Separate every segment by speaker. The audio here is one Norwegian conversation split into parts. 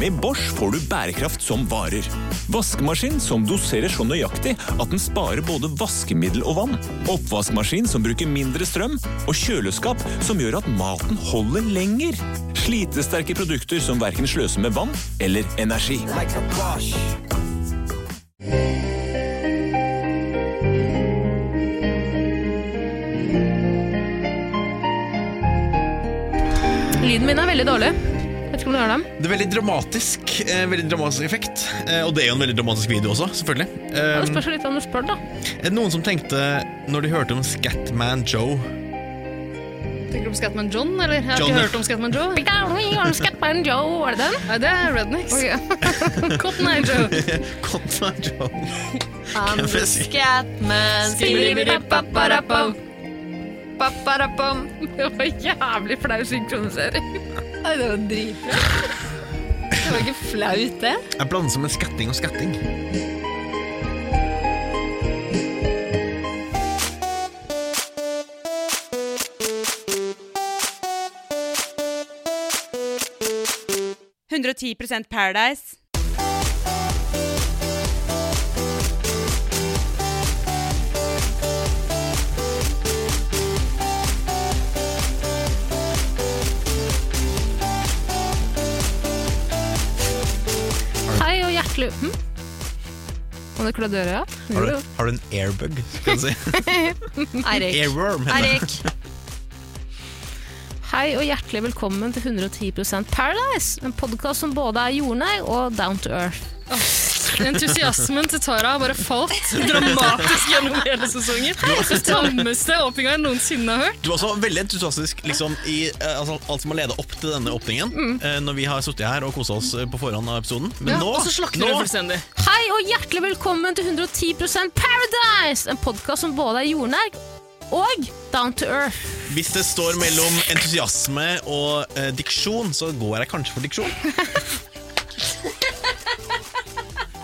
Speaker 1: Med Bosch får du bærekraft som varer. Vaskemaskin som doserer så nøyaktig at den sparer både vaskemiddel og vann. Oppvaskmaskin som bruker mindre strøm. Og kjøleskap som gjør at maten holder lenger. Slitesterke produkter som verken sløser med vann eller energi.
Speaker 2: Lyden min er veldig dårlig. Vet ikke om du hører dem.
Speaker 3: Det er veldig dramatisk, eh, veldig dramatisk effekt. Eh, og det er jo en veldig dramatisk video også, selvfølgelig.
Speaker 2: Ja,
Speaker 3: Eh,
Speaker 2: Det spørs jo litt hvem du spør, da.
Speaker 3: er det noen som tenkte, når de hørte om Scatman Joe
Speaker 4: Tenker du på Scatman John, eller? Jeg har
Speaker 3: John.
Speaker 4: ikke hørt om Scatman Joe.
Speaker 2: Scatman Joe, var det den?
Speaker 4: Nei, det er Rednecks.
Speaker 2: Cotton Eye Joe.
Speaker 3: Cotman Joe.
Speaker 4: I'm
Speaker 3: the
Speaker 4: Scatman.
Speaker 2: Skibidi-bidi-paparapam.
Speaker 4: Paparapam.
Speaker 2: Det var jævlig flau synkronisering.
Speaker 4: Nei, det var dritbra. Det var ikke flaut, det.
Speaker 3: Jeg blander sammen skatting og skatting.
Speaker 2: Hei og hjertelig hm? Må du klø døra?
Speaker 3: Har du, har du en airbug, skal jeg si?
Speaker 4: Eirik.
Speaker 3: Airworm, heter det.
Speaker 4: Eirik.
Speaker 2: Hei og hjertelig velkommen til 110 Paradise, en podkast som både er jordnær og down to earth.
Speaker 4: Entusiasmen til Tara har bare falt dramatisk gjennom hele sesongen. Det er den tammeste åpninga jeg noensinne har hørt.
Speaker 3: Du var også veldig entusiastisk liksom, i eh, altså, alt som har ledet opp til denne åpningen. eh, når vi har sittet her og kosa oss eh, på forhånd av episoden. Men nå,
Speaker 4: og så slakter
Speaker 3: nå
Speaker 4: hun fullstendig.
Speaker 2: Hei og hjertelig velkommen til 110 Paradise, en podkast som både er jordnær og down to earth.
Speaker 3: Hvis det står mellom entusiasme og eh, diksjon, så går jeg kanskje for diksjon.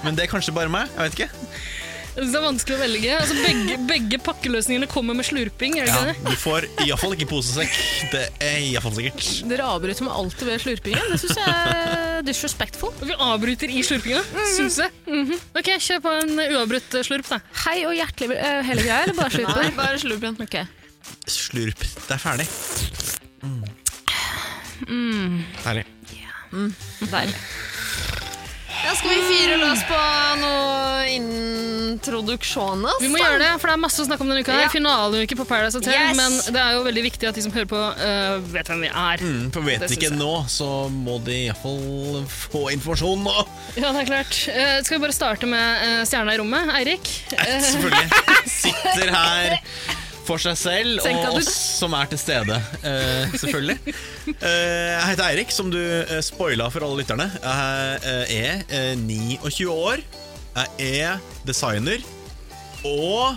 Speaker 3: Men det er kanskje bare meg. Jeg vet ikke.
Speaker 4: Jeg synes Det er vanskelig å velge. Altså, begge, begge pakkeløsningene kommer med slurping. Er det ikke det?
Speaker 3: Du får iallfall ikke posesekk. Det er iallfall sikkert.
Speaker 2: Dere avbryter meg alltid ved slurpingen. Det syns jeg er disrespectful.
Speaker 4: Og Vi avbryter i slurpinga, syns jeg. Mhm. Ok, Kjør på en uavbrutt eh, slurp, da.
Speaker 2: Hei og hjertelig vel... eh, hele greia, eller bare slurpen?
Speaker 4: bare slurpen.
Speaker 2: Ok.
Speaker 3: Slurp. Det er ferdig.
Speaker 4: Mm.
Speaker 3: Herlig.
Speaker 2: Deilig.
Speaker 5: Ja, skal vi fyre løs på noe introduksjoner?
Speaker 4: Vi må gjøre det, for det er masse å snakke om denne uka. her
Speaker 5: Ja.
Speaker 4: Finaleuke på Paradise Hotel.
Speaker 5: Yes.
Speaker 4: Men det er jo veldig viktig at de som hører på, eh, vet hvem vi er.
Speaker 3: Mm, for vet
Speaker 4: Det
Speaker 3: de ikke
Speaker 4: synes jeg.
Speaker 3: nå, så må de iallfall få informasjon nå.
Speaker 4: Ja, det er klart. Eh, skal vi bare starte med eh, stjerna i rommet? Eirik.
Speaker 3: Selvfølgelig. Sitter her for seg selv
Speaker 4: Tenk at
Speaker 3: og
Speaker 4: du-
Speaker 3: oss som er til stede. eh, selvfølgelig. Eh, jeg heter Eirik, som du eh, spoila for alle lytterne. Jeg eh, er eh, 29 år. Jeg er designer. Og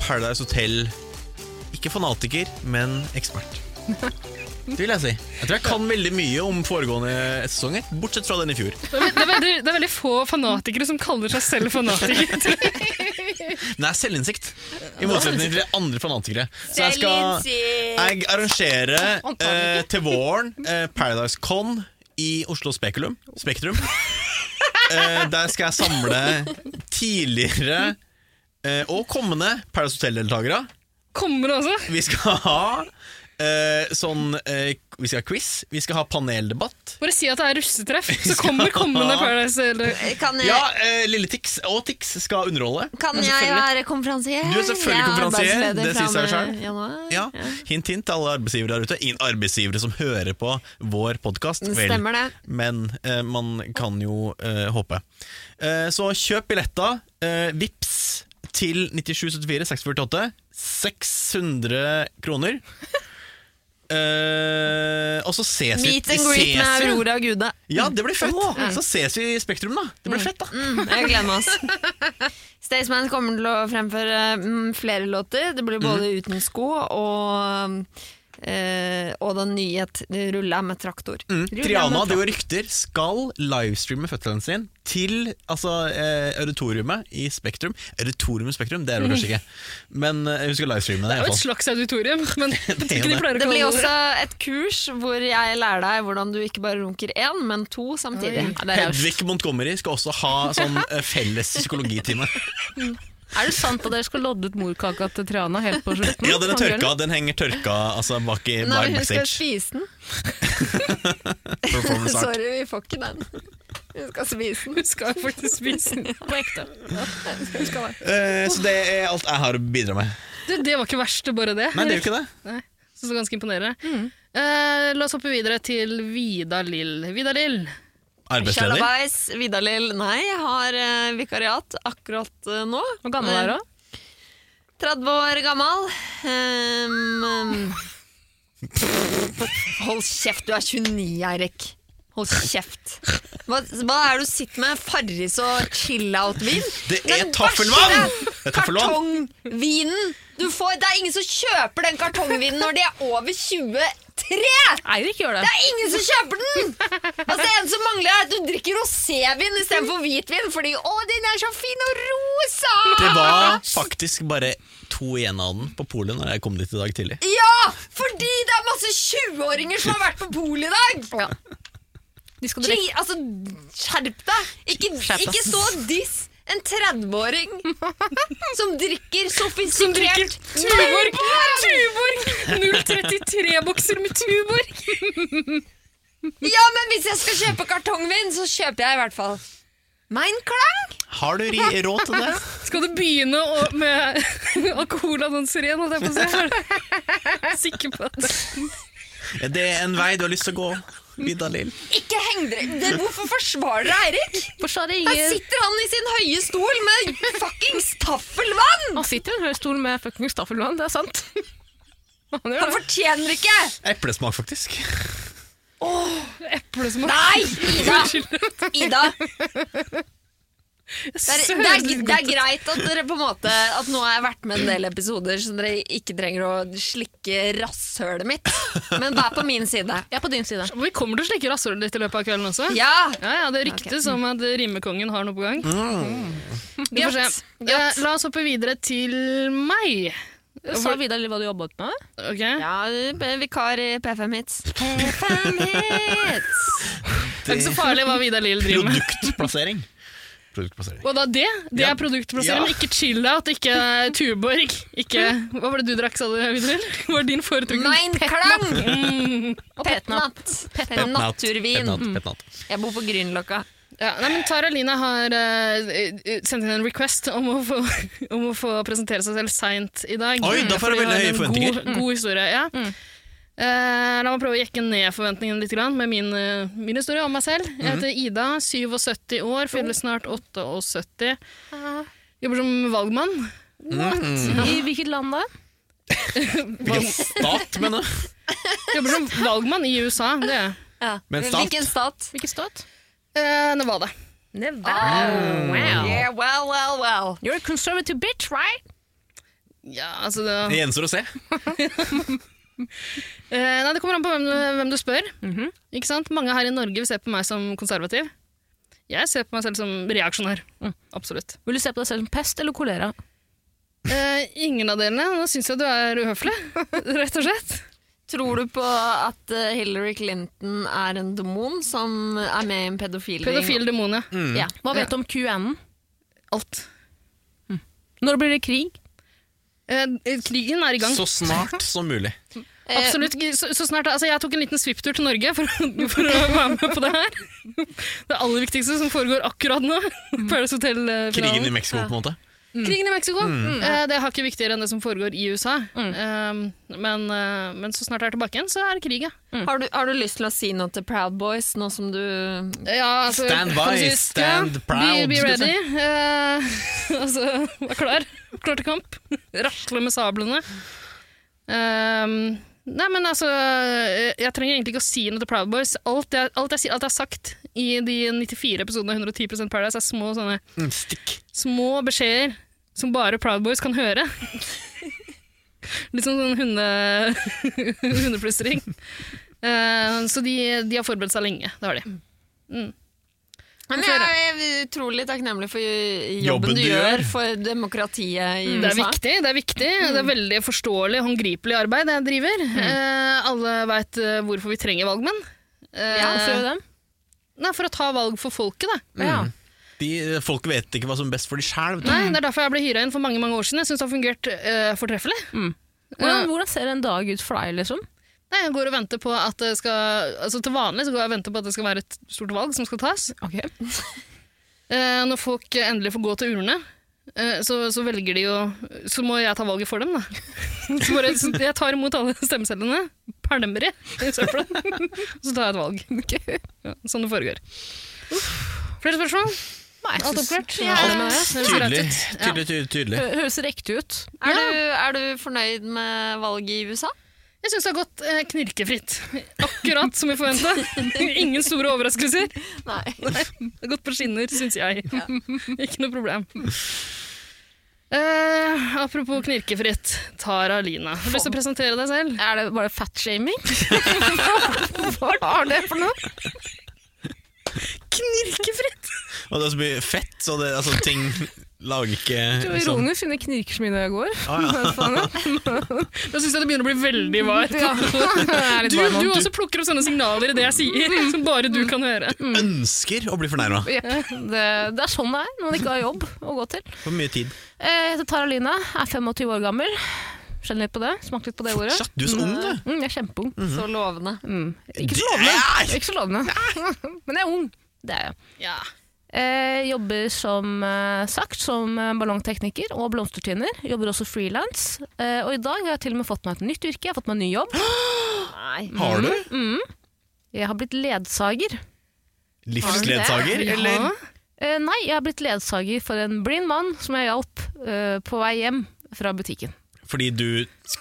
Speaker 3: Paradise Hotel Ikke fanatiker, men ekspert. Det vil jeg si. Jeg tror jeg kan veldig mye om foregående sesonger, bortsett fra den i fjor.
Speaker 4: Det er, det, er veldig, det er veldig få fanatikere som kaller seg selv fanatikere.
Speaker 3: Nei, selvinnsikt. I motsetning til andre fanatikere. Så jeg skal jeg arrangerer eh, til våren eh, Paradise Con i Oslo Spekulum, Spektrum. Eh, der skal jeg samle tidligere eh, og kommende Paradise Hotel-deltakere.
Speaker 4: Kommer det også?
Speaker 3: Vi skal ha eh, sånn eh, Vi skal ha quiz, vi skal ha paneldebatt.
Speaker 4: Bare si at det er russetreff, så kommer kommende Paradise. Eller,
Speaker 5: Kan jeg,
Speaker 3: Ja, eh, Lille Tix og Tix skal underholde.
Speaker 5: kan jeg være konferansier?
Speaker 3: Du er selvfølgelig
Speaker 5: Jeg
Speaker 3: konferansier,
Speaker 5: arbeidsleder
Speaker 3: det
Speaker 5: fra
Speaker 3: sier seg
Speaker 5: og med
Speaker 3: selv.
Speaker 5: januar.
Speaker 3: Ja,
Speaker 5: Mm.
Speaker 3: Hint, hint til alle arbeidsgivere der ute. In- Arbeidsgivere som hører på vår podkast.
Speaker 5: Det Stemmer det.
Speaker 3: Men eh, man kan jo eh, håpe. Eh, så kjøp billetter. Eh, vips til 9774 648. 600 kroner. Eh, og så ses vi
Speaker 5: Meet and
Speaker 3: vi
Speaker 5: greet med
Speaker 3: ses jo.
Speaker 5: Aurora og Gude.
Speaker 3: Ja, det blir fett! Så ses vi i Spektrum, da. Det blir fett, da.
Speaker 5: Mm, jeg gleder meg oss. Staysman
Speaker 3: Mhm.
Speaker 5: kommer til å fremføre mm, flere låter. Det blir både uten sko og eh, og den nyhetrulla med traktor.
Speaker 3: Mm.
Speaker 2: Ruller
Speaker 3: Triana,
Speaker 2: med
Speaker 3: det går rykter, skal livestreame fødselen sin til altså, eh, auditoriumet i Spektrum. Auditorium i Spektrum, det er det kanskje ikke, men eh, hun skal livestreame det. i
Speaker 4: Det er
Speaker 3: hvert
Speaker 4: jo et
Speaker 3: fall.
Speaker 4: slags auditorium, men jeg tror ikke de
Speaker 3: det.
Speaker 4: pleier å
Speaker 5: Det blir
Speaker 4: kalle
Speaker 5: også et kurs hvor jeg lærer deg hvordan du ikke bare runker én, men to samtidig.
Speaker 2: Ja, det er raust.
Speaker 3: Hedvig Montgomery skal også ha sånn eh, felles psykologitime.
Speaker 2: Er det sant at dere skal lodde ut morkaka til Triana helt på slutten?
Speaker 3: Ja, den er
Speaker 2: av kvelden?
Speaker 3: tørka, den henger tørka altså, bak i
Speaker 5: Nei,
Speaker 3: bak
Speaker 5: hun skal
Speaker 3: backstage.
Speaker 5: spise den.
Speaker 3: Performance art.
Speaker 5: Sorry, vi får ikke den. Hun skal spise den.
Speaker 4: Hun skal faktisk spise den.
Speaker 2: På ekte.
Speaker 5: Hun skal være.
Speaker 3: Eh, så det er alt jeg har å bidra med.
Speaker 4: Du, det var ikke verst, det bare det.
Speaker 3: Nei, det er jo ikke det.
Speaker 4: Nei, så så ganske imponerende. Eh, la oss hoppe videre til Vida Lill. Vida Lill,
Speaker 3: Arbeidsleder.
Speaker 5: Sjalabais, Vidalil. Nei, jeg har eh, vikariat akkurat eh, nå.
Speaker 2: Hvor gammel er hun?
Speaker 5: 30 år gammel. Ehm, ehm. Hold kjeft, du er 29, Eirik. Hold kjeft. Hva, hva er det du sitter med? Farris og chill-out-vin?
Speaker 3: Det er
Speaker 5: Den
Speaker 3: taffelvann!
Speaker 5: verste
Speaker 3: Det er taffelvann.
Speaker 5: Kartongvinen! Du får, det er ingen som kjøper den kartongvinen når de er over 23!
Speaker 2: Eirik gjør det.
Speaker 5: Det er ingen som kjøper den! Altså, det eneste som mangler, er at du drikker rosévin istedenfor hvitvin, fordi 'å, den er så fin og rosa'!
Speaker 3: Det var faktisk bare to igjen av den på polet når jeg kom dit i dag tidlig.
Speaker 5: Ja! Fordi det er masse 20-åringer som har vært på polet i dag!
Speaker 2: De skal
Speaker 5: Gi- altså, skjerp deg! Ikke,
Speaker 2: Skjerp deg.
Speaker 5: ikke stå og diss en 30-åring som drikker sofistikert
Speaker 4: som drikker Tuborg! Tuborg! 033 bokser med Tuborg!
Speaker 5: Ja, men hvis jeg skal kjøpe kartongvin, så kjøper jeg i hvert fall Mein Klang!
Speaker 3: Har du ri- råd til det?
Speaker 4: Skal du begynne å, med alkoholannonser igjen, holdt jeg på å si? Er du Sikker på det.
Speaker 3: Det er en vei du har lyst til å gå. Vidar Lill.
Speaker 5: Ikke heng dere det- Hvorfor forsvarer dere Eirik?
Speaker 2: Forsvarer
Speaker 5: Der
Speaker 2: ingen
Speaker 5: sitter han i sin høye stol med fuckings taffelvann!
Speaker 2: Han sitter i en høy stol med fucking staffelvann, det er sant. Han gjør
Speaker 5: Han
Speaker 2: det.
Speaker 5: fortjener ikke!
Speaker 3: Eplesmak, faktisk.
Speaker 4: Eplesmak.
Speaker 5: Nei! Ida! Ida. Det, er, det, er,
Speaker 4: Søren.
Speaker 5: det er greit at dere på en måte At nå har jeg vært med en del episoder, så dere ikke trenger å slikke rasshølet mitt. Men vær på min side.
Speaker 2: Jeg er på din side.
Speaker 4: Vi kommer til å slikke rasshølet ditt i løpet av kvelden også.
Speaker 5: Ja! Mm.
Speaker 4: Ja, ja, Det ryktes om at rimekongen har noe på gang.
Speaker 3: Mm.
Speaker 4: Vi får se.
Speaker 5: Godt.
Speaker 4: Eh, la oss hoppe videre til meg.
Speaker 2: Sa Vidar Lill hva du jobbet med?
Speaker 4: Ok?
Speaker 5: Ja, vikar i P5 Hits. P5 Hits!
Speaker 4: Det er ikke så farlig hva Vidar Lill driver med.
Speaker 3: Produktplassering. Produktplassering.
Speaker 4: Og da det, det
Speaker 3: Ja.
Speaker 4: er produktplassering.
Speaker 3: Ja.
Speaker 4: Ikke chill-out, ikke Tuborg. Ikke, hva var det du drakk, sa du, Vidar Lill? Hva var din foretrukne?
Speaker 5: Mein Klang!
Speaker 4: Mm.
Speaker 5: Og Petnat. Petnat. Naturvin.
Speaker 3: Petnat.
Speaker 5: Jeg bor på Grünerløkka.
Speaker 4: Ja, nei, men Tara Lina har eh, eh, sendt inn en request om å få, om å få presentere seg selv seint i dag.
Speaker 3: Oi, da får jeg veldig
Speaker 4: Fordi hun har
Speaker 3: høye
Speaker 4: en
Speaker 3: forventninger. Mm.
Speaker 4: God, god historie, ja. Eh, la meg prøve å jekke ned forventningene litt grann, med min, eh, min historie om meg selv. Jeg
Speaker 3: Mhm.
Speaker 4: heter Ida, 77 år,
Speaker 3: Oh.
Speaker 4: fyller snart 78.
Speaker 3: Ah.
Speaker 4: Jobber som valgmann.
Speaker 3: Mm.
Speaker 2: I hvilket land da?
Speaker 3: Hvilken stat, mener du?
Speaker 4: Jobber som valgmann i USA, det gjør jeg.
Speaker 5: Ja.
Speaker 3: Men stat?
Speaker 5: Hvilken stat?
Speaker 2: Hvilken stat?
Speaker 4: Eh, Nevada.
Speaker 2: Nevada.
Speaker 5: Ah.
Speaker 2: Wow.
Speaker 5: Yeah, well, well, well.
Speaker 2: You're a conservative bitch, right?
Speaker 4: Ja, altså det,
Speaker 3: Det gjenstår å se.
Speaker 4: Eh, nei, det kommer an på hvem du, hvem du spør.
Speaker 3: Mhm.
Speaker 4: Ikke sant? Mange her i Norge vil se på meg som konservativ. Jeg ser på meg selv som reaksjonær.
Speaker 3: Mm.
Speaker 4: Absolutt.
Speaker 2: Vil du se på deg selv som pest eller kolera?
Speaker 4: Eh, ingen av delene. Nå syns jeg du er uhøflig, rett og slett.
Speaker 5: Tror du på at eh, Hillary Clinton er en demon som er med i en pedofil
Speaker 4: Pedofil demon, ja.
Speaker 3: Mm.
Speaker 2: Ja. Hva vet du om QAnon?
Speaker 4: Alt.
Speaker 2: Når blir det krig?
Speaker 4: Eh, krigen er i gang.
Speaker 3: Så Eh, snart som mulig.
Speaker 5: Eh,
Speaker 4: Absolutt. Så, så snart, altså, jeg tok en liten svipptur til Norge for, å- for å være med på det her. Det aller viktigste som foregår akkurat nå. Paradise eh, Hotel-finalen.
Speaker 3: Krigen i Mexico, på en måte.
Speaker 4: Krigen i Mexico.
Speaker 3: Mm.
Speaker 4: Eh, det har ikke viktigere enn det som foregår i USA. Eh, men, eh, men så snart jeg er tilbake igjen, så er det krig, ja.
Speaker 5: Har, du, har du lyst til å si noe til Proud Boys nå som du
Speaker 4: ja altså,
Speaker 3: Stand by,
Speaker 4: kan du si,
Speaker 3: stand
Speaker 4: ja,
Speaker 3: proud.
Speaker 4: Be, be ready. Eh, altså, vær klar. Klar til kamp. Rasle med sablene. Eh, nei, men altså eh, Jeg trenger egentlig ikke å si noe til Proud Boys. Alt jeg, alt jeg, sier- alt jeg har sagt i de 94 episodene av 110 Paradise, er små sånne
Speaker 3: Mm, Stikk.
Speaker 4: små beskjeder som bare Proud Boys kan høre. Litt som sånn hunde, hundeplystring. Eh, så de, de har forberedt seg lenge. Det har de.
Speaker 5: Men
Speaker 4: Få høre.
Speaker 5: jeg er utrolig takknemlig for jobben,
Speaker 3: Jobben
Speaker 5: du
Speaker 3: du
Speaker 5: gjør
Speaker 3: gjør.
Speaker 5: for demokratiet i
Speaker 4: Det er
Speaker 5: USA.
Speaker 4: viktig, det er viktig. Det er veldig forståelig, håndgripelig arbeid jeg driver. Eh, alle veit hvorfor vi trenger valgmenn. Eh,
Speaker 5: Ja, hvorfor gjør vi det?
Speaker 4: Nei, for å ta valg for folket, da.
Speaker 3: mm.
Speaker 5: Ja.
Speaker 3: De, eh, folk vet ikke hva som er best for de sjæl. vet du.
Speaker 4: Nei, Det er derfor jeg ble hyra inn for mange mange år siden. Jeg syns det har fungert eh, fortreffelig.
Speaker 2: Hvordan, hvordan ser en dag ut for deg, liksom?
Speaker 4: Nei, jeg går og venter på at det skal, altså Til vanlig så går jeg og venter på at det skal være et stort valg som skal tas.
Speaker 2: Ok.
Speaker 4: Eh, når folk endelig får gå til urnene, eh, så, så velger de jo Så må jeg ta valget for dem, da. Så bare, så jeg tar imot alle stemmecellene, pælmer de i søpla, og så tar jeg et valg. Ja, sånn det foregår. Flere spørsmål?
Speaker 2: Nei, jeg
Speaker 4: Alt
Speaker 2: synes-
Speaker 4: oppklart?
Speaker 2: Ja, det må jeg.
Speaker 4: Alt
Speaker 3: Tydelig,
Speaker 4: rettet. Ja.
Speaker 3: tydelig, tydelig, tydelig.
Speaker 2: Hø- Høres riktig ut.
Speaker 5: Er, du, er du fornøyd med valget i USA?
Speaker 4: Jeg syns det har gått eh, knirkefritt. Akkurat som vi forventa. Ingen store overraskelser.
Speaker 5: Nei.
Speaker 4: Det har gått på skinner, syns jeg. Ikke noe problem. Eh, apropos knirkefritt. Tara Lina. Har du lyst til å presentere deg selv?
Speaker 2: Er det bare fatshaming? Hva er det for noe?
Speaker 4: Knirkefritt!
Speaker 3: Og det er så mye fett, så det, altså, ting lager ikke
Speaker 2: Det var
Speaker 3: liksom.
Speaker 2: ironisk, siden det knirker så mye når jeg går.
Speaker 3: Ah,
Speaker 4: Da syns jeg det begynner å bli veldig varmt.
Speaker 2: Ja. Jeg er litt
Speaker 4: Du,
Speaker 2: varm
Speaker 4: du
Speaker 2: nå.
Speaker 4: også plukker opp sånne signaler i det jeg sier, som bare du kan høre.
Speaker 3: Ønsker å bli fornærma.
Speaker 2: Jepp. Det, det er sånn det er når man ikke har jobb å gå til.
Speaker 3: For mye tid.
Speaker 2: Eh, Jeg heter Tara Lina, er 25 år gammel. Skjønner litt på det. Smakte litt på det ordet.
Speaker 3: Fortsatt, du er så ung, du.
Speaker 2: Mm, jeg er kjempeung.
Speaker 5: Så lovende.
Speaker 2: Mm. Ikke så lovende.
Speaker 3: Nei!
Speaker 2: Ikke så lovende. Men jeg er ung. Det er jeg.
Speaker 4: Ja.
Speaker 2: Eh, jobber som eh, sagt som eh, ballongtekniker og blomstertvinner. Jobber også frilans. Eh, og i dag har jeg til og med fått meg et nytt yrke. Jeg har fått meg en ny jobb. Mm.
Speaker 3: Har du
Speaker 2: Jeg har blitt ledsager.
Speaker 3: livsledsager, eller?
Speaker 4: Ja.
Speaker 2: Eh, nei, jeg har blitt ledsager for en blind mann som jeg hjalp eh, på vei hjem fra butikken.
Speaker 3: Fordi du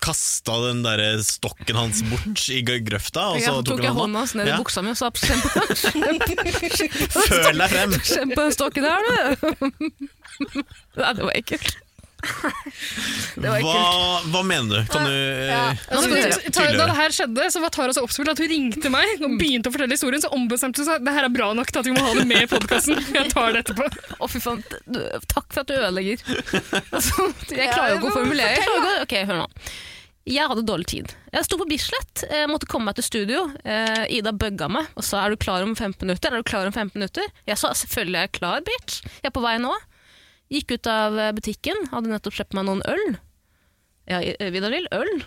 Speaker 3: kasta den der stokken hans bort i gr- grøfta, og
Speaker 2: Jeg
Speaker 3: så
Speaker 2: tok,
Speaker 3: tok
Speaker 2: jeg
Speaker 3: han
Speaker 2: hånda hans ned i
Speaker 3: Ja.
Speaker 2: buksa mi og sa kjenn på
Speaker 3: Føl deg frem!
Speaker 2: kjenn på den stokken der, du! nei, det var ekkelt. Det var
Speaker 3: Hva,
Speaker 2: ekkelt.
Speaker 3: hva mener du? Kan du eh,
Speaker 2: Nå skal vi høre.
Speaker 4: Altså, Tara- da det Mm. her skjedde, så var Tara så oppspilt at hun ringte meg og begynte å fortelle historien, så ombestemte hun seg. Det her er bra nok til at vi må ha det med i podkasten. Jeg tar det etterpå.
Speaker 2: Å, fy faen. t- du- Takk for at du ødelegger. Altså, jeg klarer jo ikke å formulere. Jeg klarer ikke å- Ok, hør nå. Jeg hadde dårlig tid. Jeg sto på Bislett, jeg måtte komme meg til studio. Eh, Ida bøgga meg og sa 'er du klar om 15 minutter'? Er du klar om 15 minutter? Jeg sa 'selvfølgelig er jeg klar, bitch'. Jeg er på vei nå. Gikk ut av eh, butikken, hadde nettopp kjøpt meg noen øl. Ja, eh, Vidar-Lill, øl?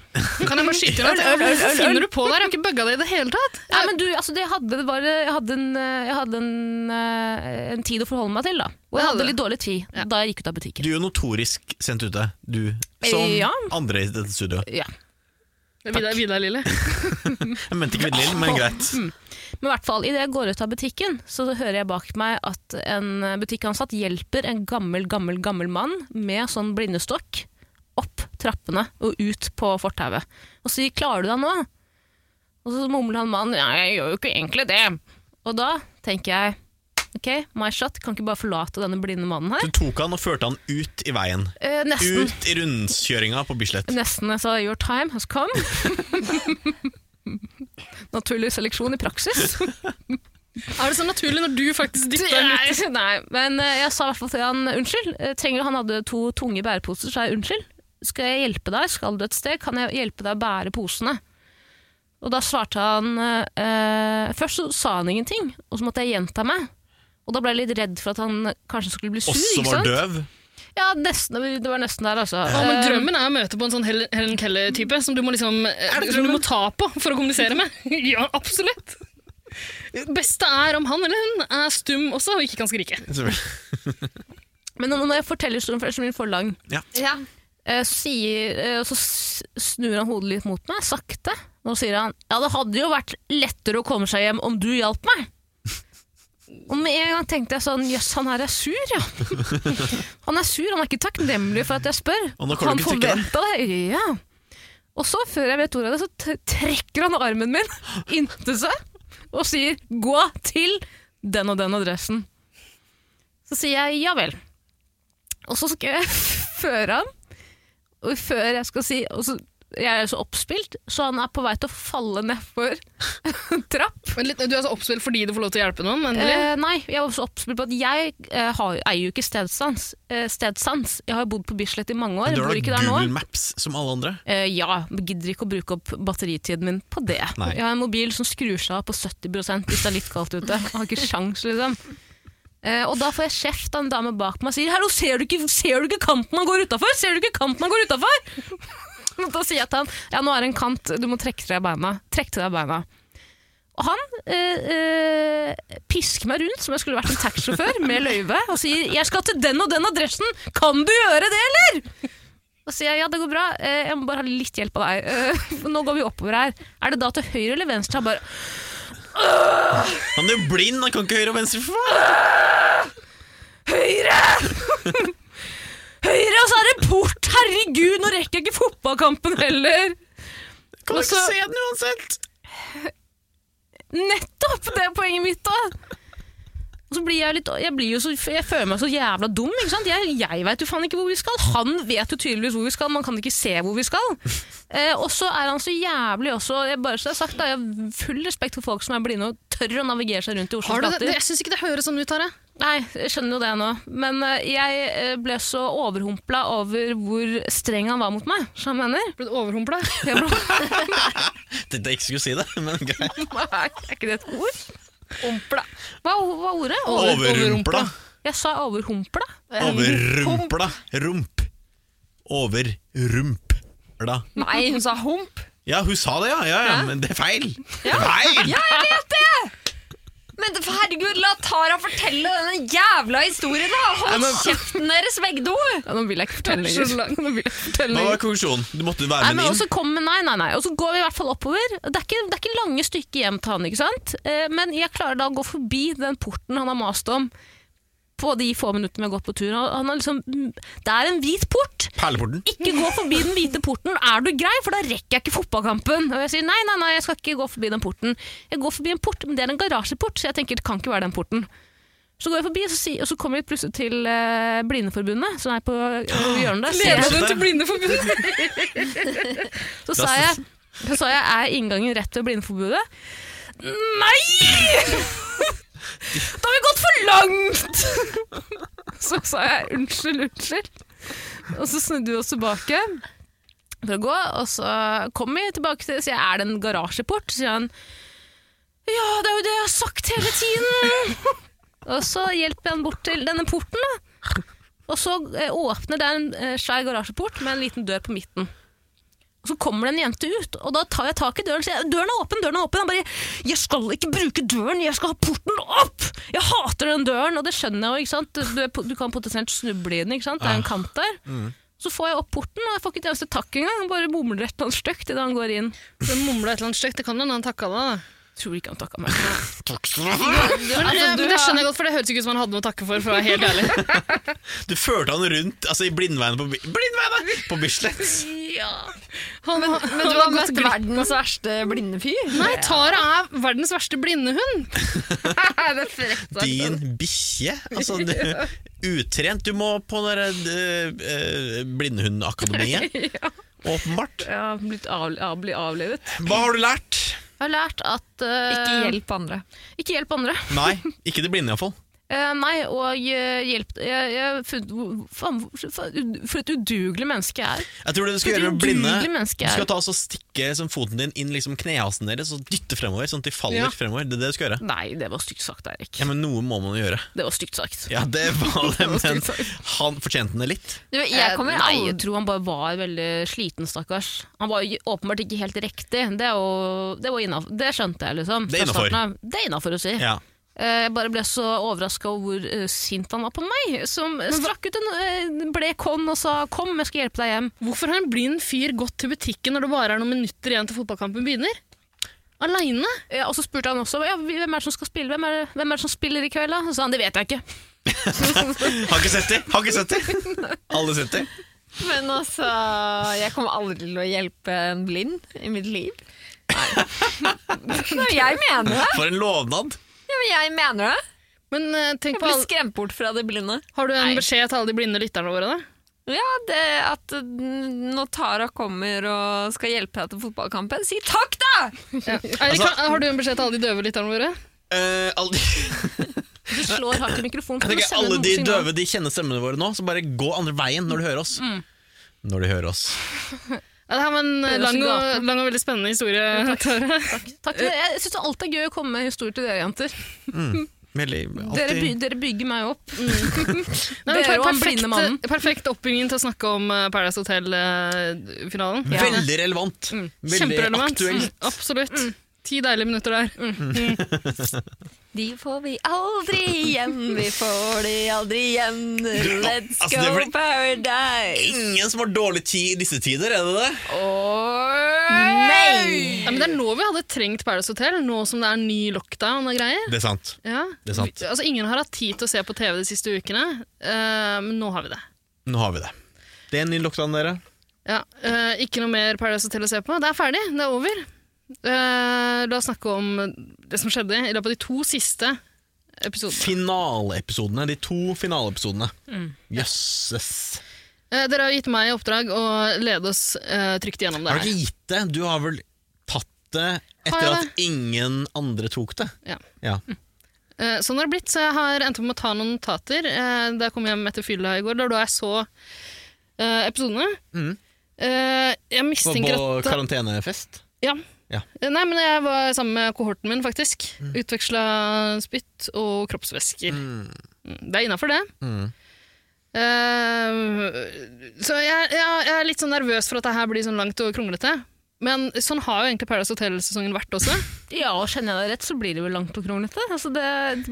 Speaker 4: Kan jeg bare skyte inn? at- Hvorfor finner du på det her? Jeg har ikke bugga det i det hele tatt.
Speaker 2: Nei, men du, altså, det jeg hadde, det var, jeg hadde, en, eh, jeg hadde en, eh, en tid å forholde meg til, da. Og jeg
Speaker 4: hadde
Speaker 2: hadde
Speaker 4: du.
Speaker 2: litt dårlig tid da jeg gikk ut av butikken.
Speaker 3: Du er jo notorisk sendt ute, du. Som
Speaker 2: Ja.
Speaker 3: andre i dette studioet.
Speaker 2: Ja.
Speaker 4: Vidar, Vidar Lille.
Speaker 3: Jeg mente ikke Vidlin, men greit.
Speaker 2: Mm. Men i hvert fall, idet jeg går ut av butikken, så hører jeg bak meg at en butikkansatt hjelper en gammel, gammel, gammel mann med sånn blindestokk opp trappene og ut på fortauet. Og sier 'klarer du deg nå?' Og så mumler han mannen 'ja, jeg gjør jo ikke egentlig det'. Og da tenker jeg ok, my shot, kan ikke bare forlate denne blinde mannen her.
Speaker 3: Du tok han og førte han ut i veien.
Speaker 2: Eh, nesten.
Speaker 3: Ut i rundkjøringa på Bislett.
Speaker 2: Nesten jeg sa 'your time has come'. Naturlig seleksjon i praksis.
Speaker 4: Er det så naturlig når du faktisk dytter den ut?
Speaker 2: Nei, nei, men eh, jeg sa i hvert fall til han unnskyld. eh, Trenger du, han hadde to tunge bæreposer, så sa jeg unnskyld. Skal jeg hjelpe deg? Skal du et sted? Kan jeg hjelpe deg å bære posene? Og da svarte han eh, eh, Først så sa han ingenting, og så måtte jeg gjenta meg. Og da ble jeg litt redd for at han kanskje skulle bli sur.
Speaker 3: Også
Speaker 2: ikke
Speaker 3: var
Speaker 2: sant?
Speaker 3: døv.
Speaker 2: Ja, nesten, det var nesten der, altså.
Speaker 4: Ja, men
Speaker 2: Eh,
Speaker 4: drømmen er å møte på en sånn Hel- Helen Keller-type som du må liksom eh, Som du må ta på for å kommunisere med. Ja, absolutt. Beste er om han eller hun er stum også og ikke kan skrike.
Speaker 2: men nå- når jeg forteller historien, for ellers blir den for lang,
Speaker 5: Ja.
Speaker 2: Eh, sier, eh, og så s- snur han hodet litt mot meg, sakte. Og så sier han ja, det hadde jo vært lettere å komme seg hjem om du hjalp meg. Og med en gang tenkte jeg sånn jøss, han her er sur, ja. Han er sur, han er ikke takknemlig for at jeg spør.
Speaker 3: Og nå kan
Speaker 2: han
Speaker 3: du ikke trykke deg.
Speaker 2: forventa det. Ja. Og så, før jeg vet ordet av det, så t- trekker han armen min inntil seg og sier 'gå til den og den adressen'. Så sier jeg ja vel. Og så skal jeg føre han og før jeg skal si og så, Jeg er så oppspilt, så han er på vei til å falle nedfor en trapp.
Speaker 4: Men litt, du er så oppspilt fordi du får lov til å hjelpe noen, men eller?
Speaker 2: Eh, nei, jeg var så oppspilt på at jeg eh, har, eier jo ikke stedsans. Eh, stedsans. Jeg har jo bodd på Bislett i mange år.
Speaker 3: Men du
Speaker 2: Jeg
Speaker 3: har
Speaker 2: bor
Speaker 3: da
Speaker 2: ikke der nå.
Speaker 3: Google Maps som alle andre.
Speaker 2: Eh, ja, gidder ikke å bruke opp batteritiden min på det.
Speaker 3: Nei.
Speaker 2: Jeg har en mobil som skrur seg av på 70 hvis det er litt kaldt ute. Jeg har ikke sjans, liksom. Eh, og da får jeg kjeft av en dame bak meg og sier 'Hallo, ser du ikke, ser du ikke kanten han går utafor?' Ser du ikke kanten han går utenfor? Og da sier jeg til han 'Ja, nå er det en kant, du må trekke til deg beina'. Trekk til deg beina. Og han eh, eh, pisker meg rundt som jeg skulle vært en taxisjåfør med løyve og sier 'Jeg skal til den og den adressen, kan du gjøre det, eller?' Da sier jeg ja, det går bra, Eh, jeg må bare ha litt hjelp av deg. Eh, for Nå går vi oppover her. Er det da til høyre eller venstre? Han bare
Speaker 3: Han er jo blind, han kan ikke høyre og venstre. for faen.
Speaker 2: Høyre! høyre, og så er det port! Herregud, nå rekker jeg ikke fotballkampen heller!
Speaker 3: Kan du
Speaker 2: Og
Speaker 3: ikke
Speaker 2: så-
Speaker 3: se den uansett?
Speaker 2: Nettopp! Det er poenget mitt, da. Og så blir jeg litt Jeg, blir jo så, jeg føler meg så jævla dum. ikke sant? Jeg, jeg veit jo faen ikke hvor vi skal. Han vet jo tydeligvis hvor vi skal, man kan ikke se hvor vi skal. Eh, og så er han så jævlig også. Jeg, bare så det er sagt, da, jeg har full respekt for folk som er blinde og tør å navigere seg rundt i Oslos
Speaker 4: Har du det?
Speaker 2: gater.
Speaker 4: Jeg syns ikke det høres sånn ut, Tare.
Speaker 2: Nei, jeg skjønner jo det nå. Men eh, jeg eh, ble så overhumpla over hvor streng han var mot meg, som jeg mener.
Speaker 4: Ble du overhumpla?
Speaker 2: Jeg ble,
Speaker 3: Tenkte jeg ikke skulle si det, men greit.
Speaker 2: er ikke det et ord? Humpla. Hva hva er ordet? Over-
Speaker 3: Overrumpla.
Speaker 2: Jeg sa overhumpla.
Speaker 3: Overrumpla. Rump. Overrumpla.
Speaker 5: Nei, hun sa hump.
Speaker 3: Ja, hun sa det, ja. ja, ja. Men det er feil. Det er feil!
Speaker 5: Men det- herregud, la Tara fortelle denne jævla historien, da! Hold kjeften deres, begge to!
Speaker 2: Ja, nå vil jeg ikke fortelle
Speaker 4: Det er så
Speaker 2: lenger. Nå vil jeg ikke fortelle
Speaker 3: Hva
Speaker 2: lenger.
Speaker 3: var konklusjonen? Du måtte
Speaker 2: Nei,
Speaker 3: være
Speaker 2: men
Speaker 3: med inn.
Speaker 2: også kom, nei, nei, nei. Og så går vi i hvert fall oppover. Det er ikke, det er ikke lange stykker hjem til han, ikke sant? Eh, Men jeg klarer da å gå forbi den porten han har mast om på de få minuttene vi har gått på tur. Han han har liksom, det er en hvit port!
Speaker 3: Perleporten.
Speaker 2: Ikke gå forbi den hvite porten, er du grei? For da rekker jeg ikke fotballkampen. Og jeg sier nei, nei, nei, jeg skal ikke gå forbi den porten. Jeg går forbi en port, men det er en garasjeport, så jeg tenker det kan ikke være den porten. Så går jeg forbi, så sier- og så kommer jeg plutselig til eh, Blindeforbundet, som er på eh, hjørnet der. Ser-
Speaker 4: Leda den til Blindeforbundet?
Speaker 2: Så sa jeg, så sa jeg er inngangen rett ved Blindeforbudet? Nei! Da har vi gått for langt! Så sa jeg unnskyld, unnskyld. Og så snudde vi oss tilbake for å gå, og så kom vi tilbake til sier jeg, er det en garasjeport? Så sier han ja, det er jo det jeg har sagt hele tiden! Og så hjelper jeg han bort til denne porten, da. Og så eh, åpner det en eh, svær garasjeport med en liten dør på midten. Og så kommer det en jente ut, og da tar jeg tak i døren og sier døren er åpen, døren er åpen. Han bare 'jeg skal ikke bruke døren, jeg skal ha porten opp'! Jeg hater den døren, og det skjønner jeg jo, ikke sant. Du, er, po- du kan potensielt snuble i den, ikke sant. Det er en kant der. Så får jeg opp porten, og jeg får ikke et eneste takk engang. Han bare mumler et eller annet stygt idet han går inn.
Speaker 4: Den mumla et eller annet stygt. Det kan jo hende han takka deg, da.
Speaker 2: Tror ikke han takka meg.
Speaker 4: Men, eh, men det skjønner jeg godt, for det høres ikke ut som han hadde noe å takke for. for å være helt ærlig.
Speaker 3: Du førte han rundt altså, i blindveiene på, Bi- blindveiene på Bislett.
Speaker 4: Han, men,
Speaker 5: Men du har møtt verdens verste blinde fyr.
Speaker 4: Nei, Tara er verdens verste blindehund.
Speaker 3: Din bikkje. Altså, du, utrent. Du må på det derre, eh, blindehundakademiet. Åpenbart.
Speaker 2: Ja, blitt av, av, bli avlevet.
Speaker 3: Hva har du lært?
Speaker 2: Jeg har lært at eh,
Speaker 5: Ikke hjelp andre.
Speaker 2: ikke hjelp andre.
Speaker 3: Nei, ikke det blinde iallfall.
Speaker 2: Eh, nei, og eh, hjelp Jeg, jeg har funnet hvor- faen, hvor- faen, For et udugelig menneske jeg er.
Speaker 3: Jeg tror det du skal
Speaker 2: For et
Speaker 3: gjøre med blinde
Speaker 2: udugelig menneske
Speaker 3: Du
Speaker 2: jeg er.
Speaker 3: skal ta og så stikke liksom, foten din inn liksom, knehasen deres og dytte fremover, sånn at de faller
Speaker 4: Ja.
Speaker 3: fremover. Det er det du skal gjøre.
Speaker 2: Nei, det var stygt sagt, Eirik.
Speaker 3: Ja, Men noe må man jo gjøre.
Speaker 2: Det var stygt sagt.
Speaker 3: Ja, det var
Speaker 2: var
Speaker 3: det, men
Speaker 2: stygt sagt.
Speaker 3: han fortjente det litt.
Speaker 5: Du, jeg kommer
Speaker 2: Eh, Nei, jeg
Speaker 5: aldri
Speaker 2: tror han bare var veldig sliten, stakkars. Han var jo åpenbart ikke helt riktig. Det, er jo, det, var innaf- det skjønte jeg, liksom.
Speaker 3: Det er
Speaker 2: fra
Speaker 3: innenfor.
Speaker 2: starten av. Det er innafor å si.
Speaker 3: Ja.
Speaker 2: Eh, Jeg bare ble så overraska over hvor eh, sint han var på meg, som eh, strakk ut en eh, blek hånd og sa 'kom, jeg skal hjelpe deg hjem'.
Speaker 4: Hvorfor har en blind fyr gått til butikken når det bare er noen minutter igjen til fotballkampen begynner? Aleine?
Speaker 2: Ja, Eh, og så spurte han også ja, hvem er det som skal spille, hvem er det, hvem er det som spiller i kveld, da? Så sa han det vet jeg ikke.
Speaker 3: Har ikke sett det! Har ikke sett det! Alle sett det.
Speaker 5: Men altså, jeg kommer aldri til å hjelpe en blind i mitt liv. Nei, jeg mener det.
Speaker 3: For en lovnad!
Speaker 5: Ja, men jeg mener det.
Speaker 4: Men eh, tenk
Speaker 5: Jeg
Speaker 4: på
Speaker 5: blir
Speaker 4: alle-
Speaker 5: skremt bort fra det blinde.
Speaker 4: Har du en beskjed til alle de blinde lytterne våre, da?
Speaker 5: Ja, det at eh, når Tara kommer og skal hjelpe deg til fotballkampen, si takk, da!
Speaker 4: Ja. Eirik,
Speaker 3: Altså-
Speaker 4: har du en beskjed til alle de døve lytterne våre?
Speaker 3: Eh, alle de,
Speaker 2: Du slår hardt i mikrofonen. kan du
Speaker 3: jeg tenker,
Speaker 2: sende
Speaker 3: alle
Speaker 2: noen
Speaker 3: de
Speaker 2: signaler?
Speaker 3: døve de kjenner stemmene våre nå, så bare gå andre veien når du hører oss.
Speaker 2: Mm.
Speaker 3: Når du hører oss.
Speaker 4: Ja, det her var en eh,
Speaker 2: Høres
Speaker 4: lang og,
Speaker 2: gapende.
Speaker 4: lang og veldig spennende historie. Tara.
Speaker 2: Takk, jeg syns alt er gøy å komme med historier til dere jenter.
Speaker 3: Veldig,
Speaker 2: Dere, by,
Speaker 3: alltid.
Speaker 2: dere bygger meg opp.
Speaker 4: Nei, men
Speaker 2: Dere
Speaker 4: per-
Speaker 2: og han
Speaker 4: perfekt-
Speaker 2: blinde mannen.
Speaker 4: Perfekt oppbygging til å snakke om eh, Paradise eh, Hotel-finalen.
Speaker 2: Ja. Mm.
Speaker 3: Veldig relevant. Veldig
Speaker 4: Kjemperelevant.
Speaker 3: aktuelt.
Speaker 4: Mm, absolutt. Ti deilige minutter der.
Speaker 5: De får vi aldri igjen, vi får de aldri igjen. Let's
Speaker 3: altså,
Speaker 5: go
Speaker 3: det blir-
Speaker 5: paradise!
Speaker 3: Ingen som har dårlig tid i disse tider, er det det?
Speaker 5: Nei!
Speaker 4: Ja, men det er nå vi hadde trengt Paradise Hotel, nå som det er ny lockdown og greier.
Speaker 3: Det er sant.
Speaker 4: Ja.
Speaker 3: Det er sant.
Speaker 4: Vi, altså, ingen har hatt tid til å se på TV de siste ukene, eh, men nå har vi det.
Speaker 3: Nå har vi det. Det er en ny lockdown, dere.
Speaker 4: Ja, eh, ikke noe mer Paradise Hotel å se på. Det er ferdig, det er over. Eh, la oss snakke om det som skjedde i løpet av de to siste episodene.
Speaker 3: Finaleepisodene. De to finaleepisodene.
Speaker 2: Mm.
Speaker 3: Jøsses.
Speaker 4: Eh, dere har gitt meg i oppdrag å lede oss eh, trygt gjennom det
Speaker 3: Har du
Speaker 4: her.
Speaker 3: ikke gitt det? Du har vel tatt det
Speaker 4: Har jeg
Speaker 3: etter at ingen andre tok det?
Speaker 4: Ja.
Speaker 3: Ja.
Speaker 2: Mm.
Speaker 4: Eh, Sånn har det blitt, så jeg har endt opp med å ta noen notater. eh, Da jeg kom hjem etter fylla i går, da da jeg så eh, episodene.
Speaker 3: Mhm.
Speaker 4: Eh, Jeg
Speaker 3: På,
Speaker 4: mistenker
Speaker 3: på
Speaker 4: at
Speaker 3: karantenefest?
Speaker 4: Ja.
Speaker 3: Ja. Mm.
Speaker 4: Eh, Nei, men jeg var sammen med kohorten min, faktisk. Utveksla spytt og kroppsvæsker. Mm, Det er innafor, det.
Speaker 3: Mm.
Speaker 4: Eh, så jeg, jeg, jeg er litt sånn nervøs for at det her blir sånn langt og kronglete. Men sånn har jo egentlig Paradise Hotel-sesongen vært også.
Speaker 2: Ja, og kjenner jeg deg rett, så blir det jo langt og kronglete. Altså det,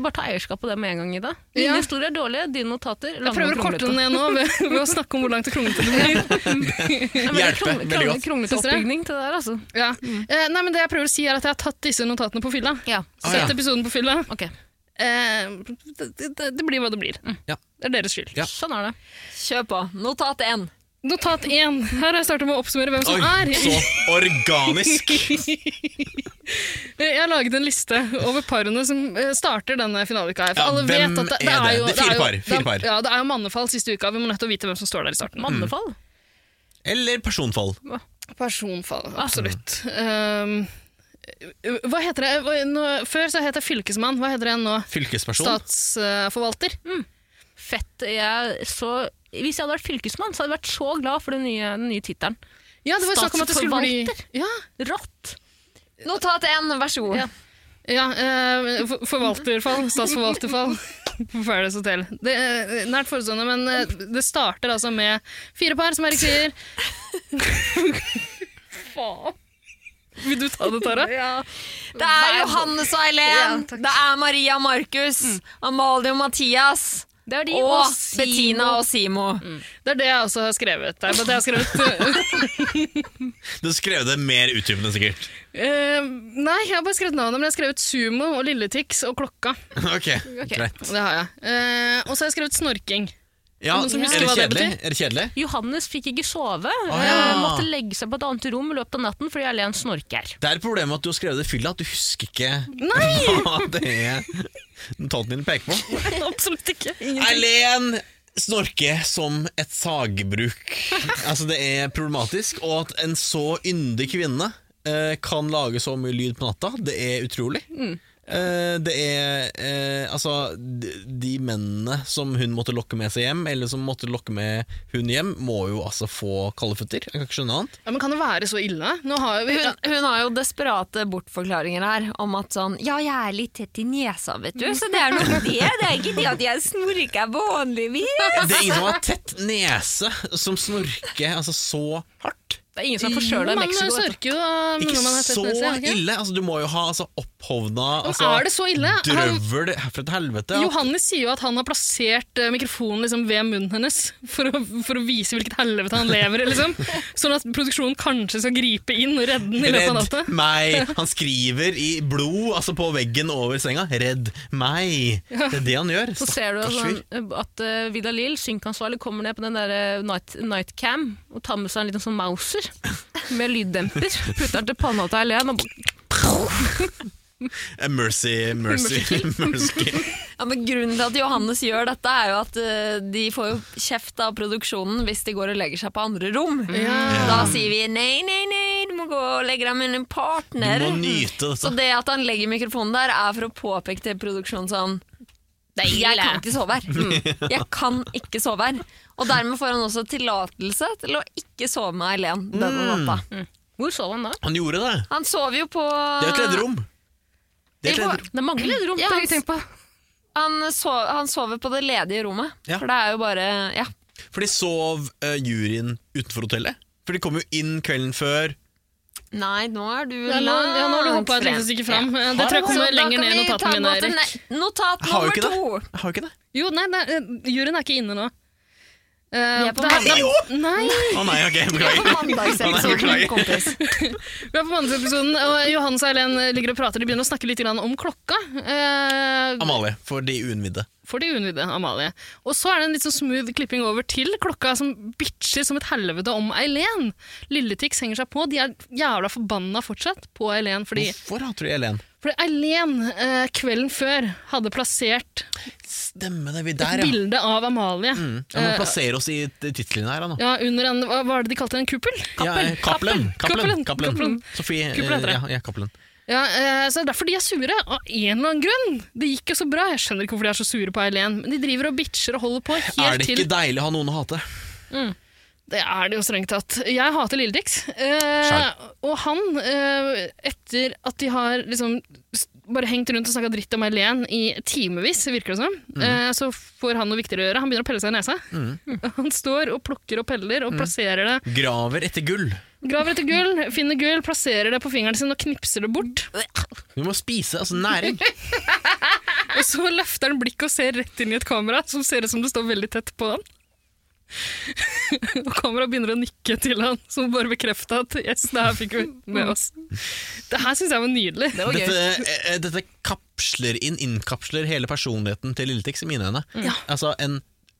Speaker 2: bare ta eierskap på det med en gang, Ida. Mine
Speaker 4: Ja.
Speaker 2: historier er dårlige, dine notater
Speaker 4: Jeg
Speaker 2: lange
Speaker 4: prøver
Speaker 2: og
Speaker 4: å korte den
Speaker 2: kronglete.
Speaker 4: ned nå ved, ved å snakke om hvor langt og kronglete det blir.
Speaker 2: Det er veldig
Speaker 3: Hjelpe,
Speaker 2: krong-
Speaker 3: veldig godt.
Speaker 2: krong- Kronglete
Speaker 4: Syns dere?
Speaker 2: oppbygning til det der, altså.
Speaker 4: Ja. Eh, nei, men det jeg prøver å si er at jeg har tatt disse notatene på fylla.
Speaker 2: Ja,
Speaker 3: Ah,
Speaker 4: Sett
Speaker 3: ja.
Speaker 4: episoden på fylla.
Speaker 2: ok.
Speaker 4: Eh, det, det, det blir hva det blir.
Speaker 3: Ja.
Speaker 4: Det er deres skyld.
Speaker 3: Ja.
Speaker 2: Sånn er det.
Speaker 5: Kjør på. Notat én.
Speaker 4: Notat én. Her har jeg startet med å oppsummere hvem som er.
Speaker 3: så organisk!
Speaker 4: Eh, Jeg har laget en liste over parene som eh, starter denne finaleuka. her. For
Speaker 3: Ja,
Speaker 4: alle
Speaker 3: hvem
Speaker 4: vet at det, det
Speaker 3: er
Speaker 4: er
Speaker 3: det?
Speaker 4: jo
Speaker 3: Det er fire
Speaker 4: jo-
Speaker 3: par, fire par.
Speaker 4: Det er, ja, det er jo mannefall siste uka. Vi må nødt til å vite hvem som står der
Speaker 3: Mm.
Speaker 4: i starten.
Speaker 2: Mannefall.
Speaker 3: Eller personfall.
Speaker 4: Personfall, absolutt. Um, hva heter det? Hva- Nå, før så het jeg fylkesmann. Hva heter det nå?
Speaker 3: Fylkesperson.
Speaker 4: Statsforvalter.
Speaker 2: Fett. Jeg så, hvis jeg hadde vært fylkesmann, så hadde jeg vært så glad for den nye, den nye tittelen.
Speaker 4: Ja, det var jo snakk om at det skulle bli
Speaker 2: Statsforvalter.
Speaker 4: ja,
Speaker 2: Rått.
Speaker 5: Notat én, vær så god.
Speaker 2: Ja.
Speaker 4: ja, eh, for- Forvalterfall. Statsforvalterfall på Paradise Hotel. Det er nært forestående, men eh, det starter altså med fire par, som Erik sier. Faen. Vil du ta det, Tara?
Speaker 5: Det er Johannes og Eileen. det er Maria og Markus. Amalie og Mathias.
Speaker 2: Det er de
Speaker 5: Og
Speaker 2: og Mm. Simo. Mm.
Speaker 5: Bettina og Simo.
Speaker 4: Det er det jeg også har skrevet. Det er bare det jeg har skrevet.
Speaker 3: Du skrev det mer utdypende, sikkert.
Speaker 4: Eh, nei, jeg har bare skrevet navnet, men jeg har skrevet Sumo og Lilletix og Klokka.
Speaker 3: Ok, greit.
Speaker 4: Det har jeg. Eh, og så har jeg skrevet Snorking.
Speaker 3: Ja,
Speaker 4: noen som
Speaker 3: er,
Speaker 4: husker
Speaker 3: det
Speaker 4: hva det
Speaker 3: kjedelig? er det kjedelig?
Speaker 2: Johannes fikk ikke sove.
Speaker 3: ja.
Speaker 2: eh, Måtte legge seg på et annet rom i løpet av natten fordi Erlend snorker.
Speaker 3: Det er problemet med at du har skrevet det i fylla, at du husker ikke hva det er notatene dine peker på.
Speaker 4: Absolutt ikke.
Speaker 3: Eileen snorker som et sagbruk. Altså, det er problematisk, og at en så yndig kvinne eh, kan lage så mye lyd på natta, det er utrolig.
Speaker 4: Mm.
Speaker 3: Eh, det er eh, altså de, de mennene som hun måtte lokke med seg hjem, eller som måtte lokke med hun hjem, må jo altså få kalde føtter. Jeg kan ikke skjønne annet.
Speaker 4: Ja, men kan det være så ille? Nå har vi...
Speaker 5: Hun, hun har jo desperate bortforklaringer her om at sånn Ja, jeg er litt tett i nesa, vet du, så det er noe med det. Det er ikke det at jeg snorker vanligvis.
Speaker 3: Det er ingen som har tett nese som snorker altså, så hardt.
Speaker 2: Det er ingen som er forkjøla i
Speaker 4: man
Speaker 2: Mexico. vet du.
Speaker 4: snorker jo da
Speaker 3: Ikke
Speaker 4: når man har tett
Speaker 3: så
Speaker 4: nese. er det ikke?
Speaker 3: ille. Altså, du må jo ha altså, opphovna
Speaker 4: Men
Speaker 3: altså,
Speaker 4: er det så ille? Han,
Speaker 3: drøvel fra et helvete. at-
Speaker 4: Johannes sier jo at han har plassert eh, mikrofonen liksom, ved munnen hennes for å, for å vise hvilket helvete han lever i. Liksom. Sånn at produksjonen kanskje skal gripe inn og redde den i løpet av natta.
Speaker 3: Redd meg! Han skriver i blod altså på veggen over senga. Redd meg! Det er det han gjør.
Speaker 2: Så ser du
Speaker 3: Stakkars
Speaker 2: sånn,
Speaker 3: fyr.
Speaker 2: eh, at uh, Vidar Lill, synkansvarlig, kommer ned på den der eh, night, nightcam og tar med seg en liten sånn Mauser med lyddemper. Putter den til panna til Helen og
Speaker 3: Eh, Mercy, mercy, mercy.
Speaker 5: Ja, men Grunnen til at Johannes gjør dette, er jo at eh, de får jo kjeft av produksjonen hvis de går og legger seg på andre rom.
Speaker 2: Mm.
Speaker 5: Da sier vi nei, nei, nei, du må gå og legge deg med en
Speaker 3: Du
Speaker 5: partner.
Speaker 3: må nyte
Speaker 5: Så
Speaker 3: dette.
Speaker 5: det at han legger mikrofonen der, er for å påpeke til produksjonen sånn
Speaker 2: Det er
Speaker 5: Jeg
Speaker 2: ille.
Speaker 5: kan ikke sove her.
Speaker 3: Mm.
Speaker 5: Jeg kan ikke sove her. Og dermed får han også tillatelse til å ikke sove med Eileen
Speaker 3: Mm.
Speaker 5: denne natta.
Speaker 2: Hvor sov han da?
Speaker 3: Han gjorde det.
Speaker 5: Han sover jo på
Speaker 3: Det er et lederom. Det er et lederom.
Speaker 2: Det er mange lederrom.
Speaker 5: Ja,
Speaker 2: det har
Speaker 5: han-
Speaker 2: jeg tenkt på.
Speaker 5: Han, sov, han sover på det ledige rommet.
Speaker 3: Ja.
Speaker 5: For det er jo bare Ja.
Speaker 3: For de sov eh, juryen utenfor hotellet. For de kom jo inn kvelden før.
Speaker 5: Nei, nå er du
Speaker 4: Ja, nå, ja, nå har du
Speaker 5: langt
Speaker 4: hoppa et
Speaker 5: frem.
Speaker 4: lite stykke fram. Eh,
Speaker 3: Har
Speaker 4: Det tror
Speaker 3: du
Speaker 4: jeg
Speaker 5: Så
Speaker 4: kommer
Speaker 5: da
Speaker 4: lenger
Speaker 5: kan
Speaker 4: ned i
Speaker 5: vi ta
Speaker 4: notatene mine,
Speaker 5: notat-
Speaker 4: Erik.
Speaker 5: nei, Notat
Speaker 3: Jeg har jo
Speaker 5: nummer
Speaker 3: ikke det.
Speaker 5: to.
Speaker 3: Jeg har jo ikke det.
Speaker 4: Jo, nei, nei, eh, juryen er ikke inne nå. Eh,
Speaker 5: Vi er på
Speaker 4: det
Speaker 5: mandag.
Speaker 4: det- nei,
Speaker 3: Å nei, ok,
Speaker 5: Det
Speaker 3: beklager.
Speaker 5: var mandagsepisoden,
Speaker 3: beklager.
Speaker 5: kompis.
Speaker 4: vi er på mandagsepisoden, og Johannes og Eileen eh, ligger og prater. De begynner å snakke litt grann om klokka. Eh,
Speaker 3: Amalie, for de uinnvidde.
Speaker 4: for de unnvidde, Amalie. Og så er det en litt sånn smooth klipping over til klokka som bitcher som et helvete om Eileen. Lilletix henger seg på. De er jævla forbanna fortsatt på Eileen. Fordi,
Speaker 3: Hvorfor hater du Elen?
Speaker 4: fordi Eileen eh, kvelden før hadde plassert
Speaker 3: Stemmer det, vi
Speaker 4: et
Speaker 3: der, ja.
Speaker 4: bilde Eh, av Amalie.
Speaker 3: Mm. Jeg må plassere oss i t- tittelen her. Nå.
Speaker 4: Ja, under en, hva var det de kalte det, en kuppel?
Speaker 3: Ja, eh, Cappelen. Cappelen.
Speaker 4: Cappelen.
Speaker 3: Cappelen.
Speaker 4: Cappelen.
Speaker 3: Sofie eh,
Speaker 4: Cappelen heter det.
Speaker 3: ja, ja, Cappelen.
Speaker 4: Ja, eh, så det er derfor de er sure, av en eller annen grunn. Det gikk jo så bra, jeg skjønner ikke hvorfor de er så sure på Eileen, men de driver og bitcher og holder på
Speaker 3: Er
Speaker 4: helt
Speaker 3: det
Speaker 4: til
Speaker 3: ikke deilig å ha noen å hate?
Speaker 4: Det er det jo strengt tatt. Jeg hater Lilletix. Eh,
Speaker 3: Skjønn.
Speaker 4: og han, eh, etter at de har liksom s- bare hengt rundt og snakka dritt om Eileen i timevis, virker det som, eh, så får han noe viktigere å gjøre. Han begynner å pelle seg i nesa. Han står og plukker og peller og plasserer det.
Speaker 3: Graver etter gull.
Speaker 4: Graver etter gull, finner gull, plasserer det på fingeren sin og knipser det bort.
Speaker 3: Du må spise altså næring.
Speaker 4: Og så løfter han blikket og ser rett inn i et kamera som ser ut som det står veldig tett på han. og kameraet begynner å nikke til han, som bare bekrefter at yes, det her fikk vi med oss. Det her syns jeg var nydelig.
Speaker 3: Dette, eh, eh, dette kapsler inn, innkapsler hele personligheten til Lilletix i mine øyne.
Speaker 4: Mm.
Speaker 3: Altså, en,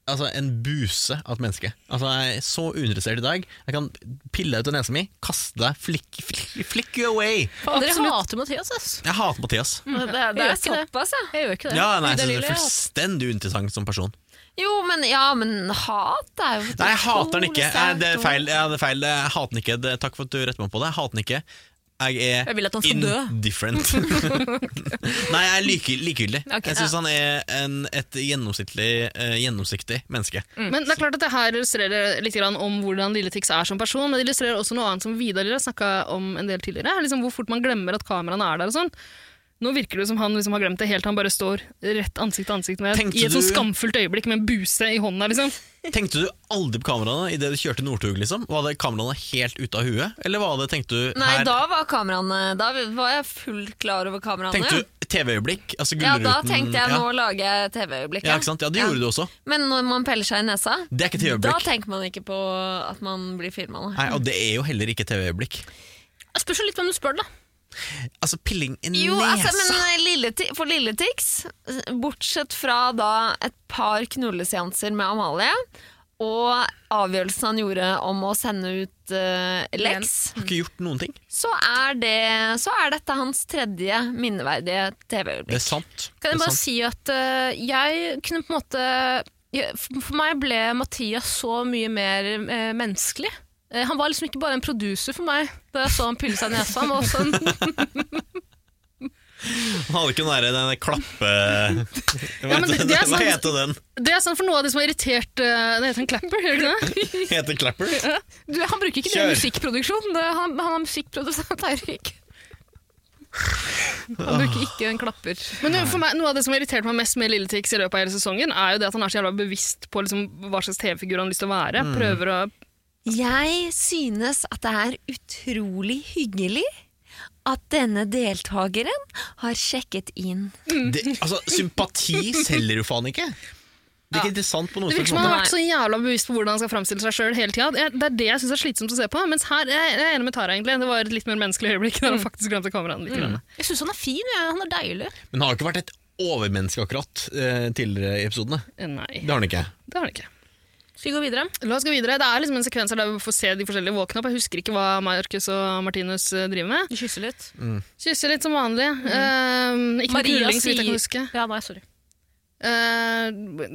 Speaker 3: altså en buse av et menneske. Altså, jeg er så uinteressert i dag. Jeg kan pille deg ut av nesa mi, kaste deg, flick, flick, flick you away.
Speaker 2: Dere
Speaker 4: Absolutt.
Speaker 2: hater Mathias, ass.
Speaker 3: Jeg hater Mathias.
Speaker 2: Det, det,
Speaker 5: Det er
Speaker 2: er ikke det.
Speaker 5: såpass, ja.
Speaker 2: Jeg gjør ikke det.
Speaker 3: Ja,
Speaker 2: Vidar
Speaker 3: nei, jeg synes det
Speaker 2: Lille,
Speaker 3: er
Speaker 2: jeg hater-
Speaker 3: fullstendig uinteressant som person.
Speaker 5: Jo, men, ja, men hat er jo
Speaker 3: Nei, jeg hater den ikke. Nei, det er feil. Ja, det er feil. Jeg hater den ikke. Det, takk for at du retter meg på det. Jeg hater den ikke. Jeg er
Speaker 2: Jeg vil at han skal dø.
Speaker 3: indifferent. Nei, jeg er like, likegyldig.
Speaker 2: Ok,
Speaker 3: jeg syns han er en, et gjennomsiktig, eh, gjennomsiktig menneske.
Speaker 4: Men det er klart at det her illustrerer litt grann om hvordan Lilletix er som person, men det illustrerer også noe annet som Vidar har snakka om en del tidligere. Liksom hvor fort man glemmer at kameraene er der og sånn. Nå virker det som han liksom har glemt det helt, han bare står rett ansikt til ansikt med
Speaker 3: Tenkte
Speaker 4: i et sånn
Speaker 3: du-
Speaker 4: skamfullt øyeblikk med en buse i hånda. liksom.
Speaker 3: Tenkte du aldri på kameraene idet du kjørte Northug? Liksom? Var det kameraene helt ute av huet, eller var det, tenkte du
Speaker 5: Nei,
Speaker 3: her
Speaker 5: da var kameraene Da var jeg fullt klar over kameraene.
Speaker 3: Tenkte du TV-øyeblikk? Altså
Speaker 5: ja,
Speaker 3: Gullruten?
Speaker 5: da tenkte jeg
Speaker 3: ja.
Speaker 5: nå lager jeg TV-øyeblikk.
Speaker 3: Ja, ikke sant? Ja, det gjorde du også.
Speaker 5: Men når man peller seg i nesa,
Speaker 3: Det er ikke
Speaker 5: da
Speaker 3: TV-øyeblikk.
Speaker 5: tenker man ikke på at man blir filma.
Speaker 3: Nei, Og det er jo heller ikke TV-øyeblikk.
Speaker 2: Jeg Spørs jo litt hvem du spør, da.
Speaker 3: Altså, pilling i
Speaker 5: Jo,
Speaker 3: nesa
Speaker 5: altså, men lille, Ti- for Lilletix, bortsett fra da et par knulleseanser med Amalie, og avgjørelsen han gjorde om å sende ut eh, Lex,
Speaker 3: Har ikke gjort noen ting.
Speaker 5: så er, det, så er dette hans tredje minneverdige
Speaker 3: Det
Speaker 5: TV-øyeblikk.
Speaker 3: er sant.
Speaker 2: Kan
Speaker 3: Det er
Speaker 2: jeg bare
Speaker 3: sant.
Speaker 2: si at eh, jeg kunne på en måte jeg- For for meg ble Mathias så mye mer eh, menneskelig. Eh, han var liksom ikke bare en producer for meg da jeg så han pille seg i nesa. Han var også en
Speaker 3: Han hadde ikke den derre den der klappe...
Speaker 4: Ja, men det- det er
Speaker 3: Hva
Speaker 4: sant.
Speaker 3: heter den?
Speaker 4: Det er sånn for noe av det som har irritert eh, Det heter en clapper, gjør det ikke det?
Speaker 3: Heter klapper?
Speaker 2: Du, han bruker ikke det i
Speaker 3: Kjør.
Speaker 2: musikkproduksjon. Det, han, han er musikkprodusent Eirik. Han bruker ikke en klapper.
Speaker 4: Men for meg, Noe av det som har irritert meg mest med Lilletix i løpet av hele sesongen, er jo det at han er så jævla bevisst på liksom, hva slags TV-figur han har lyst til å være.
Speaker 2: Mm.
Speaker 4: Prøver å
Speaker 5: Jeg synes at det er utrolig hyggelig at denne deltakeren har sjekket inn.
Speaker 3: Det, altså, sympati selger jo faen ikke. Det er ikke interessant på noen
Speaker 4: Det virker
Speaker 3: slags
Speaker 4: som han
Speaker 3: måte.
Speaker 4: har vært så jævla bevisst på hvordan han skal framstille seg sjøl hele tida. Det det er det jeg syns er slitsomt å se på. Mens her jeg, jeg er enig med Tara, egentlig. Det var et litt mer menneskelig øyeblikk da han
Speaker 2: Mm.
Speaker 4: faktisk glemte kameraet litt. grann.
Speaker 2: Jeg syns han er fin. Jeg. Han er deilig.
Speaker 3: Men han har jo ikke vært et overmenneske akkurat eh, tidligere i episodene.
Speaker 4: Eh, Nei,
Speaker 3: Det har han ikke.
Speaker 4: det har han ikke.
Speaker 2: Skal vi gå videre?
Speaker 4: La oss gå videre. Det er liksom en sekvens her der vi får se de forskjellige våkne opp. Jeg husker ikke hva Marcus og Martinus eh, driver med.
Speaker 2: Du kysser litt.
Speaker 4: Kysser litt som vanlig. Eh, ikke noe
Speaker 2: Mm. Maria
Speaker 4: knulling, så vidt jeg kan huske.
Speaker 2: sier Ja, nei, sorry.
Speaker 4: Eh,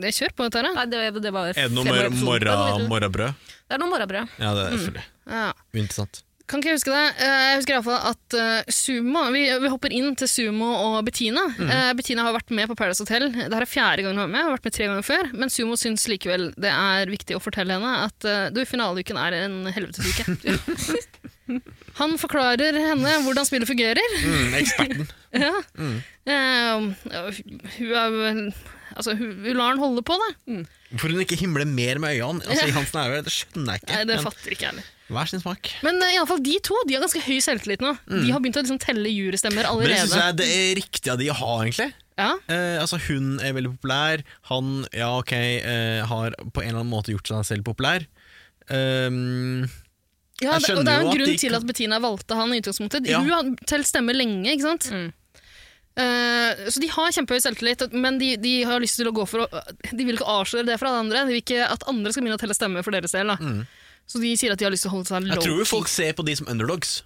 Speaker 4: jeg kjører på dette her, da.
Speaker 2: Nei, det, var- det var
Speaker 3: Er det noe
Speaker 2: fem
Speaker 3: mor
Speaker 2: episoder.
Speaker 3: morra,
Speaker 2: Ja, det vet du.
Speaker 3: morrabrød?
Speaker 2: Det er noe morrabrød.
Speaker 3: Ja, det er selvfølgelig.
Speaker 4: Ja.
Speaker 3: Interessant.
Speaker 4: Kan ikke jeg huske det. Eh, Jeg husker iallfall at eh, Sumo vi, vi hopper inn til Sumo og Bettina. Eh, Bettina har vært med på Paradise Hotel. Dette er fjerde gangen hun er med. Hun har vært med tre ganger før. Men Sumo syns likevel det er viktig å fortelle henne at eh, du, finaleuken er en helvetesuke. Han forklarer henne hvordan spillet fungerer.
Speaker 3: Mm, eksperten.
Speaker 4: Ja. Eh, hun er vel Altså, hun, hun lar han holde på, da.
Speaker 3: Hvorfor hun ikke himler mer med øynene altså, i hans nærvær, det skjønner jeg ikke.
Speaker 4: Nei, det
Speaker 3: men
Speaker 4: fatter ikke jeg heller.
Speaker 3: hver sin smak.
Speaker 4: Men eh, i alle fall, de to de har ganske høy selvtillit nå. De har begynt å liksom, telle jurystemmer
Speaker 3: Mm. Men det
Speaker 4: allerede.
Speaker 3: syns jeg det er riktig av de å ha, egentlig.
Speaker 4: Ja.
Speaker 3: Eh, altså Hun er veldig populær. Han ja, ok, eh, har på en eller annen måte gjort seg selv populær. Um,
Speaker 4: Ja,
Speaker 3: Jeg
Speaker 4: det, og det
Speaker 3: skjønner
Speaker 4: er
Speaker 3: jo
Speaker 4: jo
Speaker 3: at
Speaker 4: en grunn
Speaker 3: de
Speaker 4: til
Speaker 3: kan-
Speaker 4: at Bettina valgte han i utgangspunktet.
Speaker 3: Ja.
Speaker 4: Hun har telt stemmer lenge, ikke sant?
Speaker 2: Mm.
Speaker 4: Eh, så de har kjempehøy selvtillit, men de, de har lyst til å gå for å, De vil ikke avsløre det fra alle andre. De vil ikke at andre skal begynne å telle stemmer for deres del. Da. Så de sier at de har lyst til å holde seg low.
Speaker 3: Mm. jeg tror jo folk ser på de som underdogs,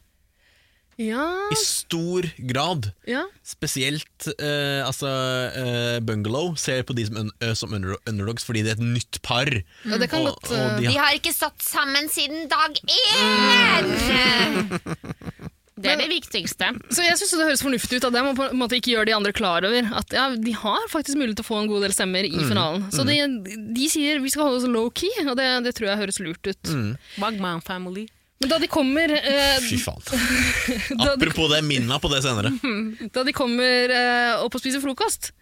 Speaker 4: Ja,
Speaker 3: i stor grad.
Speaker 4: ja.
Speaker 3: Spesielt eh, altså, eh, Bungalow ser på de som, un eh, som under underdogs fordi det er et nytt par.
Speaker 4: ja det kan
Speaker 3: Og-
Speaker 4: godt
Speaker 3: og de
Speaker 4: eh,
Speaker 5: Vi har ikke stått sammen siden dag én!
Speaker 2: Det er det viktigste.
Speaker 4: Så jeg syns det høres fornuftig ut at de må på en måte ikke gjøre de andre klar over at ja, de har faktisk mulighet til å få en god del stemmer
Speaker 3: Mm.
Speaker 4: i finalen. Så de, de sier vi skal holde oss low key, og det, det tror jeg høres lurt ut.
Speaker 2: Wagman family.
Speaker 4: Men da de kommer eh,
Speaker 3: Mm. Fy faen.
Speaker 4: da, de,
Speaker 3: Apropos det, minn meg på det senere.
Speaker 4: da de kommer eh, opp og spiser frokost,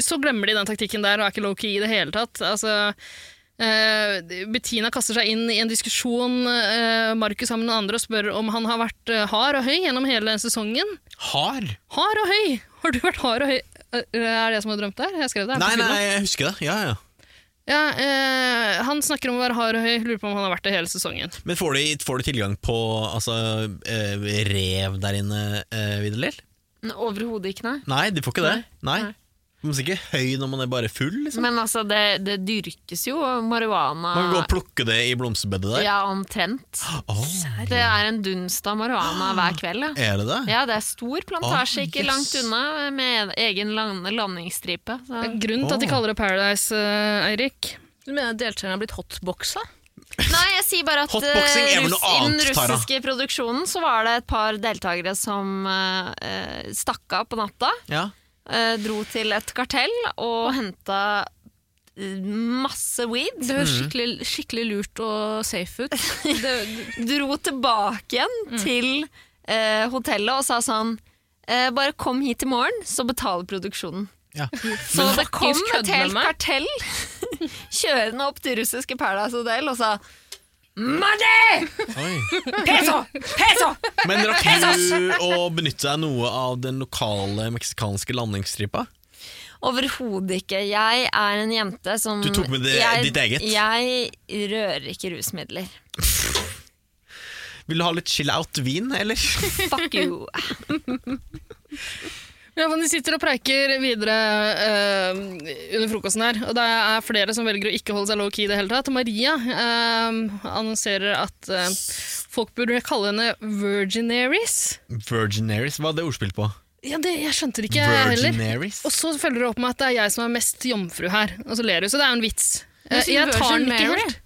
Speaker 4: så glemmer de den taktikken der og er ikke low-key i det hele tatt. Altså, eh, Bettina kaster seg inn i en diskusjon eh, Markus har med den andre og spør om han har vært eh, hard og høy gjennom hele sesongen.
Speaker 3: Har?
Speaker 4: Hard og høy! Har du vært hard og høy? Eh, Er det jeg som har drømt der? Jeg skrev det. her på
Speaker 3: Nei,
Speaker 4: filmen.
Speaker 3: nei, jeg husker det. Ja, ja.
Speaker 4: Ja, eh, han snakker om å være hard og høy. Lurer på om han har vært det hele sesongen.
Speaker 3: Men får du, får du tilgang på altså, eh, rev der inne, uh, Vidar-Lill?
Speaker 5: Overhodet ikke, nei.
Speaker 3: Nei, de får ikke det. Nei. Man er ikke høy når man er bare full. Liksom.
Speaker 5: Men altså, det, det dyrkes jo marihuana
Speaker 3: Man kan gå og plukke det i blomsterbedet der.
Speaker 5: Ah. Ja, omtrent.
Speaker 3: Åh,
Speaker 5: Det er en dunst av marihuana hver kveld. Ja.
Speaker 3: er det det?
Speaker 5: Ja, det er stor plantasje
Speaker 3: Ah,
Speaker 5: ikke
Speaker 3: yes.
Speaker 5: langt unna, med egen land landingsstripe. Så.
Speaker 4: Det er grunnen til at de
Speaker 3: Åh.
Speaker 4: kaller det Paradise, eh, Eirik.
Speaker 2: Du mener at deltakerne har blitt hotboxa?
Speaker 5: Nei, jeg sier bare at
Speaker 3: Hotboxing
Speaker 5: eh,
Speaker 3: er vel noe
Speaker 5: russ- i den
Speaker 3: annet, Tara.
Speaker 5: russiske produksjonen så var det et par deltakere som eh, eh, stakk av på natta.
Speaker 3: Ja.
Speaker 5: eh, dro til et kartell og henta masse weed.
Speaker 2: Det
Speaker 3: Mm.
Speaker 2: høres skikkelig, skikkelig lurt og safe ut. Det,
Speaker 5: Dro tilbake igjen
Speaker 3: Mm.
Speaker 5: til eh, hotellet og sa sånn eh, Bare kom hit i morgen, så betaler produksjonen.
Speaker 3: Ja.
Speaker 5: Så det kom
Speaker 2: Markus kødder
Speaker 5: et helt
Speaker 2: med meg.
Speaker 5: kartell kjørende opp til russiske Paradise Hotel og sa Money!
Speaker 3: Oi.
Speaker 5: Peso! Peso!
Speaker 3: Men rakk du å benytte deg noe av den lokale meksikanske landingsstripa?
Speaker 5: Overhodet ikke. Jeg er en jente som
Speaker 3: Du tok med det- ditt eget?
Speaker 5: Jeg rører ikke rusmidler.
Speaker 3: Vil du ha litt chill-out-vin, eller?
Speaker 5: Fuck you.
Speaker 4: Ja, men De sitter og preiker videre eh, under frokosten her. Og det er flere som velger å ikke holde seg low-key i det hele tatt. Og Maria eh, annonserer at eh, folk burde kalle henne virginaries.
Speaker 3: Virginaries, hva er det ordspill på?
Speaker 4: Ja, det, Jeg skjønte det ikke, jeg heller.
Speaker 3: Virginaries?
Speaker 4: Og så følger det opp med at det er jeg som er mest jomfru her. Og så ler hun, så det er jo en vits. Eh,
Speaker 2: sier
Speaker 4: jeg tar
Speaker 2: Virgin
Speaker 4: den ikke
Speaker 2: Mary.
Speaker 4: helt.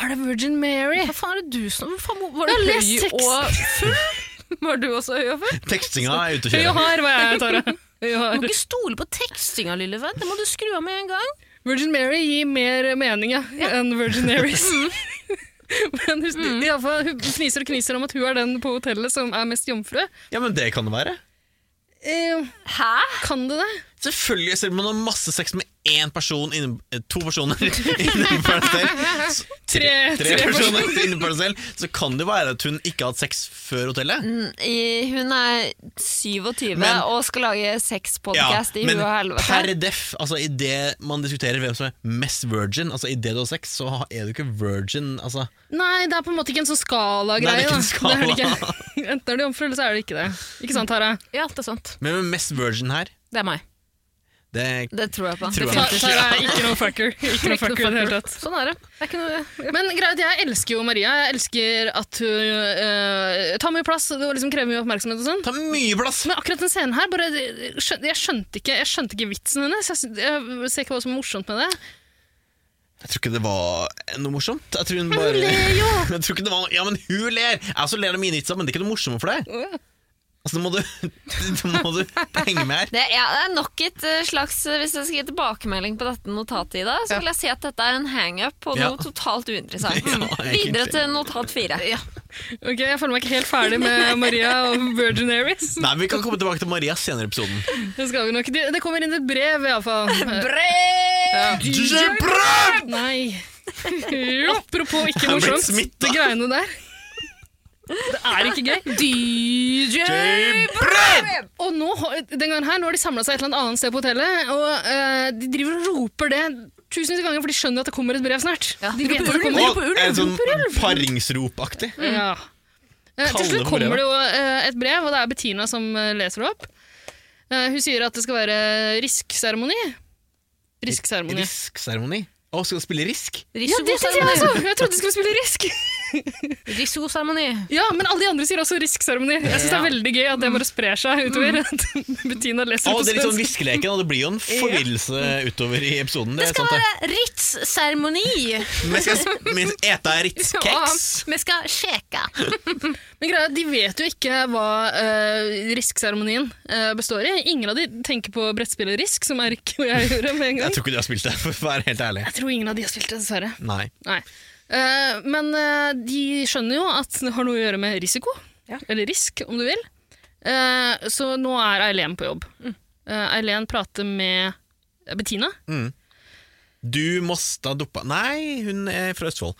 Speaker 4: Er det Virgin Mary?
Speaker 2: hva faen er det du som Hva faen, Var
Speaker 4: Jeg har
Speaker 2: du
Speaker 4: lest
Speaker 2: høy
Speaker 4: tekst.
Speaker 2: og full? Var du også høy og full?
Speaker 3: Tekstinga er ute å
Speaker 4: Høy og
Speaker 3: kjøre.
Speaker 4: hard, hva jeg er, Tara. Høy og
Speaker 2: Du må
Speaker 4: hard.
Speaker 2: ikke stole på tekstinga, lille venn. Det må du skru av med en gang.
Speaker 4: Virgin Mary gir mer mening ja, Mm. enn Virginaries. Men hun, i alle fall, hun fniser og kniser om at hun er den på hotellet som er mest jomfru.
Speaker 3: Ja, men det kan det være.
Speaker 4: Eh,
Speaker 5: Hæ?
Speaker 4: kan du det?
Speaker 3: Selvfølgelig, selv om man har masse sex med én person inne, eh, To personer innenfor deg selv så-
Speaker 4: Tre-
Speaker 3: tre
Speaker 4: tre
Speaker 3: personer innenfor deg selv Så kan det være at hun ikke har hatt sex før
Speaker 5: Mm,
Speaker 3: hotellet.
Speaker 5: I, hun er 27
Speaker 3: Men-
Speaker 5: og skal lage sexpodkast i
Speaker 3: men
Speaker 5: huet og helvete.
Speaker 3: per def, altså idet man diskuterer hvem som er mest virgin, altså idet du har sex, så ha- er du ikke virgin. Altså.
Speaker 4: Nei, det er på en måte ikke en sånn
Speaker 3: Nei, det er
Speaker 4: skala-greie.
Speaker 3: ikke en
Speaker 4: da.
Speaker 3: skala.
Speaker 4: Det er det ikke. Enten er du jomfru, eller så er du ikke det. Ikke sant, Tara?
Speaker 2: Ja, det er sant.
Speaker 3: Hvem er mest virgin her?
Speaker 2: Det er meg.
Speaker 3: Det
Speaker 5: Det tror jeg på.
Speaker 3: Tror jeg.
Speaker 4: Ta- Tara er ikke noe fucker. Ikke noe fucker i det hele tatt.
Speaker 2: Sånn er det. det er ikke noe,
Speaker 4: Men greit, jeg elsker jo Maria. Jeg elsker at hun eh, tar mye plass og liksom krever mye oppmerksomhet og sånn.
Speaker 3: tar mye plass!
Speaker 4: Men akkurat den scenen her, bare, skjøn- jeg, skjønte ikke, jeg skjønte ikke vitsen hennes. Jeg, sy- jeg ser ikke hva som er morsomt med det.
Speaker 3: Jeg tror ikke det var noe morsomt. Jeg tror hun bare
Speaker 4: jo!
Speaker 3: Jeg tror ikke det var noe Ja, men hun ler! Jeg også ler av mine vitser, men det er ikke noe morsomt for deg. Altså, nå må du, nå må du henge med her.
Speaker 5: Det er, det er nok et eh, slags eh, Hvis jeg skal gi tilbakemelding på dette notatet, Ida, så vil jeg si at dette er en hangup på noe
Speaker 3: Ja.
Speaker 5: totalt uinteressant.
Speaker 3: Ja, egentlig.
Speaker 5: Videre til notat fire.
Speaker 4: Ok, Jeg føler meg ikke helt ferdig med Maria og Virgin Aries.
Speaker 3: Nei, men Vi kan komme tilbake til Maria senere i episoden.
Speaker 4: Det, skal vi nok. Det, det kommer inn et brev, iallfall.
Speaker 3: Jebra!
Speaker 4: Nei. Jo, apropos ikke
Speaker 3: Jeg er blitt
Speaker 4: morsomt,
Speaker 3: smittet.
Speaker 4: det greiene der. Det er ikke gøy.
Speaker 2: DJ!
Speaker 4: Og nå, har- den gangen her, nå har de samla seg et eller annet sted på hotellet, og eh, de driver og roper det tusenvis av ganger, for de skjønner at det kommer et brev snart. de vet at det kommer.
Speaker 3: Og en sånn paringsropaktig.
Speaker 4: Ja. Mm. Eh, til
Speaker 3: Kalle
Speaker 4: slutt
Speaker 3: på
Speaker 4: kommer
Speaker 3: brevet.
Speaker 4: det jo eh, et brev, og det er Bettina som eh, leser det opp. Eh, hun sier at det skal være risk-seremoni. Risk-seremoni.
Speaker 3: Risk-seremoni. Å, skal du spille risk?
Speaker 4: Ja, det syns jeg
Speaker 2: Risikoseremoni.
Speaker 4: også! Jeg trodde de skulle spille risk.
Speaker 2: Risikoseremoni.
Speaker 4: Ja, men alle de andre sier også risk-seremoni. Jeg syns det er veldig gøy at det bare sprer seg utover. At Bettina leser
Speaker 3: Mm. Å,
Speaker 4: på
Speaker 3: det er litt sånn
Speaker 4: svensk.
Speaker 3: viskeleken, og det blir jo en forvirrelse utover i episoden. Det
Speaker 2: Det
Speaker 3: er
Speaker 2: skal
Speaker 3: sant, det.
Speaker 2: være Ritz-seremoni.
Speaker 3: Men skal men ete Ritz-keks.
Speaker 2: Vi skal sjeka.
Speaker 4: Men greia, er at De vet jo ikke hva eh, risk-seremonien eh, består i. Ingen av de tenker på brettspillet Risk, som Erik og jeg gjorde med en
Speaker 3: Jeg
Speaker 4: gang.
Speaker 3: tror ikke du har spilt det, for å være helt ærlig.
Speaker 4: Jeg tror ingen av de har spilt det, dessverre.
Speaker 3: Nei.
Speaker 4: Nei. Eh, men eh, de skjønner jo at det har noe å gjøre med risiko. Eller risk, om du vil. Eh, så nå er Eileen på jobb. Eh, Eileen prater med Bettina.
Speaker 3: Du måste dumpa Nei, hun er fra Østfold.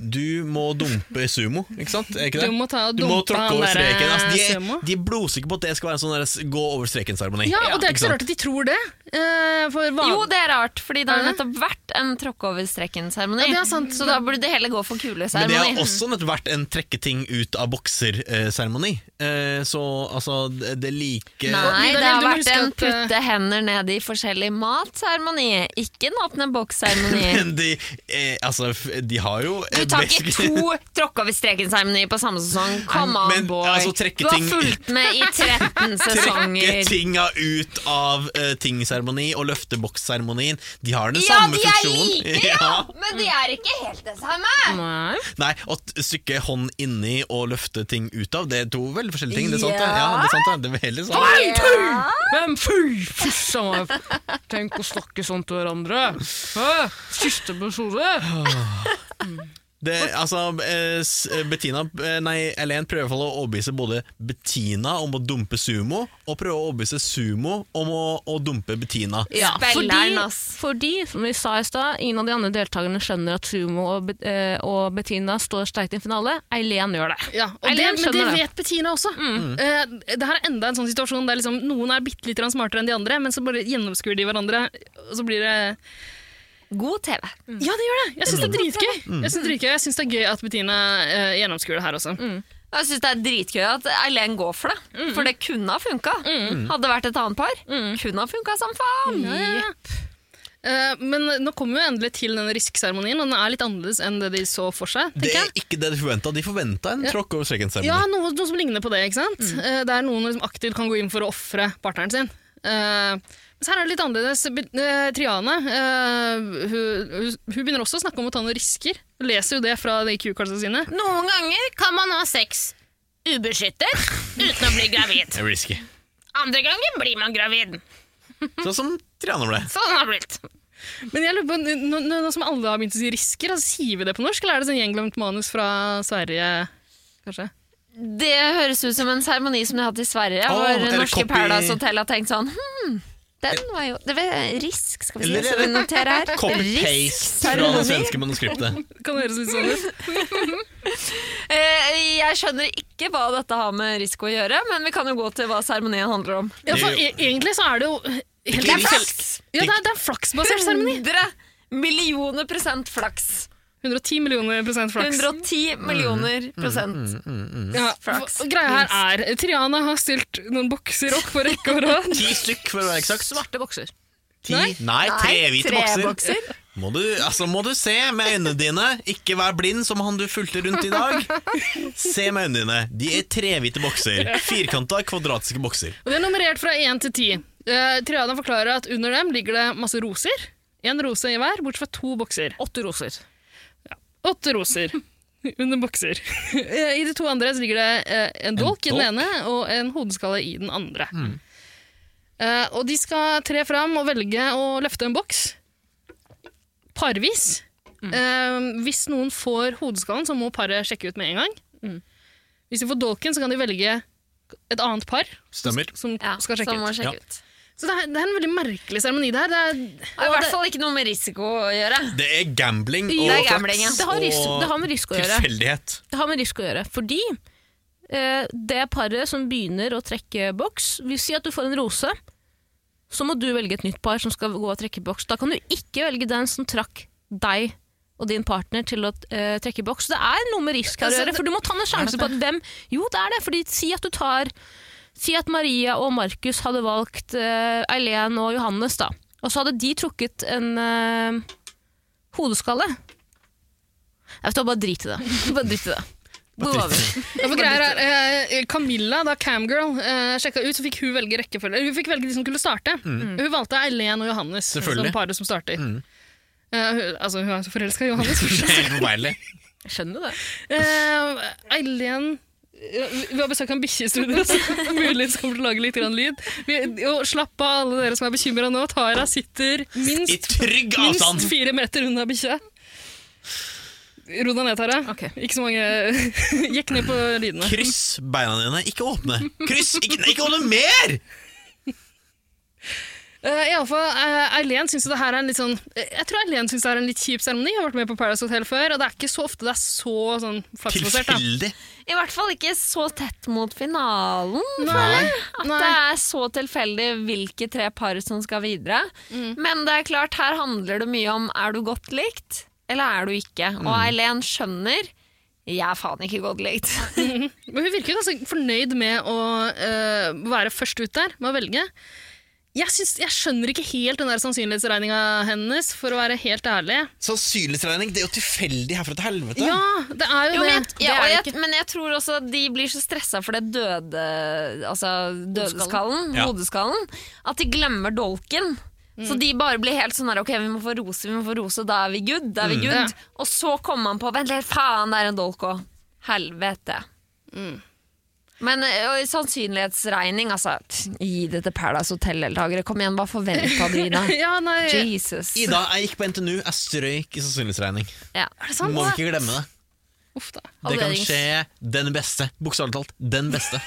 Speaker 3: Du må dumpe sumo, ikke sant? Er ikke det?
Speaker 4: Du må ta og
Speaker 3: Du må
Speaker 4: dumpe
Speaker 3: tråkke
Speaker 4: han
Speaker 3: over
Speaker 4: der,
Speaker 3: streken. Altså, de,
Speaker 4: sumo.
Speaker 3: er, de er blodsikre på at det skal være en sånn deres gå over streken-seremoni.
Speaker 4: Ja, og det er ikke så
Speaker 3: sant?
Speaker 4: rart at de tror det. eh, for hva-
Speaker 5: Jo, det er rart, fordi det har
Speaker 4: Er det?
Speaker 5: nettopp vært en tråkke over streken-seremoni.
Speaker 4: Ja, det er sant.
Speaker 5: Så da burde det heller gå for
Speaker 3: Men det har
Speaker 5: kuleseremoni.
Speaker 3: også nettopp vært en trekke ting ut av bokser-seremoni. Eh, så altså, det det er like
Speaker 5: Nei,
Speaker 4: Vidar Lill,
Speaker 5: det har
Speaker 4: du må
Speaker 5: vært
Speaker 4: huske
Speaker 5: en
Speaker 4: at, eh,
Speaker 5: putte hender ned i forskjellig mat-seremoni. Ikke en åpne boks-seremoni.
Speaker 3: Men de, eh, altså, f- de har jo eh,
Speaker 5: Du tar ikke to tråkke over streken-seremoni på samme sesong. Come on,
Speaker 3: Men,
Speaker 5: boy.
Speaker 3: altså, trekke
Speaker 5: du har
Speaker 3: ting-
Speaker 5: fulgt med i 13
Speaker 3: Trekke
Speaker 5: sesonger.
Speaker 3: tinga ut av eh, ting-seremoni og løfte boks-seremonien. De har den
Speaker 5: Ja,
Speaker 3: samme
Speaker 5: de er
Speaker 3: funksjonen.
Speaker 5: like, ja! Men de er ikke helt det
Speaker 3: Mm.
Speaker 5: samme.
Speaker 2: Nei.
Speaker 3: Nei, og t- stykke hånd inni og løfte ting ut av, det er to veldig forskjellige ting. Det er sant, det. Ja, det er sant, det. Det er veldig sant.
Speaker 2: Hvem fy fissa meg? Tenk å snakke sånn til hverandre. Hæ? Siste episode.
Speaker 3: Det, altså, eh, s- Bettina, eh, nei, Elen prøver i hvert fall å overbevise både Bettina om å dumpe sumo, og prøver å overbevise sumo om å, å dumpe Bettina.
Speaker 5: Spilleren, ass.
Speaker 2: fordi, som vi sa i stad, ingen av de andre deltakerne skjønner at Sumo og, Be- eh, og Bettina står sterkt i en finale. Eileen gjør det.
Speaker 4: Ja, og det,
Speaker 2: Eileen
Speaker 4: men det
Speaker 2: skjønner det.
Speaker 4: vet Bettina også. Eh, det her er enda en sånn situasjon der liksom, noen er bitte litt grann smartere enn de andre, men så bare gjennomskuer de hverandre, og så blir det
Speaker 5: God TV.
Speaker 4: Ja, det gjør det! Jeg syns det er dritgøy. Jeg syns det, er dritgøy. Jeg synes det er gøy at Bettina uh, gjennomskuer det her også.
Speaker 5: Jeg syns det er dritgøy at Eileen går for det, for det kunne ha funka.
Speaker 3: Mm.
Speaker 5: Hadde det vært et annet par, kunne ha funka som faen.
Speaker 4: Eh, men nå kommer vi jo endelig til denne risk-seremonien, og den er litt annerledes enn det de så for seg.
Speaker 3: Det
Speaker 4: tenker jeg.
Speaker 3: er ikke det de forventa. De forventa en tråkk over
Speaker 4: Ja,
Speaker 3: streken-seremoni.
Speaker 4: noe, noe som ligner på det, ikke sant? Eh, der noen liksom aktivt kan gå inn for å ofre partneren sin. Eh, men så her er det litt annerledes. Be- eh, Triane eh, hun, hun, hun begynner også å snakke om å ta noen risker. Hun leser jo det fra de Q-kartene sine.
Speaker 2: Noen ganger kan man ha sex ubeskyttet uten å bli gravid.
Speaker 3: Det er risky.
Speaker 2: Andre ganger blir man gravid.
Speaker 3: Sånn som Triana ble.
Speaker 2: Sånn har det blitt.
Speaker 4: Men jeg lurer på, nå, nå nå som alle har begynt å si risker, altså, sier vi det på norsk, eller er det sånn gjenglemt manus fra Sverige? Kanskje?
Speaker 5: Det høres ut som en seremoni som de har hatt i Sverige,
Speaker 3: Åh,
Speaker 5: hvor
Speaker 3: eller
Speaker 5: norske
Speaker 3: copy- Eh,
Speaker 5: Paradise Hotel har tenkt sånn hmm, den var jo Det var risk, skal vi si.
Speaker 3: Eller er
Speaker 5: Skal vi
Speaker 3: det
Speaker 5: notere her.
Speaker 3: Copy-paste fra det svenske manuskriptet.
Speaker 4: Kan det høres litt sånn ut?
Speaker 5: Eh, jeg skjønner ikke hva dette har med risk å gjøre, men vi kan jo gå til hva seremonien handler om.
Speaker 4: Ja, for, e egentlig så er det jo helt
Speaker 3: Det er
Speaker 4: tilfeldig.
Speaker 5: flaks.
Speaker 4: Ja, det er, det er en flaksbasert seremoni.
Speaker 5: 100 millioner prosent flaks. Mm.
Speaker 4: 110 millioner prosent flaks.
Speaker 5: 110 millioner prosent.
Speaker 4: Ja,
Speaker 5: Flaks.
Speaker 4: og Greia her er Triana har stilt noen bokser opp på rekke og rad.
Speaker 3: Ti stykk, for å være eksakt.
Speaker 2: Svarte bokser.
Speaker 3: Ti? Nei, tre hvite bokser. Må du, altså, må du se med øynene dine. Ikke vær blind som han du fulgte rundt i dag. Se med øynene dine. De er trehvite bokser. Firkanta, kvadratiske bokser.
Speaker 4: Og de er nummerert fra 1 til 10. Uh, Triana forklarer at under dem ligger det masse roser. Én rose i hver, bortsett fra to bokser.
Speaker 2: Åtte roser.
Speaker 4: Åtte roser under bokser. Eh, I de to andre så ligger det eh, en dolk i den
Speaker 3: dolk?
Speaker 4: ene og en hodeskalle i den andre. Eh, Og de skal tre fram og velge å løfte en boks. Parvis.
Speaker 2: Mm.
Speaker 4: Eh, Hvis noen får hodeskallen, så må paret sjekke ut med en gang.
Speaker 2: Mm.
Speaker 4: Hvis de får dolken, så kan de velge et annet par
Speaker 3: Stemmer.
Speaker 4: som
Speaker 5: Ja,
Speaker 4: skal sjekke
Speaker 5: så må
Speaker 4: ut.
Speaker 5: sjekke
Speaker 3: Ja.
Speaker 5: ut.
Speaker 4: Så det er, det er en veldig merkelig seremoni der. Det er,
Speaker 5: Det har i hvert fall ikke noe med risiko å gjøre.
Speaker 3: Det er gambling og
Speaker 5: Det er gambling, ja.
Speaker 3: flaks
Speaker 2: Det har, ris
Speaker 3: og
Speaker 2: det har med risiko å gjøre.
Speaker 3: tilfeldighet.
Speaker 2: Det har med risiko å gjøre, fordi eh, det paret som begynner å trekke boks Vi sier at du får en rose, så må du velge et nytt par som skal gå og trekke boks. Da kan du ikke velge den som trakk deg og din partner til å eh, trekke boks. Det er noe med risk her å
Speaker 5: Altså,
Speaker 2: gjøre, for du må ta en sjanse på at hvem Jo, det er det, fordi si at du tar Si at Maria og Markus hadde valgt eh, Eileen og Johannes, da. Og så hadde de trukket en eh, hodeskalle. Jeg vet du, hva, bare drit i det. Bare drit i det. Hvor var vi?
Speaker 4: Ja, for greier er, eh, Camilla, da Camgirl, eh, sjekka ut, så fikk hun velge rekkefølge. Hun fikk velge de som skulle starte. Hun valgte Eileen og Johannes
Speaker 3: Mm. Selvfølgelig. Mm.
Speaker 4: som paret som starter. Eh, hun, altså, hun er så forelska i Johannes.
Speaker 3: Det er helt forferdelig.
Speaker 2: Jeg skjønner det.
Speaker 4: Eh, Eileen ja, vi- vi har besøk av en bikkje i studio, så muligens kommer til å lage litt grann lyd. Vi, og slapp av, alle dere som er bekymra nå. Tara sitter
Speaker 3: I
Speaker 4: minst,
Speaker 3: trygg avstand.
Speaker 4: minst fire meter unna bikkja. Ro deg ned, Tara.
Speaker 2: Ok.
Speaker 4: Ikke så mange Gikk ned på lydene.
Speaker 3: Kryss beina dine, ikke åpne. Kryss! Ikke, nei, ikke åpne mer!
Speaker 4: Eh, i alle fall, eh, Eileen syns jo det her er en litt sånn eh, Jeg tror Eileen syns det her er en litt kjip seremoni. Jeg har vært med på Paradise Hotel før, og det er ikke så ofte det er så sånn flaksbasert. da.
Speaker 3: Tilfeldig.
Speaker 5: I hvert fall ikke så tett mot finalen.
Speaker 3: Nei.
Speaker 5: At
Speaker 4: Nei.
Speaker 5: det er så tilfeldig hvilke tre par som skal videre. Men det er klart, her handler det mye om er du godt likt, eller er du ikke. Og Eileen skjønner jeg er faen ikke godt likt.
Speaker 4: Men hun virker jo ganske fornøyd med å eh, være først ut der, med å velge. Jeg, syns, jeg skjønner ikke helt den der sannsynlighetsregninga hennes, for å være helt ærlig.
Speaker 3: Sannsynlighetsregning, det er jo tilfeldig herfra til helvete.
Speaker 4: Ja, det er jo,
Speaker 5: Jo, men, jeg,
Speaker 4: det.
Speaker 5: ja,
Speaker 2: er
Speaker 5: og
Speaker 2: det
Speaker 5: jeg, men jeg tror også de blir så stressa for det døde Altså dødeskallen,
Speaker 3: Ja.
Speaker 5: hodeskallen, at de glemmer dolken. Så de bare blir helt sånn her Ok, vi må få rose, vi må få rose, da er vi good. Da er
Speaker 3: Mm.
Speaker 5: vi good. Og så kommer han på Vent litt, faen, det er en dolk òg. Helvete. Men ø, og i sannsynlighetsregning, altså tsk, Gi det til Paradise Hotel-deltakere. Kom igjen, hva forventa du, Ida?
Speaker 4: ja, nei, er
Speaker 5: Jesus.
Speaker 3: Ida, jeg gikk på NTNU, jeg strøyk i sannsynlighetsregning.
Speaker 5: Ja.
Speaker 4: det sant?
Speaker 3: Må
Speaker 4: da?
Speaker 3: ikke glemme det.
Speaker 4: Uff da.
Speaker 3: Det kan
Speaker 5: Halverings.
Speaker 3: skje den beste. Bokstavelig talt den beste.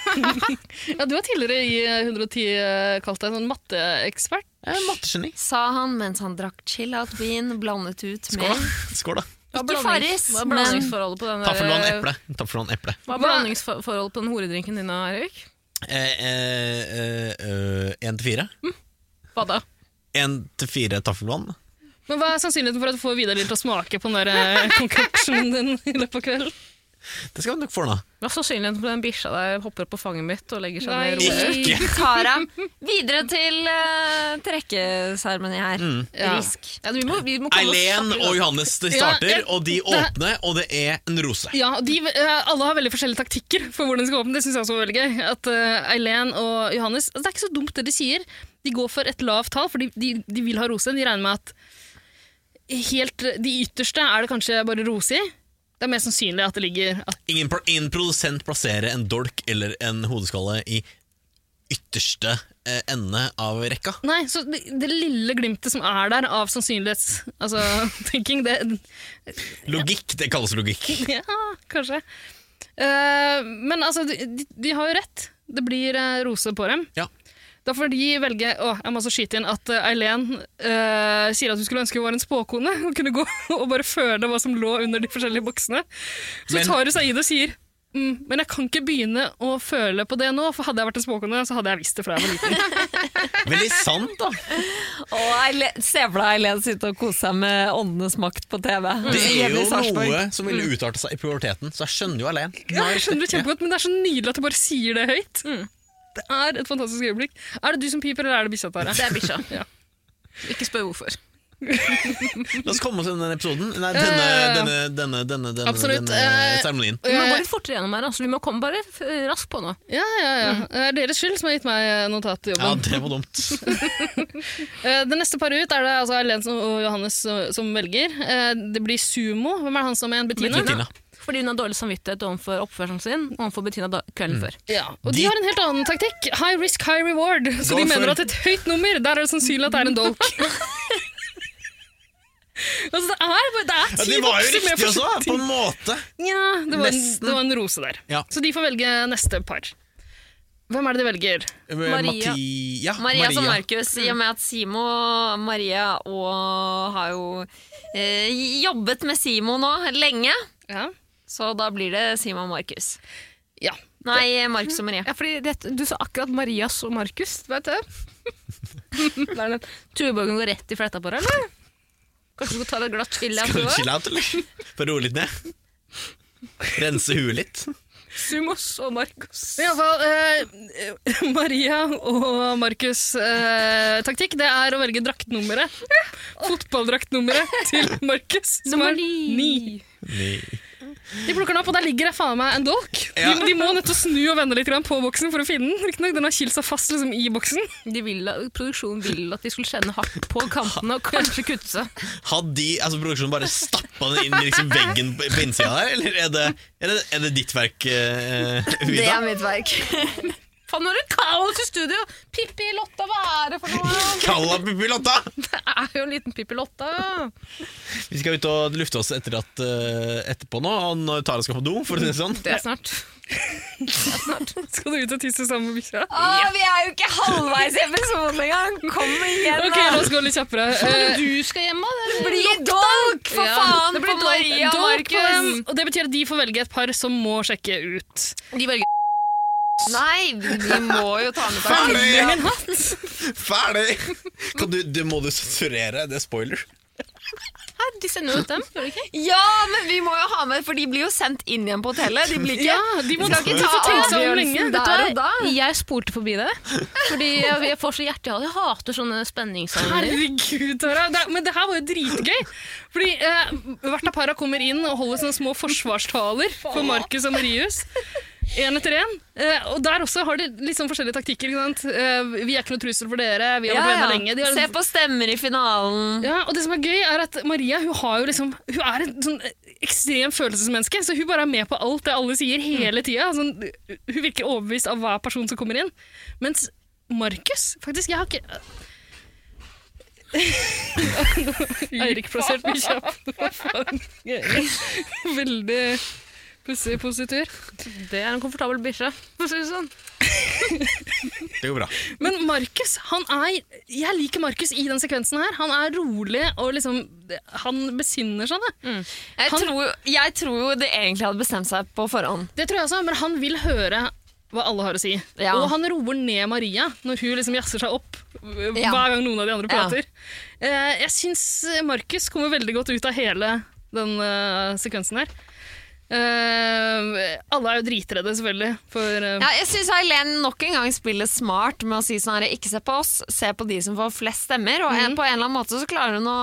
Speaker 4: Ja, du har tidligere i eh, 110 eh, kalt deg sånn matteekspert.
Speaker 3: Jeg er mattegeni.
Speaker 5: Sa han mens han drakk chill-out-vin blandet ut
Speaker 3: Skål,
Speaker 5: med
Speaker 3: da. Skål da
Speaker 5: Ikke Farris,
Speaker 2: Hva er
Speaker 5: men
Speaker 2: blandingsforholdet på den
Speaker 3: Taffelvann,
Speaker 2: der-
Speaker 3: eple. Taffelvann, eple.
Speaker 2: Hva er blandingsforholdet på den horedrinken din, da, Erik?
Speaker 3: Eh, eh, eh, eh, Én til fire.
Speaker 2: Hva da?
Speaker 3: Én til fire taffelvann.
Speaker 4: Men Hva er sannsynligheten for at du får Vidar Lill til å smake på den der eh, concoctionen din i løpet av kvelden?
Speaker 3: Det skal vi nok få ordna.
Speaker 2: Hva er sannsynligheten for den bikkja der hopper opp på fanget mitt og legger seg
Speaker 4: Nei.
Speaker 2: ned i roret?
Speaker 5: i
Speaker 3: Ikke.
Speaker 5: Tara. Videre til uh, trekkeseremoni her.
Speaker 3: Mm.
Speaker 4: Ja.
Speaker 5: Risk.
Speaker 2: Ja, vi må, vi må komme oss
Speaker 3: Eileen
Speaker 2: kjapt
Speaker 3: og Johannes de starter,
Speaker 4: Ja, jeg-
Speaker 3: og de åpner, og det er en rose.
Speaker 4: Ja, og de, eh, Alle har veldig forskjellige taktikker for hvordan de skal åpne. Det synes jeg også var veldig gøy. At eh, Eileen og Johannes altså, Det er ikke så dumt det de sier. De går for et lavt tall, for de, de, de vil ha rose. De regner med at helt de ytterste er det kanskje bare rose i. Det er mer sannsynlig at det ligger at
Speaker 3: Ingen, pro- ingen produsent plasserer en dolk eller en hodeskalle i ytterste eh, ende av rekka.
Speaker 4: Nei, så det, det lille glimtet som er der av sannsynlighets... Altså, tenking, det,
Speaker 3: Logikk, det kalles logikk.
Speaker 4: Ja, kanskje. Eh, men altså, de, de, de har jo rett. Det blir eh, rose på dem.
Speaker 3: Ja.
Speaker 4: Da får de velge Å, jeg må også skyte inn at eh, Eileen eh, sier at hun skulle ønske hun var en spåkone og kunne gå og bare føle hva som lå under de forskjellige boksene. Så
Speaker 3: Men-
Speaker 4: tar hun seg i det og sier mm, Men jeg kan ikke begynne å føle på det nå, for hadde jeg vært en spåkone, så hadde jeg visst det fra jeg var liten.
Speaker 3: Veldig sant, da.
Speaker 5: Og Eile- se for deg Eileen sitte og kose seg med Åndenes makt på TV.
Speaker 3: Det er
Speaker 5: Mm. Hjemme
Speaker 3: jo
Speaker 5: i Sarpsborg.
Speaker 3: noe som ville utarte seg i puberteten, så jeg skjønner jo Eileen.
Speaker 4: Ja, jeg skjønner det kjempegodt, men det er så nydelig at du bare sier det høyt. Det er et fantastisk øyeblikk. Er det du som piper, eller er det bikkja, Tara?
Speaker 2: Det er bikkja.
Speaker 4: Ja.
Speaker 2: Ikke spør hvorfor.
Speaker 3: La oss komme oss gjennom denne episoden. Nei, denne,
Speaker 4: Eh,
Speaker 3: denne, denne, denne, denne,
Speaker 4: Absolutt,
Speaker 3: denne
Speaker 4: eh,
Speaker 3: seremonien.
Speaker 2: Vi må gå litt fortere gjennom her, altså. vi må komme bare eh, raskt på nå.
Speaker 4: Ja, ja, ja. Det er deres skyld som har gitt meg
Speaker 3: Ja,
Speaker 4: notatjobben.
Speaker 3: det var dumt.
Speaker 4: Eh, Det neste paret ut er det altså Erlend som- og Johannes som- som velger. Eh, Det blir Sumo. Hvem er det han som er igjen? Bettina?
Speaker 3: Bettina.
Speaker 2: Fordi hun har dårlig samvittighet overfor oppførselen sin overfor Bettina da, kvelden før.
Speaker 4: Ja, Og de
Speaker 3: De-
Speaker 4: har en helt annen taktikk. High risk, high reward. Så
Speaker 3: Gå
Speaker 4: de
Speaker 3: for-
Speaker 4: mener at et høyt nummer, der er det sannsynlig at det er en dolk. altså, det er, det er
Speaker 3: Ja,
Speaker 4: ti
Speaker 3: de var jo
Speaker 4: bokser med
Speaker 3: riktige også,
Speaker 4: forskjellige
Speaker 3: på
Speaker 4: ting.
Speaker 3: en måte.
Speaker 4: Ja, det var, en,
Speaker 3: Nesten.
Speaker 4: det var en rose der.
Speaker 3: Ja.
Speaker 4: Så de får velge neste par. Hvem er det de velger?
Speaker 2: Maria.
Speaker 3: Mati- Eh, ja,
Speaker 5: Maria, som
Speaker 3: Maria.
Speaker 5: Markus, i og med at Simo Maria og har jo eh, jobbet med Simo nå lenge,
Speaker 4: Ja.
Speaker 5: så da blir det Simo og Markus.
Speaker 4: ja.
Speaker 5: Nei, Markus og Maria.
Speaker 2: Ja, fordi det, Du sa akkurat Marias og Markus, vet du. Hva er det? Tuborgen går rett i fletta på deg, eller? Kanskje du skal ta deg et glatt chili
Speaker 3: Skal du
Speaker 2: etterpå?
Speaker 3: chille out, eller? For å roe litt ned? Rense huet litt?
Speaker 2: Sumos og Markus.
Speaker 4: Men i alle fall, eh, Maria og Markus' eh, taktikk det er å velge draktnummeret. Fotballdraktnummeret til Markus, som
Speaker 2: Nummer
Speaker 4: er ni.
Speaker 2: ni.
Speaker 3: Nei.
Speaker 4: De plukker den opp, og der ligger det faen meg en dolk.
Speaker 3: Ja.
Speaker 4: De, de må nødt til å snu og vende litt grann på boksen for å finne den. Riktignok, den har kilt seg fast liksom, i boksen.
Speaker 2: De vil, at- produksjonen vil at de skulle kjenne hardt på kantene og kanskje kutte seg.
Speaker 3: Hadde de, altså produksjonen bare stappa den inn i liksom veggen på på innsida der, eller er det, er det, er det ditt verk, eh, Vida?
Speaker 5: mitt verk.
Speaker 2: Faen, nå er det kaos i studio! Pippi Lotta, hva er det for noe?
Speaker 3: Kalla Pippilotta!
Speaker 2: Det er jo en liten Pippi Lotta.
Speaker 3: Vi skal ut og lufte oss etter at, eh, etterpå nå, og når Tara skal på do, for å si det sånn.
Speaker 2: Det er snart. Det er snart.
Speaker 4: Skal du ut og tisse sammen med bikkja?
Speaker 5: Å, vi er jo ikke halvveis i episoden engang! Kom igjen,
Speaker 4: Ok, la
Speaker 5: da!
Speaker 4: oss gå litt kjappere.
Speaker 2: Men
Speaker 4: Eh,
Speaker 2: Du skal hjem, da?
Speaker 5: Det
Speaker 2: eller?
Speaker 5: blir dolk, for
Speaker 2: Ja,
Speaker 5: faen!
Speaker 2: det blir
Speaker 5: på
Speaker 2: dolk.
Speaker 5: Maria og
Speaker 4: dolk på
Speaker 5: Markus!
Speaker 4: dem, og det betyr at de får velge et par som må sjekke ut.
Speaker 2: De velger
Speaker 5: Nei, vi må jo ta med
Speaker 3: Ferdig!
Speaker 5: taktikk.
Speaker 3: Min Ferdig! Kan du, du, må du sensurere? Det er spoiler.
Speaker 2: Her, de sender jo ut dem. gjør de ikke?
Speaker 5: Ja, men vi må jo ha med, for de blir jo sendt inn igjen på hotellet. Ah, De blir ikke
Speaker 4: Ja, de må
Speaker 5: Skal ikke
Speaker 4: de får
Speaker 5: ta
Speaker 4: tenke seg om lenge.
Speaker 2: liksom
Speaker 5: avgjørelsen der og da.
Speaker 2: Jeg spolte forbi det. Fordi jeg, jeg får så hjertehale. Jeg hater sånne spenningsscener.
Speaker 4: Herregud, Tara. Det, men det her var jo dritgøy. Fordi eh, hvert av para kommer inn og holder sånne små forsvarstaler for Markus og Marius. Én etter én. Eh, og der også har de litt sånn forskjellige taktikker. Ikke sant? Eh, vi er ikke noe trussel for dere. Vi har vært venner lenge. De har, liksom
Speaker 5: Se på stemmer i finalen.
Speaker 4: ja, og det som er gøy, er at Maria hun har jo liksom, hun er et sånn ekstremt følelsesmenneske. Så hun bare er med på alt det alle sier, hele tida. Sånn, hun virker overbevist av hver person som kommer inn. Mens Markus faktisk, jeg har ikke Eirik plassert meg kjapt. Hva faen? Veldig pussig positur.
Speaker 2: Det er en komfortabel bikkje. for å si det Sånn.
Speaker 3: Det går bra.
Speaker 4: Men Markus, han er Jeg liker Markus i den sekvensen her. Han er rolig og liksom Han besinner seg, da.
Speaker 5: Jeg,
Speaker 4: Han-
Speaker 5: tror, jeg tror jo de egentlig hadde bestemt seg på forhånd.
Speaker 4: Det tror jeg også, men han vil høre hva alle har å si.
Speaker 5: Ja.
Speaker 4: Og han roer ned Maria når hun liksom jazzer seg opp øh,
Speaker 5: Ja.
Speaker 4: hver gang noen av de andre
Speaker 5: Ja.
Speaker 4: prater. Eh, Jeg syns Markus kommer veldig godt ut av hele den øh, sekvensen her. Eh, alle er jo dritredde, selvfølgelig, for øh,
Speaker 5: Ja, jeg syns Eileen nok en gang spiller smart med å si sånn her Ikke se på oss, se på de som får flest stemmer. Og en, på en eller annen måte så klarer hun å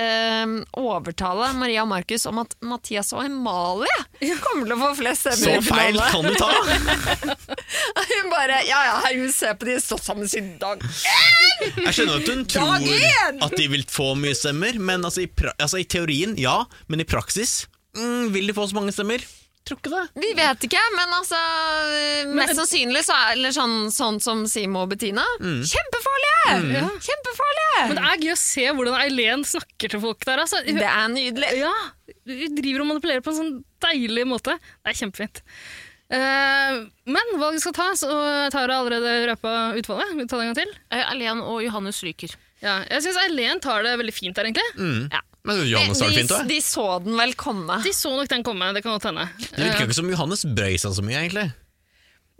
Speaker 5: eh, overtale Maria og Markus om at Mathias og Emalie kommer til å få flest
Speaker 3: Så
Speaker 5: stemmer. i
Speaker 3: feil
Speaker 5: finalen.
Speaker 3: kan du ta!
Speaker 5: Hun bare Ja ja, herregud, se på de har stått sammen siden dag
Speaker 3: Jeg skjønner at hun
Speaker 5: Dag én!
Speaker 3: tror at de vil få mye stemmer, men altså i, pra altså i teorien ja, men i praksis mm, vil de få så mange stemmer. Tror ikke det.
Speaker 5: Vi vet ikke, men altså eh, Mest sannsynlig så er eller sånn, sånn som Simo og Bettina.
Speaker 3: Mm.
Speaker 5: Kjempefarlige! Kjempefarlige!
Speaker 4: Men det er gøy å se hvordan Eileen snakker til folk der. Altså. Hun,
Speaker 5: det er nydelig.
Speaker 4: ja, hun driver og manipulerer på en sånn deilig måte. Det er kjempefint. Eh, men valget skal tas, og Tara har allerede røpa utfallet. Vil du ta det en gang til?
Speaker 2: Eh, Alene og Johannes ryker.
Speaker 4: Ja, jeg syns Eileen tar det veldig fint der, egentlig.
Speaker 5: Mm.
Speaker 3: Men Johannes har det
Speaker 5: De,
Speaker 3: fint òg.
Speaker 5: de så den vel komme.
Speaker 4: De så nok den komme, det kan godt hende.
Speaker 3: Det virker ikke som Johannes brøy seg så mye, egentlig.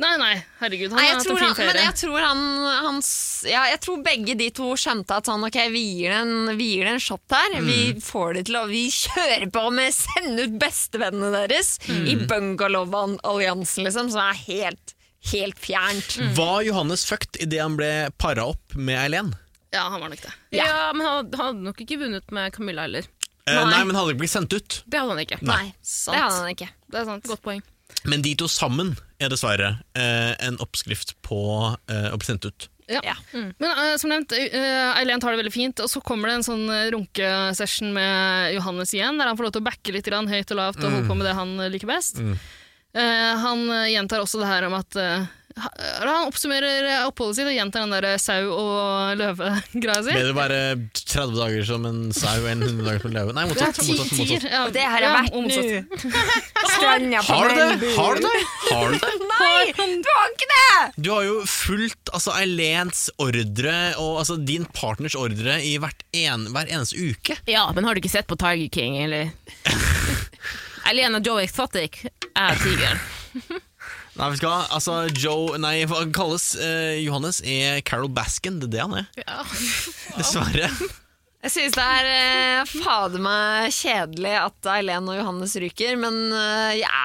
Speaker 4: Nei, nei, herregud, han
Speaker 5: Nei,
Speaker 4: har
Speaker 5: jeg
Speaker 4: hatt
Speaker 5: tror,
Speaker 4: en
Speaker 5: han,
Speaker 4: fin
Speaker 5: men
Speaker 4: ferie.
Speaker 5: jeg tror, han, han, s- ja, jeg tror begge de to skjønte at sånn, ok, vi gir det en, vi gir det en shot her. Vi
Speaker 3: Mm.
Speaker 5: får det til å Vi kjører på med å sende ut bestevennene deres
Speaker 3: Mm.
Speaker 5: i bungalow-alliansen, liksom, som er helt, helt fjernt.
Speaker 3: Var Johannes fucked idet han ble para opp med Eileen?
Speaker 4: Ja, han var nok det.
Speaker 2: Ja, Men han han hadde nok ikke vunnet med Camilla heller.
Speaker 3: Eh,
Speaker 5: Nei.
Speaker 3: nei, men hadde ikke blitt sendt ut.
Speaker 2: Det hadde han ikke.
Speaker 5: Nei,
Speaker 4: Sant.
Speaker 5: det hadde han ikke.
Speaker 4: Det er sant.
Speaker 5: Mm.
Speaker 2: Godt poeng.
Speaker 3: Men de to sammen er dessverre eh, en oppskrift på eh, å bli sendt ut.
Speaker 4: Ja.
Speaker 5: Ja.
Speaker 4: Men eh, som nevnt, eh, Eileen tar det veldig fint, og så kommer det en sånn eh, runkesession med Johannes igjen, der han får lov til å backe litt grann, høyt og lavt
Speaker 5: Mm.
Speaker 4: og holde på med det han eh, liker best. Eh, han eh, gjentar også det her om at eh, ha- eller Han oppsummerer eh, oppholdet sitt og gjentar den der eh, sau og løve-greia si.
Speaker 3: Bedre å være 30 dager som en sau enn 100 dager som en løve. Nei,
Speaker 4: Det er
Speaker 3: motsatt.
Speaker 4: ti
Speaker 3: motsatt, motsatt.
Speaker 4: tier. Ja,
Speaker 5: Og det her har
Speaker 4: ja,
Speaker 5: vært
Speaker 4: og
Speaker 5: nå.
Speaker 4: motsatt.
Speaker 5: Stranda på
Speaker 3: Har du det?
Speaker 5: Melbu.
Speaker 3: Har du det? Har du det?
Speaker 5: Nei, du har ikke det!
Speaker 3: Du har jo fulgt altså, Eileens ordre, og altså, din partners ordre, i hvert en, hver eneste uke.
Speaker 2: Ja, men har du ikke sett på Tiger King, eller? Alena Joe Exotic er tigeren.
Speaker 3: Nei, vet du hva? Altså, Joe Nei, hva han kalles? Eh, Johannes er Carol Baskin. Det er det han er.
Speaker 2: Ja.
Speaker 3: Dessverre.
Speaker 5: Jeg synes det er eh, fader meg kjedelig at Eileen og Johannes ryker, men eh, ja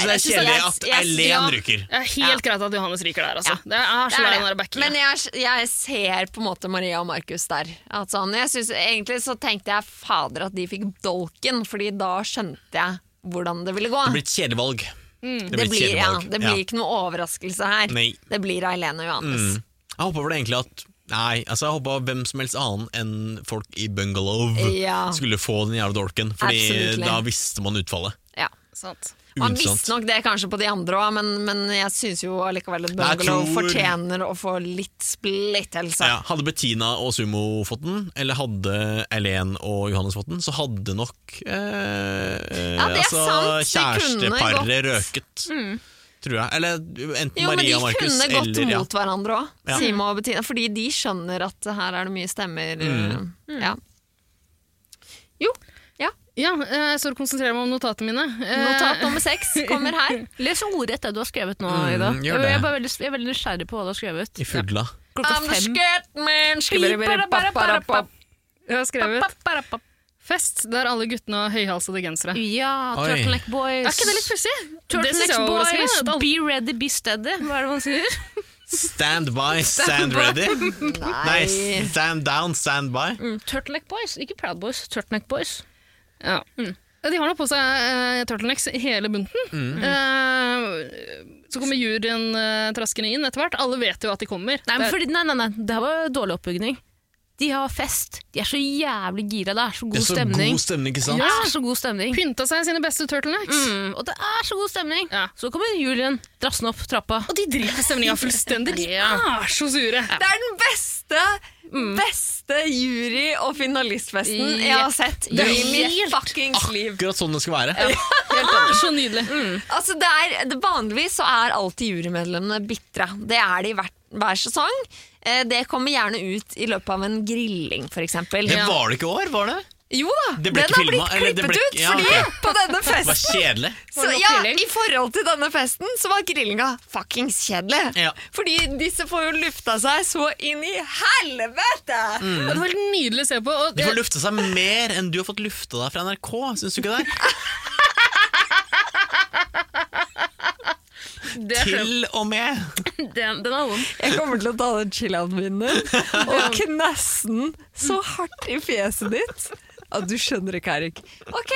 Speaker 3: Jeg synes det er kjedelig
Speaker 5: jeg jeg-
Speaker 3: at
Speaker 5: jeg-
Speaker 3: Eileen
Speaker 5: ja,
Speaker 3: ryker.
Speaker 4: Det er helt greit at Johannes ryker der, altså.
Speaker 5: Ja.
Speaker 4: Det er, jeg er
Speaker 5: det
Speaker 4: så lei av
Speaker 5: er
Speaker 4: den der
Speaker 5: det.
Speaker 4: backingen.
Speaker 5: Men jeg, jeg ser på en måte Maria og Markus der. At sånn, jeg synes, egentlig så tenkte jeg fader at de fikk dolken, Fordi da skjønte jeg hvordan det ville gå.
Speaker 3: Det blir et kjedelig valg. Det
Speaker 5: Mm. Det
Speaker 3: et
Speaker 5: blir,
Speaker 3: kjedelig
Speaker 5: ja,
Speaker 3: valg.
Speaker 5: det blir ikke noe overraskelse her.
Speaker 3: Nei. Mm.
Speaker 5: Det blir Eileen og Johannes.
Speaker 3: Jeg håpa vel egentlig at Nei, altså jeg håpa hvem som helst annen enn folk i bungalow
Speaker 5: Ja.
Speaker 3: skulle få den jævla dolken, Fordi
Speaker 5: Absolutely.
Speaker 3: da visste man utfallet.
Speaker 5: Ja.
Speaker 4: Sant.
Speaker 5: Man
Speaker 3: Utsant.
Speaker 5: visste nok det kanskje på de andre òg, men, men jeg syns jo allikevel at
Speaker 3: Jeg
Speaker 5: Bungalow
Speaker 3: tror-
Speaker 5: fortjener å få litt splittelse.
Speaker 3: Ja, hadde Bettina og Sumo fått den, eller hadde Eileen og Johannes fått den, så hadde nok eh, eh,
Speaker 5: Ja, det er sant. De kunne
Speaker 3: kjæresteparet
Speaker 5: gått- Mm.
Speaker 3: røket. Tror jeg. Eller enten
Speaker 5: Jo,
Speaker 3: Maria og
Speaker 5: men de
Speaker 3: Markus
Speaker 5: kunne gått
Speaker 3: eller ja.
Speaker 5: mot hverandre òg,
Speaker 3: Ja.
Speaker 5: Sima og Bettina. Fordi de skjønner at her er det mye stemmer.
Speaker 3: Mm.
Speaker 5: eh,
Speaker 2: Mm.
Speaker 5: Ja. Jo. Ja.
Speaker 4: Ja, eh, jeg står og konsentrerer meg om notatene mine. Eh,
Speaker 5: Notat nummer seks kommer her.
Speaker 2: Les ordrett det du har skrevet nå, Ida.
Speaker 3: Mm, gjør
Speaker 2: Jeg,
Speaker 3: det.
Speaker 2: jeg, er bare veldig, jeg er veldig nysgjerrig på hva du har skrevet.
Speaker 3: I fugla.
Speaker 2: Klokka
Speaker 5: I'm the
Speaker 2: fem.
Speaker 5: skirt man. Skibberibiribabababab.
Speaker 4: Jeg har skrevet
Speaker 2: Ba-ba-ba-ba.
Speaker 4: Fest der alle guttene har høyhalsede gensere.
Speaker 2: Ja,
Speaker 3: Oi.
Speaker 2: Turtleneck Boys.
Speaker 4: Er ikke det litt pussig? Det synes jeg
Speaker 2: Turtleneck
Speaker 4: er
Speaker 2: Boys,
Speaker 4: overraskende.
Speaker 2: be ready, be steady. Hva er det man sier?
Speaker 3: Stand by, stand ready. Nei, stand down, stand by.
Speaker 2: Mm, Turtleneck Boys, ikke Proud Boys. Turtleneck Boys.
Speaker 4: Ja. Ja, De har nå på seg eh, turtlenecks hele bunten.
Speaker 3: Mm.
Speaker 4: Eh, så kommer juryen eh, traskende inn etter hvert. Alle vet jo at de kommer.
Speaker 2: Nei, men
Speaker 4: Det er-
Speaker 2: fordi, nei, nei, nei, det her var dårlig oppbygning. De har fest. De er så jævlig gira. Det er så
Speaker 3: Det
Speaker 2: god
Speaker 3: er så
Speaker 2: stemning.
Speaker 3: god stemning, ikke
Speaker 2: Det
Speaker 3: sant?
Speaker 2: er så god stemning.
Speaker 4: Pynta seg i sine beste turtlenecks.
Speaker 2: Mm, og det er så god stemning.
Speaker 4: Ja.
Speaker 2: Så kommer Julian drassende opp trappa.
Speaker 4: Og de dreper stemninga fullstendig. De
Speaker 2: Ja.
Speaker 4: er så sure.
Speaker 5: Det er den beste,
Speaker 2: Mm.
Speaker 5: beste jury- og finalistfesten jeg har sett
Speaker 2: Det er
Speaker 5: i mitt
Speaker 2: helt
Speaker 5: fuckings liv.
Speaker 3: Akkurat sånn det skal være.
Speaker 4: Helt enig. Mm. Så nydelig.
Speaker 5: Altså, det er, det, vanligvis så er alltid jurymedlemmene bitre. Det er de hver, hver sesong. Eh, det kommer gjerne ut i løpet av en grilling, f.eks.
Speaker 3: Det var det ikke i år, var det?
Speaker 5: Jo da,
Speaker 3: Det ble
Speaker 5: den
Speaker 3: ikke
Speaker 5: har blitt
Speaker 3: filmet, eller det
Speaker 5: klippet
Speaker 3: ble ikke-
Speaker 5: ut,
Speaker 3: ja,
Speaker 5: fordi
Speaker 3: ok.
Speaker 5: på denne
Speaker 3: Det var
Speaker 5: festen
Speaker 3: kjedelig.
Speaker 5: så, ja, I forhold til denne festen så var grillinga fuckings kjedelig.
Speaker 3: Ja.
Speaker 5: Fordi disse får jo lufta seg så inn i helvete!
Speaker 3: Mm.
Speaker 4: Og Det var helt nydelig å se på. Og
Speaker 3: De får
Speaker 4: jeg,
Speaker 3: lufte seg mer enn du har fått lufta deg fra NRK, syns du ikke det?
Speaker 4: det er
Speaker 3: Til og med.
Speaker 2: Den, den er vond.
Speaker 5: Jeg kommer til å ta den chillaen min din og knasse den så hardt i fjeset ditt at du skjønner ikke, Erik. Ok.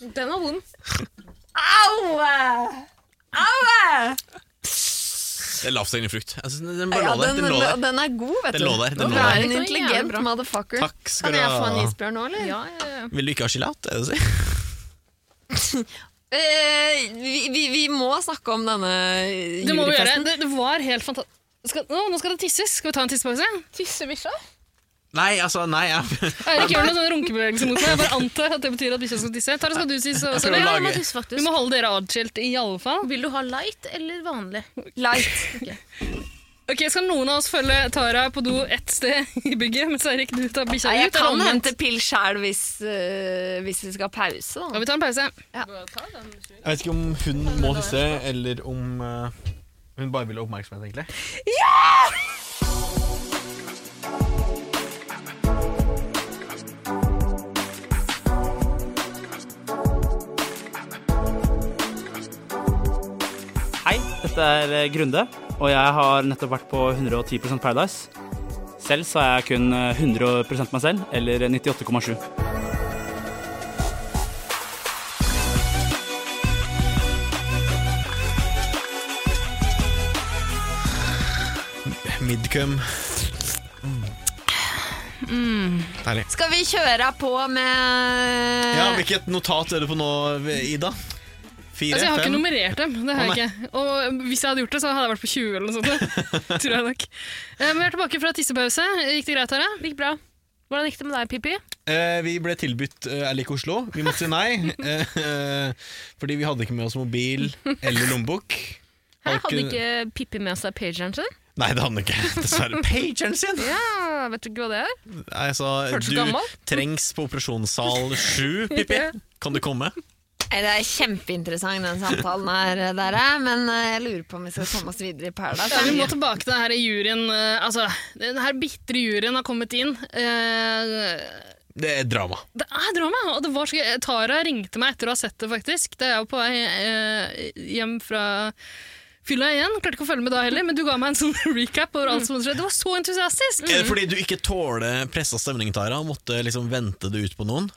Speaker 2: Den er vond.
Speaker 5: Au! Au!
Speaker 3: Det er lavthengende frukt. Jeg synes den bare
Speaker 5: Ja,
Speaker 3: lå der.
Speaker 5: den,
Speaker 3: Den lå der.
Speaker 5: den er god, vet du.
Speaker 3: Den lå der, den
Speaker 5: Du
Speaker 3: lå
Speaker 2: Det
Speaker 3: der.
Speaker 5: er en
Speaker 2: var jævlig
Speaker 5: intelligent
Speaker 2: bra.
Speaker 5: motherfucker.
Speaker 3: Takk skal
Speaker 5: Kan
Speaker 3: du
Speaker 5: jeg få en
Speaker 3: ha.
Speaker 5: isbjørn nå, eller?
Speaker 2: Ja, ja, ja.
Speaker 3: Vil du ikke ha gelat? Er det det du sier?
Speaker 5: Eh, vi, vi, vi må snakke om denne
Speaker 4: det må vi gjøre.
Speaker 5: julefesten.
Speaker 4: Det, det var helt fantastisk. Skal, nå, nå skal det tisses. Skal vi ta en tissepause?
Speaker 2: Tissebikkja?
Speaker 3: Nei, altså, nei. Jeg,
Speaker 4: Eirik gjør noen sånne runkebevegelser mot meg. Jeg bare antar at det betyr at bikkja skal tisse. Tara, skal du tisse også?
Speaker 3: skal
Speaker 4: eller?
Speaker 2: Ja,
Speaker 3: lage-
Speaker 2: jeg må tisse,
Speaker 4: Vi
Speaker 2: faktisk.
Speaker 4: må holde dere adskilt i alle fall.
Speaker 2: Vil du ha light eller vanlig?
Speaker 5: Light.
Speaker 4: Ok, Skal noen av oss følge Tara på do ett sted i bygget, mens Eirik du tar bikkja
Speaker 5: Nei,
Speaker 4: ut?
Speaker 5: jeg kan
Speaker 4: eller omvendt?
Speaker 5: hente pill sjæl hvis, eh, hvis vi skal ha pause.
Speaker 4: Ja,
Speaker 5: Da.
Speaker 4: vi tar en pause.
Speaker 3: jeg vet ikke om hun må tisse, eller om eh, hun bare vil ha oppmerksomhet, egentlig.
Speaker 6: eh, Hei, dette er Grunde, og jeg har nettopp vært på 110 Paradise. Selv så er jeg kun 100 meg selv, eller 98,7.
Speaker 3: Midcum. Deilig.
Speaker 5: Skal vi kjøre på med
Speaker 3: Ja, hvilket notat er du på nå, Ida? Fire?
Speaker 4: Altså, jeg har ikke
Speaker 3: fem?
Speaker 4: nummerert dem. det har
Speaker 3: Å,
Speaker 4: jeg ikke. Og hvis jeg hadde gjort det, så hadde jeg vært på 20 eller noe sånt. tror jeg nok. Eh, Men vi er tilbake fra tissepause. Gikk det greit, Tara?
Speaker 2: Det gikk bra. Hvordan gikk det med deg, Pippi?
Speaker 3: Eh, vi ble tilbudt eh, Er like Oslo. Vi måtte si nei, eh, eh, fordi vi hadde ikke med oss mobil eller lommebok.
Speaker 2: Her
Speaker 3: Har
Speaker 2: hadde ikke Pippi med seg pageren sin.
Speaker 3: Nei, det hadde han ikke. Dessverre. Pageren sin!
Speaker 2: Ja, vet du ikke hva det er?
Speaker 3: Nei, jeg sa,
Speaker 2: Hørtes
Speaker 3: du
Speaker 2: gammel.
Speaker 3: trengs på operasjonssal sju, Pippi. Kan du komme?
Speaker 5: Nei, Det er kjempeinteressant, den samtalen her, dere. Men eh, jeg lurer på om vi skal komme oss videre i
Speaker 4: Ja, vi må
Speaker 5: Paradise.
Speaker 4: tilbake til denne juryen. eh, Altså, denne bitre juryen har kommet inn. Eh,
Speaker 3: Det er drama.
Speaker 4: Det er drama! Og det var så gøy. Tara ringte meg etter å ha sett det, faktisk. Da jeg var på vei eh, hjem fra fylla igjen. Klarte ikke å følge med da heller, men du ga meg en sånn recap over alt som hadde skjedd. Det var så entusiastisk!
Speaker 2: Mm.
Speaker 3: Er det fordi du ikke tåler pressa stemning, Tara? og Måtte liksom vente det ut på noen?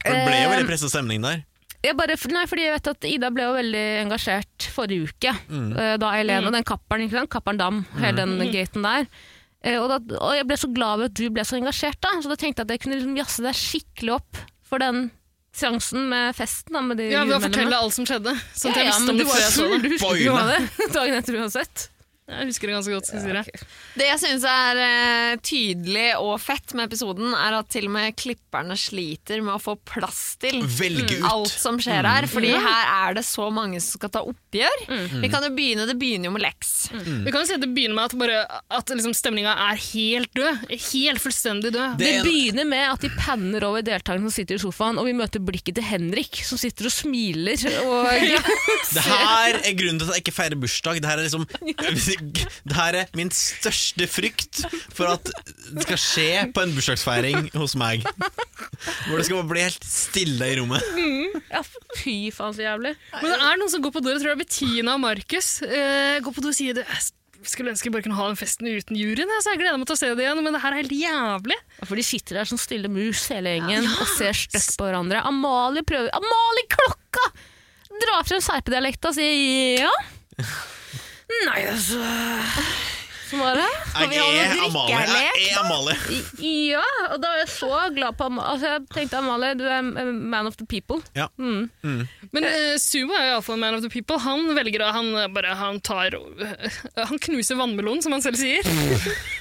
Speaker 3: For det ble jo
Speaker 4: Eh,
Speaker 3: veldig pressa stemning der.
Speaker 2: Jeg bare, nei, fordi jeg vet at Ida ble jo veldig engasjert forrige uke. eh, Da Eileen og den kapperen, ikke sant? Kapperen Dam, hele den gaten der. Eh, Og, da, og jeg ble så glad over at du ble så engasjert, da. Så da tenkte jeg at jeg kunne liksom jazze deg skikkelig opp for den seansen med festen. Da, med de
Speaker 4: Ja, ved å
Speaker 2: jurymedlemmene.
Speaker 4: fortelle alt som skjedde. Sånn at
Speaker 2: ja,
Speaker 4: jeg
Speaker 2: ja,
Speaker 4: visste
Speaker 2: men
Speaker 4: om
Speaker 2: du
Speaker 4: det
Speaker 2: var
Speaker 4: før jeg så
Speaker 2: jo
Speaker 4: det.
Speaker 2: du husker jo av det dagen etter uansett.
Speaker 4: Jeg husker det ganske godt. Skal jeg si det.
Speaker 5: Det jeg syns er eh, tydelig og fett med episoden, er at til og med klipperne sliter med å få plass til
Speaker 3: Velge ut. Mm.
Speaker 4: Mm,
Speaker 5: alt
Speaker 4: altså.
Speaker 5: som skjer her. Fordi her er det så mange som skal ta oppgjør. Vi kan jo begynne, Det begynner jo med leks.
Speaker 2: Mm.
Speaker 4: Vi kan jo si at det begynner med at, bare, at liksom stemninga er helt død. Helt fullstendig død.
Speaker 3: Det
Speaker 2: Det
Speaker 3: er en-
Speaker 2: begynner med at de panner over deltakerne som sitter i sofaen, og vi møter blikket til Henrik, som sitter og smiler. Og
Speaker 3: Det her er grunnen til at jeg ikke feirer bursdag. Det her er liksom Det her er min største frykt for at det skal skje på en bursdagsfeiring hos meg. Hvor det skal bare bli helt stille i rommet.
Speaker 2: ja, fy faen, så jævlig.
Speaker 4: Men det er noen som går på do. Jeg tror det er Bettina og Markus. Eh, går på do og sier det. Jeg skulle ønske jeg bare kunne ha den festen uten juryen. jeg, Så jeg gleder meg til å se det igjen, men det her er helt jævlig.
Speaker 2: Ja, For de sitter der som stille mus hele gjengen og ser støtt på hverandre. Amalie prøver Amalie Klokka! Drar frem serpedialekta og sier ja. Nei, altså Som var det?
Speaker 5: vi
Speaker 3: Jeg
Speaker 5: holder
Speaker 3: er
Speaker 5: drikkelek,
Speaker 3: Amalie. Jeg er Amalie.
Speaker 2: Ja, og da var jeg så glad på Amalie. Altså, jeg tenkte Amalie, du er eh, man of the people.
Speaker 3: Ja.
Speaker 4: Mm. Men eh, Sumo er jo iallfall man of the people. Han velger å Han, eh, bare, han tar eh, Han knuser vannmelonen, som han selv sier.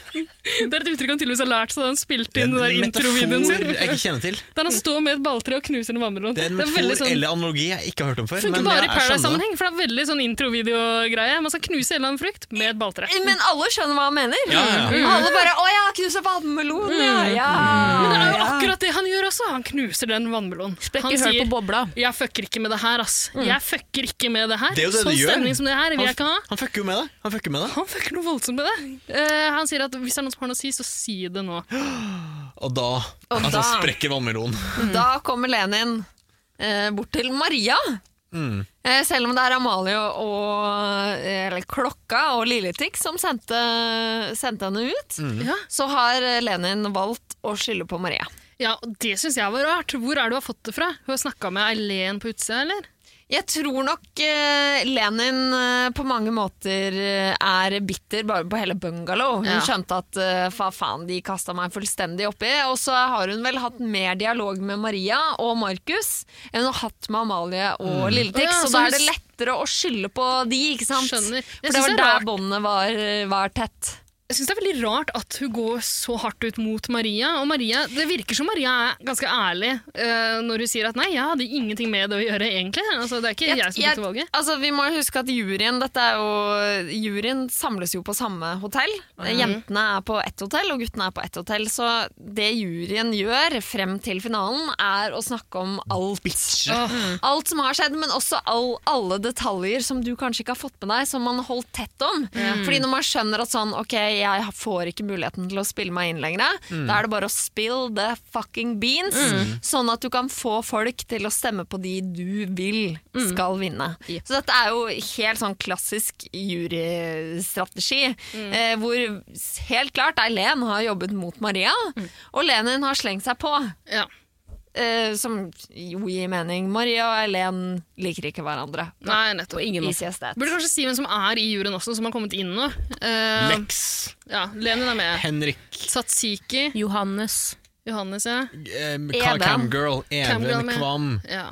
Speaker 4: det er et uttrykk han tydeligvis har lært seg da han spilte inn den der introvideoen
Speaker 3: metafor
Speaker 4: sin.
Speaker 3: jeg ikke kjenner til.
Speaker 4: Der han står med et balltre og knuser en vannmelon.
Speaker 3: Det er en
Speaker 4: Det er
Speaker 3: metafor
Speaker 4: veldig sånn-
Speaker 3: eller analogi jeg ikke har hørt om før.
Speaker 4: Funker
Speaker 3: men
Speaker 4: bare
Speaker 3: jeg
Speaker 4: i
Speaker 3: er sånn
Speaker 4: Paradise-sammenheng, for det er veldig sånn introvideogreie. Man skal knuse en eller annen frukt med et balltre.
Speaker 5: Eh, Men alle skjønner hva han mener. Mm.
Speaker 3: Ja,
Speaker 4: Mm.
Speaker 3: ja.
Speaker 5: Og alle bare 'Å ja, knuser vannmelon', ja. ja.
Speaker 4: Men det er jo akkurat det han gjør også. Han knuser den vannmelonen. Han
Speaker 2: Sprekker høl på bobla.
Speaker 4: jeg fucker ikke med det her, ass. Jeg fucker ikke med det her.
Speaker 3: Det er jo det
Speaker 4: sånn
Speaker 3: du gjør.
Speaker 4: stemning som det her vil jeg ikke ha.
Speaker 3: Han, han fucker jo med det. Han fucker med det.
Speaker 4: Han fucker noe voldsomt med det. Eh, han sier at hvis det er noe som har noe å si, så si det nå.
Speaker 3: Og da,
Speaker 5: Og
Speaker 3: altså,
Speaker 5: da-
Speaker 3: sprekker vannmelonen.
Speaker 5: Mm. Da kommer Lenin eh, bort til Maria. Eh, selv om det er Amalie og, og eh, eller Klokka og Lilletix som sendte, sendte henne ut,
Speaker 4: Ja.
Speaker 5: så har Lenin valgt å skylde på Maria.
Speaker 4: Ja, og Det syns jeg var rart. Hvor er det du har fått det fra? Hun har snakka med Eileen på utsida, eller?
Speaker 5: Jeg tror nok eh, Lenin eh, på mange måter eh, er bitter bare på hele bungalow. Hun
Speaker 4: Ja.
Speaker 5: skjønte at eh, fa faen, de kasta meg fullstendig oppi. Og så har hun vel hatt mer dialog med Maria og Markus enn hun har hatt med Amalie og
Speaker 4: Å
Speaker 5: Lilletix.
Speaker 4: ja,
Speaker 5: så
Speaker 4: så
Speaker 5: da
Speaker 4: hun
Speaker 5: er det
Speaker 4: s-
Speaker 5: lettere å skylde på de, ikke sant?
Speaker 4: Skjønner. Jeg
Speaker 5: For
Speaker 4: synes
Speaker 5: det
Speaker 4: det er
Speaker 5: var der
Speaker 4: rart.
Speaker 5: båndene var, eh, var tett.
Speaker 4: Jeg syns det er veldig rart at hun går så hardt ut mot Maria. Og Maria, Det virker som Maria er ganske ærlig eh, når hun sier at nei, jeg hadde ingenting med det å gjøre, egentlig. Altså, det er ikke jeg, som tok valget.
Speaker 5: altså, vi må jo huske at juryen dette er jo, Juryen samles jo på samme hotell.
Speaker 4: Mhm.
Speaker 5: Jentene er på ett hotell, og guttene er på ett hotell. Så det juryen gjør frem til finalen, er å snakke om alt. Alt som har skjedd, men også all, alle detaljer som du kanskje ikke har fått med deg, som man har holdt tett om. Fordi når man skjønner at sånn, ok, jeg får ikke muligheten til å spille meg inn lenger. Da er det bare å spill the fucking beans, sånn at du kan få folk til å stemme på de du vil skal vinne.
Speaker 2: Yep.
Speaker 5: Så dette er jo helt sånn klassisk jurystrategi, eh, hvor s- helt klart Eileen har jobbet mot Maria, og Lenin har slengt seg på.
Speaker 4: Ja.
Speaker 5: Eh, som jo gir mening. Maria og Eileen liker ikke hverandre.
Speaker 4: Nei, nettopp.
Speaker 2: ingen
Speaker 5: Easy as that.
Speaker 4: Burde kanskje si hvem som er i juryen også, som har kommet inn nå. Eh,
Speaker 3: Lex,
Speaker 4: ja, Lenin er med.
Speaker 3: Henrik,
Speaker 4: Satsiki.
Speaker 2: Johannes.
Speaker 4: Johannes, ja.
Speaker 3: um,
Speaker 5: Even.
Speaker 3: Camgirl,
Speaker 4: Camgirl
Speaker 3: Even,
Speaker 4: med.
Speaker 3: Kvam
Speaker 4: ja.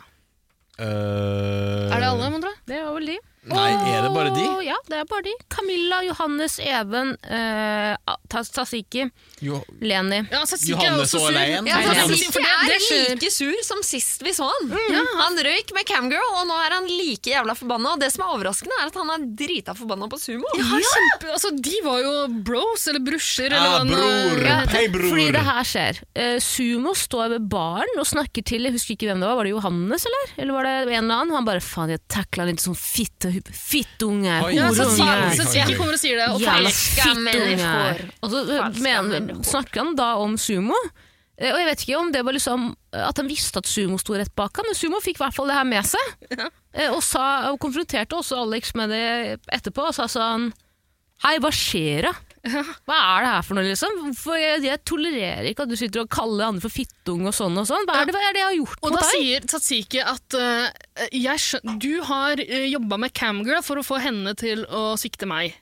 Speaker 3: øh,
Speaker 4: Er det alle, mon tro?
Speaker 2: Det var vel de.
Speaker 3: Nei, er det bare de?
Speaker 2: Og- Ja, det er bare de. Camilla, Johannes, Even, eh, Tas- Tasiki,
Speaker 3: Jo,
Speaker 2: Leni.
Speaker 4: Ja, Satsiki er
Speaker 3: Johannes
Speaker 4: også
Speaker 3: og
Speaker 4: sur.
Speaker 3: Leien.
Speaker 5: Ja,
Speaker 4: Nei,
Speaker 5: han
Speaker 4: nei,
Speaker 5: er
Speaker 4: nei.
Speaker 5: ikke
Speaker 4: For det- det skjer.
Speaker 5: like sur som sist vi så han. Han røyk med Camgirl, og nå er han like jævla forbanna. Og det som er overraskende, er at han er drita forbanna på sumo.
Speaker 4: Ja, kjempe, altså, de var jo bros, eller brusjer, eller
Speaker 3: Ja,
Speaker 4: hva nå-
Speaker 3: Ah, bror.
Speaker 4: Ja,
Speaker 3: Hei, bror.
Speaker 2: Eh, Fordi det her skjer. Eh, Sumo står ved baren og snakker til Jeg husker ikke hvem det var. Var det Johannes, eller? Eller var det en eller annen? Han bare 'faen, jeg takla han litt sånn fitte, fittunge'.
Speaker 3: Oi.
Speaker 4: ja,
Speaker 3: Bror.
Speaker 4: Satsiki,
Speaker 2: horunge.
Speaker 3: Sats-
Speaker 4: Satsiki kommer og sier det. Og
Speaker 2: Jævla
Speaker 4: feil.
Speaker 2: fittunge.
Speaker 5: mennesker.
Speaker 2: Og så eh,
Speaker 5: Falske
Speaker 2: mener,
Speaker 5: mennesker.
Speaker 2: snakker han da om sumo. Eh, Og jeg vet ikke om det var liksom eh, at han visste at sumo sto rett bak ham, men sumo fikk i hvert fall det her med seg. Eh, Og, sa, og konfronterte også Alex med det etterpå og sa sånn Hei, hva skjer da? Hva er det her for noe, liksom? For jeg, jeg tolererer ikke at du sitter og kaller andre for fittung og sånn og sånn. Hva er det, hva er det jeg har gjort
Speaker 4: Og
Speaker 2: mot
Speaker 4: da
Speaker 2: deg?
Speaker 4: sier Tatsiki at eh, jeg skjøn- du har uh, jobba med Camgirl for å få henne til å svikte meg.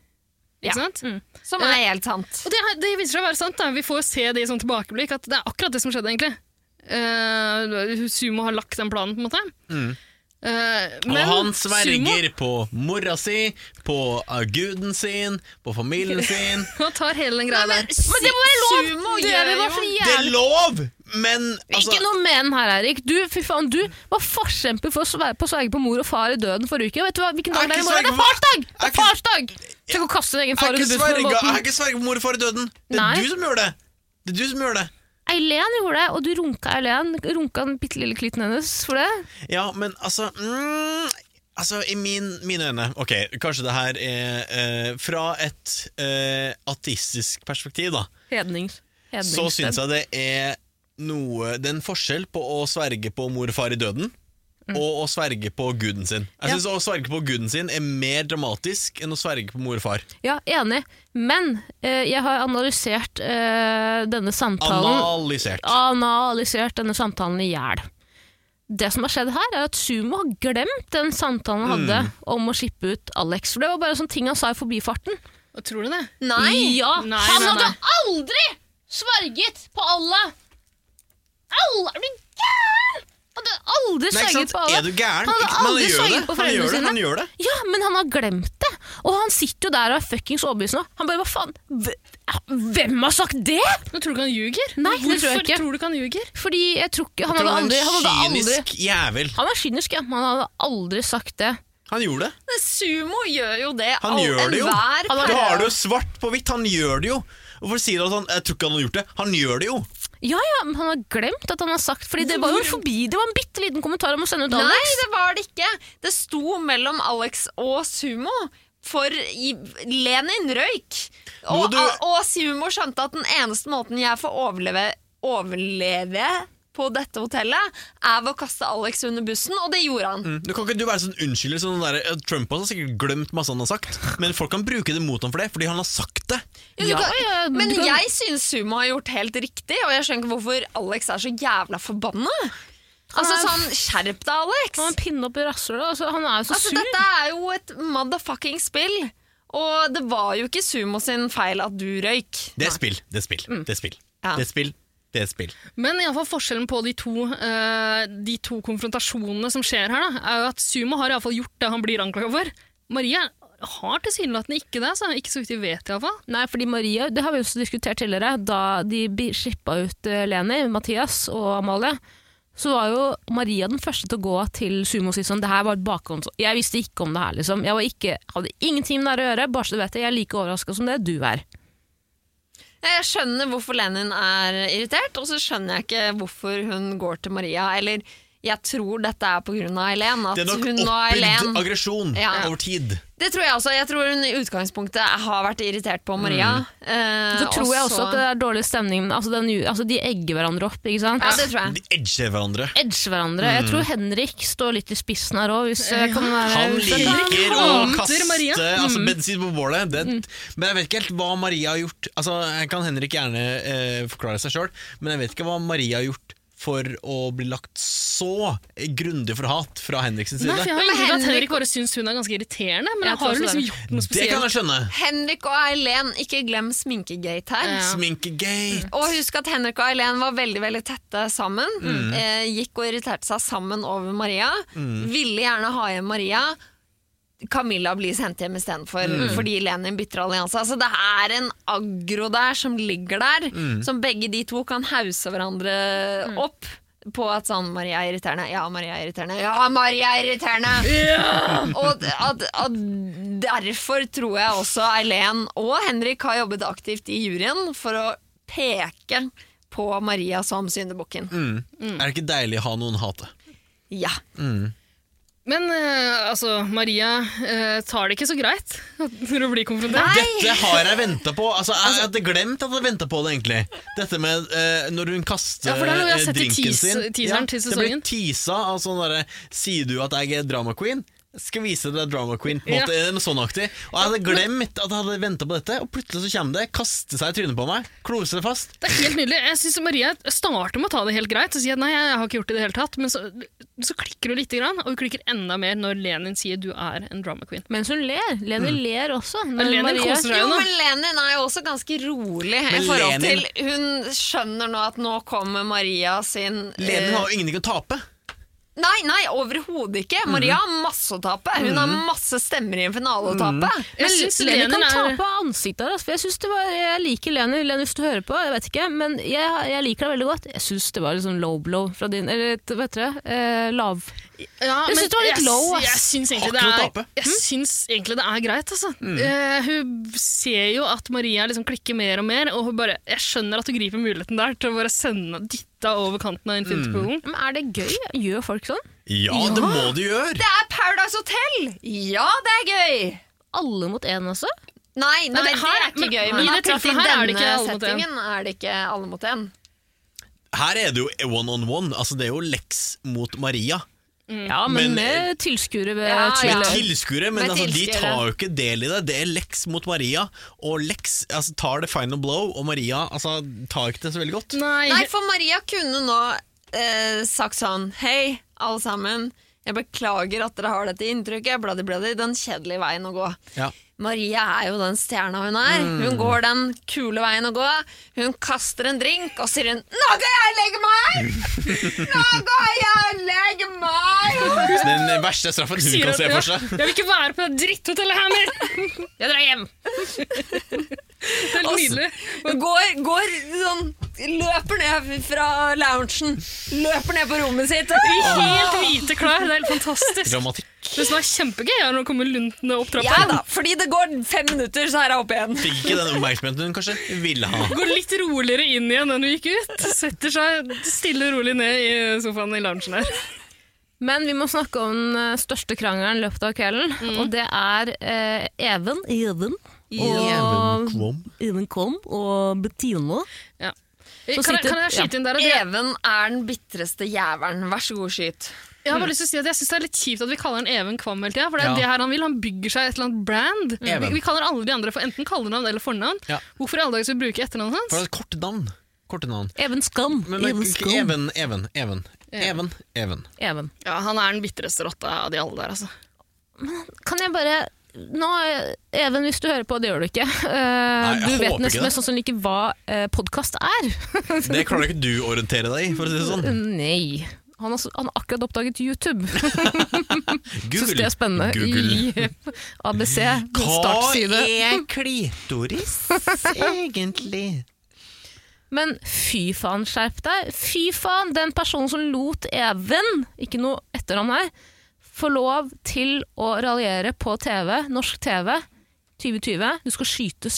Speaker 4: Ikke
Speaker 5: Ja.
Speaker 4: sant?
Speaker 5: Som er helt sant.
Speaker 4: Og det, er- det viser seg å være sant. Da. Vi får jo se det i sånn tilbakeblikk, at det er akkurat det som skjedde, egentlig. Eh, sumo har lagt den planen, på en måte. Eh,
Speaker 3: Og
Speaker 4: men
Speaker 3: han
Speaker 4: Sumo
Speaker 3: sverger på mora si, på uh, guden sin, på familien sin.
Speaker 4: han tar hele den greia der.
Speaker 5: Men det må være lov! Sumo
Speaker 2: Det
Speaker 5: gjør
Speaker 2: vi var
Speaker 5: jo
Speaker 2: så
Speaker 3: Det er
Speaker 2: jævlig
Speaker 3: lov, men altså,
Speaker 2: Ikke noe men her, Erik. Du, fy faen, du var forkjemper for å sverge på, sverge på mor og far i døden forrige uke. Vet du hva, hvilken dag
Speaker 3: Jeg
Speaker 2: det
Speaker 3: er
Speaker 2: er i
Speaker 3: ikke
Speaker 2: morgen? Det er farsdag! Det er
Speaker 3: Jeg er ikke-
Speaker 2: farsdag! Tenk å kaste din egen
Speaker 3: jeg
Speaker 2: far
Speaker 3: er
Speaker 2: under
Speaker 3: ikke
Speaker 2: bussen med
Speaker 3: sverga- jeg er
Speaker 2: båten.
Speaker 3: ikke sverga mor og far i døden. Det er
Speaker 2: Nei.
Speaker 3: du som gjør det. Det er du som gjør det.
Speaker 2: Eileen gjorde det, og du runka Eileen. Runka den bitte lille klitten hennes for det.
Speaker 3: Ja, men altså mm, Altså, i min, mine øyne Ok, kanskje det her er eh, Fra et eh, ateistisk perspektiv, da,
Speaker 2: Hednings.
Speaker 3: så syns jeg det er noe Det er en forskjell på å sverge på mor og far i døden.
Speaker 2: Mm.
Speaker 3: Og å sverge på guden sin. Jeg synes Å sverge på guden sin er mer dramatisk enn å sverge på mor og far.
Speaker 2: Ja, enig. Men eh, jeg har analysert eh, denne samtalen
Speaker 3: Analysert.
Speaker 2: Analysert denne samtalen i hjel. Det som har skjedd her, er at Sumo har glemt den samtalen han
Speaker 3: Mm.
Speaker 2: hadde om å slippe ut Alex. For det var bare sånne ting han sa i forbifarten.
Speaker 4: Tror du det?
Speaker 5: Nei!
Speaker 2: Ja,
Speaker 4: Nei,
Speaker 2: han
Speaker 4: nei,
Speaker 2: hadde aldri sverget på Allah! Allah, er du gæren?! Han hadde aldri
Speaker 3: Nei, ikke
Speaker 2: sverget
Speaker 3: sant?
Speaker 2: på Allah.
Speaker 3: Er du
Speaker 2: Han
Speaker 3: gæren?
Speaker 2: hadde
Speaker 3: Ikke- men
Speaker 2: aldri
Speaker 3: gjør
Speaker 2: sverget
Speaker 3: det.
Speaker 2: på
Speaker 3: Han
Speaker 2: foreldrene
Speaker 3: gjør det,
Speaker 2: sine.
Speaker 3: Han gjør det.
Speaker 2: Ja, men han har glemt det! Og han sitter jo der og er fuckings overbevist nå. Han bare hva faen? Hv- Hvem har sagt det?"
Speaker 4: Men tror du ikke han ljuger?
Speaker 2: Nei, det tror jeg
Speaker 4: Hvorfor
Speaker 2: ikke.
Speaker 4: tror du ikke han ljuger?
Speaker 2: Fordi jeg tror ikke Han
Speaker 3: Han
Speaker 2: hadde
Speaker 3: var en
Speaker 2: aldri Han, hadde aldri,
Speaker 3: kynisk jævel.
Speaker 2: han er kynisk, ja, men han hadde aldri sagt det.
Speaker 3: Han gjorde det.
Speaker 5: Men Sumo gjør jo det.
Speaker 3: Han gjør det jo.
Speaker 5: enhver
Speaker 3: Du
Speaker 5: per-
Speaker 3: har det jo svart på hvitt. Han gjør det jo. Hvorfor sier du at han Jeg tror ikke han har gjort det. Han gjør det jo.
Speaker 2: Ja, ja, men han har glemt at han har sagt Fordi det var jo forbi Det var en bitte liten kommentar om å sende ut Alex.
Speaker 5: Nei, det var det ikke. Det sto mellom Alex og Sumo. For i, Lenin røyk.
Speaker 3: Må
Speaker 5: Og,
Speaker 3: du-
Speaker 5: og Sumo skjønte at den eneste måten jeg får overleve, overleve på dette hotellet, er ved å kaste Alex under bussen, og det gjorde
Speaker 2: Mm.
Speaker 5: han.
Speaker 3: Du kan ikke du være sånn unnskylder. Sånn der, eh, Trump har sikkert glemt masse han har sagt, men folk kan bruke det mot ham for det, fordi han har sagt det.
Speaker 5: Jo, du
Speaker 2: Ja,
Speaker 5: kan,
Speaker 2: ja, du
Speaker 5: men
Speaker 2: kan-
Speaker 5: jeg syns Sumo har gjort helt riktig, og jeg skjønner ikke hvorfor Alex er så jævla forbanna. Altså
Speaker 2: Han
Speaker 5: sånn, skjerp deg, Alex!
Speaker 2: Han har en pinne opp i rasshølet. Altså, han er jo så
Speaker 5: Altså,
Speaker 2: sur.
Speaker 5: dette er jo et motherfucking spill. Og det var jo ikke Sumo sin feil at du røyk.
Speaker 3: Det er spill. Det er spill. Det er spill.
Speaker 5: Mm. Ja.
Speaker 3: Det er spill. Det er spill.
Speaker 4: Men i alle fall forskjellen på de to, eh, de to konfrontasjonene som skjer her, da, er jo at Sumo har i alle fall gjort det han blir anklaga for. Maria har tilsynelatende ikke det. Så ikke så vidt vi vet, iallfall.
Speaker 2: Nei, fordi Maria, det har vi også diskutert tidligere, da de bi- slippa ut eh, Leni, Mathias og Amalie, så var jo Maria den første til å gå til Sumo og si sånn, det her var et bakhånds... Jeg visste ikke om det her, liksom. Jeg var ikke, hadde ingenting med det her å gjøre, bare så du vet det, jeg er like overraska som det du er.
Speaker 5: Jeg skjønner hvorfor Lenin er irritert, og så skjønner jeg ikke hvorfor hun går til Maria. Eller Jeg tror dette er pga. Eileen.
Speaker 3: Det er
Speaker 5: At
Speaker 3: nok
Speaker 5: hun og
Speaker 3: oppbygd
Speaker 5: Eileen
Speaker 3: aggresjon
Speaker 5: Ja.
Speaker 3: over tid.
Speaker 5: Det tror jeg også. Jeg tror hun i utgangspunktet har vært irritert på Maria.
Speaker 3: Mm.
Speaker 5: eh,
Speaker 2: Så tror jeg
Speaker 5: og så-
Speaker 2: også at det er dårlig stemning. Altså, den, altså De egger hverandre opp. ikke sant?
Speaker 5: Ja, det tror jeg.
Speaker 3: De edger hverandre.
Speaker 2: Edger hverandre. Jeg tror Henrik står litt i spissen her eh, òg. Mm. Han
Speaker 3: Han liker å
Speaker 4: hater
Speaker 3: kaste
Speaker 4: Maria. Mm.
Speaker 3: altså, bensin på bålet. Det, men jeg vet ikke helt hva Maria har gjort. Altså, jeg kan Henrik gjerne eh, forklare seg sjøl, men jeg vet ikke hva Maria har gjort for å bli lagt så grundig for hat fra Henriks
Speaker 4: Nei,
Speaker 3: side.
Speaker 4: for jeg har
Speaker 5: Men
Speaker 4: inntrykk av at
Speaker 5: Henrik-
Speaker 4: Henrik bare syns hun er ganske irriterende, men
Speaker 2: Jeg
Speaker 4: jeg
Speaker 2: tror
Speaker 4: har jo
Speaker 2: også
Speaker 4: liksom
Speaker 2: det.
Speaker 4: gjort noe
Speaker 3: det kan
Speaker 4: spesielt.
Speaker 3: jeg skjønne.
Speaker 5: Henrik og Eileen, ikke glem sminkegate her.
Speaker 4: Ja.
Speaker 3: Sminkegate.
Speaker 5: Og husk at Henrik og Eileen var veldig veldig tette sammen. Eh, gikk og irriterte seg sammen over Maria. Ville gjerne ha hjem Maria. Camilla blir sendt hjem istedenfor fordi Lenin bytter allianse. Altså, det er en aggro der som ligger der, som begge de to kan hause hverandre opp på at sånn Maria er irriterende, ja, Maria er irriterende, ja, Maria er irriterende! Og at, at derfor tror jeg også Eileen og Henrik har jobbet aktivt i juryen for å peke på Maria som syndebukken.
Speaker 3: Mm. Er det ikke deilig å ha noen hate?
Speaker 5: Ja.
Speaker 4: Men eh, altså, Maria eh, tar det ikke så greit når hun blir konfrontert.
Speaker 3: Dette har jeg venta på. Altså, jeg hadde glemt at jeg venta på det, egentlig. Dette med eh, når hun kaster
Speaker 4: Ja, for det er noe jeg har
Speaker 3: eh,
Speaker 4: sett i
Speaker 3: drinken
Speaker 4: teas-
Speaker 3: sin.
Speaker 4: teaseren til
Speaker 3: det blir
Speaker 4: sesongen.
Speaker 3: teasa av sånn derre Sier du at jeg er drama queen? Skal vise deg drama queen. På en måte, noe sånn aktig. Og jeg hadde glemt at jeg hadde venta på dette, og plutselig så kommer det, kaster seg i trynet på meg, kloser det fast.
Speaker 4: Det er helt nydelig. Jeg synes Maria starter med å ta det helt greit og si at nei, jeg har ikke gjort det i det hele tatt, men så, så klikker hun lite grann, og hun klikker enda mer når Lenin sier du er en drama queen.
Speaker 2: Mens hun ler. Leni ler også. Men
Speaker 4: Lenin
Speaker 2: Maria-
Speaker 4: koser seg
Speaker 5: Jo,
Speaker 4: nå.
Speaker 5: men Lenin er jo også ganske rolig i
Speaker 3: Men
Speaker 5: forhold
Speaker 3: Lenin-
Speaker 5: til Hun skjønner nå at nå kommer Maria sin eh,
Speaker 3: Lenin har jo ingenting å tape.
Speaker 5: Nei, nei, overhodet ikke.
Speaker 3: Mhm.
Speaker 5: Maria har masse å tape. Hun har masse stemmer i en finale å tape.
Speaker 3: Mhm.
Speaker 4: Jeg
Speaker 2: Men
Speaker 4: synes
Speaker 2: Leni kan
Speaker 4: Lenin
Speaker 2: ta
Speaker 4: er-
Speaker 2: på ansiktet her. Altså, for jeg, synes det var, jeg liker Leni, Leni hvis du hører på, jeg vet ikke, men jeg, jeg liker deg veldig godt. Jeg syns det var litt sånn low blow fra din Eller vet dere eh, lav.
Speaker 4: Ja,
Speaker 2: Jeg synes
Speaker 4: men
Speaker 2: det var litt
Speaker 4: jeg-
Speaker 2: low, ass.
Speaker 4: Jeg syns egentlig,
Speaker 3: Har ikke noe å
Speaker 4: det er-
Speaker 3: tape. Mm.
Speaker 4: jeg syns egentlig det er greit, altså. Eh, hun ser jo at Maria liksom klikker mer og mer, og hun bare, jeg skjønner at hun griper muligheten der til å bare sende dytta over kanten av infinitepoolen.
Speaker 2: Men er det gøy? Gjør folk sånn?
Speaker 3: Ja, det må du gjøre!
Speaker 5: Det er Paradise Hotel! Ja, det er gøy!
Speaker 2: Alle mot én, altså?
Speaker 5: Nei, nei
Speaker 4: det
Speaker 5: det,
Speaker 4: her-
Speaker 5: er ikke
Speaker 4: men-
Speaker 5: gøy.
Speaker 4: men i
Speaker 5: Men
Speaker 4: det
Speaker 5: akkurat i
Speaker 4: tilfellet her er det
Speaker 5: denne
Speaker 4: ikke alle mot en.
Speaker 5: settingen er det ikke alle mot en.
Speaker 3: Her er det jo one on one. Altså, det er jo Lex mot Maria.
Speaker 2: Ja, men,
Speaker 3: Men, eh,
Speaker 2: med tilskuere ved
Speaker 5: Ja,
Speaker 2: tvil.
Speaker 5: ja.
Speaker 3: Med tilskuere, men
Speaker 5: Med
Speaker 3: altså, de
Speaker 5: tilskuere.
Speaker 3: tar jo ikke del i det. Det er Lex mot Maria, og Lex altså, tar det final blow, og Maria altså, tar ikke det så veldig godt.
Speaker 4: Nei,
Speaker 5: Nei, for Maria kunne nå eh, sagt sånn Hei, alle sammen. Jeg beklager at dere har dette inntrykket. Bladi, bladi. Den kjedelige veien å gå.
Speaker 3: Ja.
Speaker 5: Maria er jo den stjerna hun er.
Speaker 4: Mm.
Speaker 5: Hun går den kule veien å gå. Hun kaster en drink og sier hun 'Nå går jeg og legger meg!' Nå går jeg og legger meg!
Speaker 3: Så Den verste straffen hun
Speaker 4: sier
Speaker 3: kan se
Speaker 4: hun,
Speaker 3: for
Speaker 4: ja,
Speaker 3: seg.
Speaker 4: jeg vil ikke være på det dritthotellet her mer! Jeg drar hjem! Det er helt nydelig.
Speaker 5: Hun går, går sånn Løper ned fra loungen. Løper ned på rommet sitt.
Speaker 4: I helt hvite klær, det er helt fantastisk.
Speaker 3: Dramatikk.
Speaker 4: Det som er kjempegøy, er når hun kommer luntende opp trappa.
Speaker 5: Ja da, fordi det går fem minutter, så er jeg oppe igjen.
Speaker 3: Fikk ikke den oppmerksomheten hun kanskje ville ha.
Speaker 4: Går litt roligere inn igjen enn hun gikk ut. Setter seg stille og rolig ned i sofaen i loungen her.
Speaker 2: Men vi må snakke om den eh, største krangelen i løpet av kvelden, og det er eh, Even, Even og Even Kom og Bettina.
Speaker 4: Ja.
Speaker 2: Så
Speaker 4: Kan, jeg,
Speaker 2: sitter-
Speaker 4: kan jeg skyte inn der? at Jeg,
Speaker 5: Even er den bitreste jævelen. Vær så god, skyt.
Speaker 4: jeg har bare lyst til å si at jeg syns det er litt kjipt at vi kaller han Even Kvam hele tida. For det er
Speaker 3: Ja.
Speaker 4: det her han vil. Han bygger seg et eller annet brand.
Speaker 3: Even.
Speaker 4: Vi, vi kaller alle de andre for enten kallenavn eller fornavn.
Speaker 3: Ja.
Speaker 4: Hvorfor i alle dager skal vi bruke etternavnet hans?
Speaker 3: For det er et kort navn. Korte navn.
Speaker 2: Even Skam.
Speaker 3: Men, men
Speaker 2: Even
Speaker 3: ikke-
Speaker 2: Skam. Even.
Speaker 3: even, even, even. Even, even.
Speaker 2: Even.
Speaker 4: Ja, han er den bitreste rotta av de alle der, altså.
Speaker 2: Kan jeg bare nå, Even, hvis du hører på, det gjør du ikke. Eh,
Speaker 3: jeg
Speaker 2: du
Speaker 3: håper
Speaker 2: vet
Speaker 3: ikke
Speaker 2: nesten
Speaker 3: det.
Speaker 2: mest sannsynlig ikke hva uh, podkast er.
Speaker 3: Det klarer ikke du å orientere deg i, for å si det sånn.
Speaker 2: Nei. Han har, s- han har akkurat oppdaget YouTube. Syns
Speaker 3: Google.
Speaker 2: det er spennende.
Speaker 3: Google.
Speaker 2: I eh, ABC.
Speaker 3: Hva
Speaker 2: Startside.
Speaker 3: er klitoris, egentlig?
Speaker 2: Men fy faen, skjerp deg. Fy faen, den personen som lot Even, ikke noe etternavn her, få lov til å raljere på TV, norsk
Speaker 3: Mm.
Speaker 2: TV, 2020. Du skal skytes.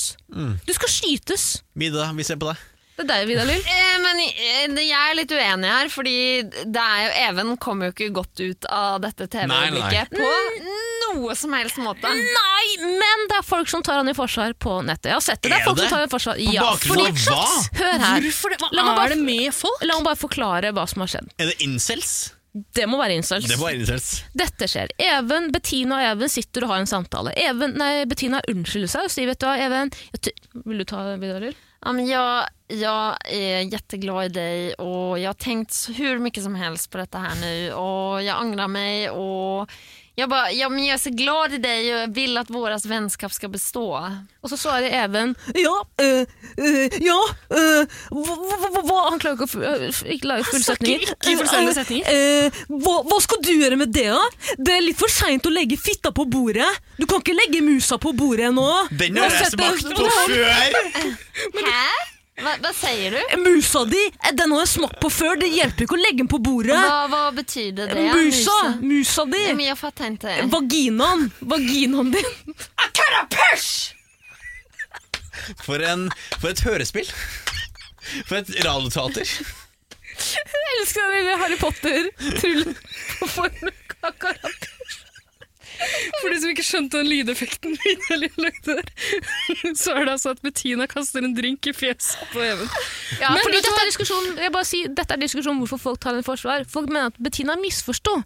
Speaker 2: Du skal skytes!
Speaker 3: Mida, vi ser på deg.
Speaker 2: Det er deg, Vidar Lill.
Speaker 5: Eh, Men eh, det- jeg er litt uenig her, fordi det er jo, Even kom jo ikke godt ut av dette
Speaker 3: Nei, nei, nei.
Speaker 5: TV-øyeblikket på noe som helst måte.
Speaker 2: Nei, men det er folk som tar han i forsvar på nettet. Jeg har sett det. det
Speaker 3: Er
Speaker 2: er folk som
Speaker 3: det?
Speaker 2: tar han i forsvar.
Speaker 3: På
Speaker 2: Ja,
Speaker 3: bakgrunn av hva?
Speaker 2: Hør her.
Speaker 4: Hvorfor det? Hva
Speaker 2: La meg bare-
Speaker 4: er det med folk?
Speaker 2: La meg bare forklare hva som har skjedd.
Speaker 3: Er det incels?
Speaker 2: Det må være incels.
Speaker 3: Det var incels.
Speaker 2: Dette skjer. Even, Bettina og Even sitter og har en samtale. Even, nei, Bettina unnskylder seg og sier vet du hva, Even jeg ty- Vil du ta Vidar Lill?
Speaker 5: Ja, men jag, jag är jätteglad i dig och jag har tänkt så- hur mycket som helst på detta här nu och jag ångrar mig och jag, bara, ja, men jag är så glad i dig och jag vill att våras vänskap ska bestå.
Speaker 2: Og så svarer Even Ja, øh, øh, ja øh, hva, hva, hva- hva Han klarer ikke å fu- øh, f- ikke lage full setning.
Speaker 4: ikke i fullstendige setninger.
Speaker 2: hva, hva skal du gjøre med det, da? Det er litt for seint å legge fitta på bordet. Du kan ikke legge musa på bordet nå.
Speaker 3: Den
Speaker 2: Nå
Speaker 3: har jeg
Speaker 2: setter jeg
Speaker 3: smakt på før!
Speaker 5: Hä? Va, vad säger du?
Speaker 2: Musa di, eh, den har jeg smakt på før. Det hjelper ikke å legge den på bordet.
Speaker 5: Vad, vad betyder det?
Speaker 2: Musa,
Speaker 5: Musa?
Speaker 2: musa
Speaker 5: Ja, Men
Speaker 2: di.
Speaker 5: jag fattar inte.
Speaker 2: Vaginaen. Vaginaen din.
Speaker 3: For, en, for et hørespill. For et radioteater.
Speaker 2: Jeg elsker den lille Harry Potter-trullen på formen av karate.
Speaker 4: For de som ikke skjønte den lydeffekten Vidar Lill lagde der, så er det altså at Bettina kaster en drink i fjeset på Even.
Speaker 2: Ja,
Speaker 4: Men
Speaker 2: fordi
Speaker 4: vet du
Speaker 2: dette
Speaker 4: hva?
Speaker 2: er diskusjonen jeg bare sier, Dette er diskusjonen om hvorfor folk tar henne i forsvar. Folk mener at Bettina misforsto.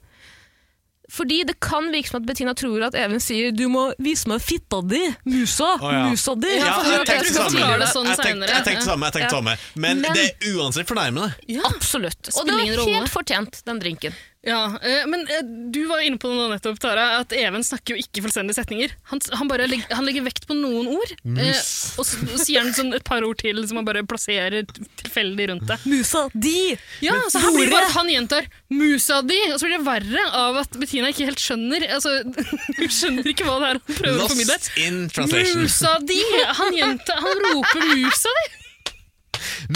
Speaker 2: Fordi det kan virke som at Bettina tror at Even sier 'du må vise meg fitta di', musa,
Speaker 3: Å, ja.
Speaker 2: musa di.
Speaker 4: Ja, for
Speaker 3: jeg
Speaker 4: jeg
Speaker 3: tenkte det
Speaker 4: tror hun
Speaker 3: samme.
Speaker 4: forklarer
Speaker 3: Jeg
Speaker 4: det sånn
Speaker 3: tenkte
Speaker 4: senere.
Speaker 3: jeg tenkte det samme. Jeg tenkte det samme. Men
Speaker 2: Men-
Speaker 3: det er uansett fornærmende.
Speaker 2: Absolutt. Og det
Speaker 4: Spiller ingen
Speaker 2: var
Speaker 4: rolle.
Speaker 2: helt fortjent, den drinken.
Speaker 4: Ja, eh, men eh, du var inne på det nå nettopp, Tara, at Even snakker jo ikke fullstendige setninger. Han, han, bare legg, han legger vekt på noen ord, eh,
Speaker 3: Mus.
Speaker 4: og så sier han sånn et par ord til som han bare plasserer tilfeldig rundt det.
Speaker 2: Musa di!
Speaker 4: Ja, så her blir det bare at han gjentar 'musa di', og så blir det verre av at Bettina ikke helt skjønner altså, Hun skjønner ikke hva det er hun prøver å formidle.
Speaker 3: Lost in translation.
Speaker 4: Musa di! Han, gjenta, han roper 'musa di'!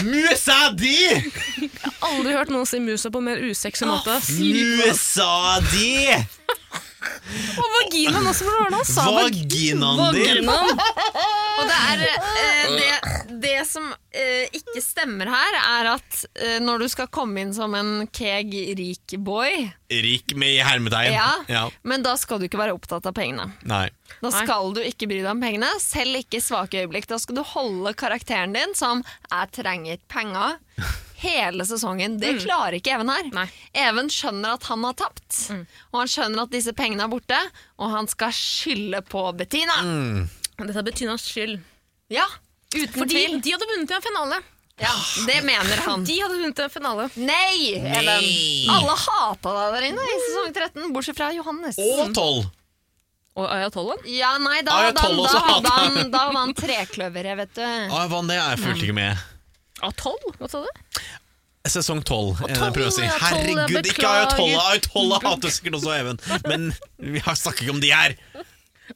Speaker 3: Musa di!
Speaker 2: Aldri hørt noen si musa på en mer usexy måte.
Speaker 3: Musa di!
Speaker 2: Og vaginaen også, hvordan var det han sa? Vag-
Speaker 3: Vaginaen din.
Speaker 4: Vaginaen.
Speaker 5: Og det er eh, det, det som eh, ikke stemmer her, er at eh, når du skal komme inn som en keg rik boy,
Speaker 3: Rik med i hermetegn.
Speaker 5: Ja. men da skal du ikke være opptatt av pengene.
Speaker 3: Nei.
Speaker 5: Da skal du ikke bry deg om pengene, selv ikke i svake øyeblikk. Da skal du holde karakteren din som 'jeg trenger penger' hele sesongen. Det klarer ikke Even her.
Speaker 2: Mm. Nei. Mm.
Speaker 5: Even skjønner at han har tapt, og han skjønner at disse pengene er borte, og han skal skylde på Bettina.
Speaker 3: Mm.
Speaker 2: Dette er Bettinas skyld.
Speaker 5: Ja, uten
Speaker 2: Fordi
Speaker 5: tvil.
Speaker 2: de hadde vunnet i en finale.
Speaker 5: Ja, det mener han.
Speaker 2: De hadde vunnet i en finale.
Speaker 5: Nei, Ellen! Alle hata deg der inne i sesong 13, bortsett fra Johannes.
Speaker 3: Og tolv.
Speaker 2: Og ayatollen.
Speaker 5: Ja, nei, da,
Speaker 3: Ah, ja,
Speaker 5: da,
Speaker 3: tolv også
Speaker 5: da,
Speaker 3: hatet.
Speaker 5: da, da, var han trekløveret, vet du.
Speaker 3: Ah, hva det er, jeg fulgte ikke med.
Speaker 2: Atoll, hva sa du?
Speaker 3: Sesong tolv. er det
Speaker 2: tolv,
Speaker 3: jeg prøver å si.
Speaker 2: ja, tolv, jeg
Speaker 3: Herregud, ikke
Speaker 2: beklager.
Speaker 3: Ayatollah. Ayatollah hater sikkert også Even. Men vi har snakket ikke om de her.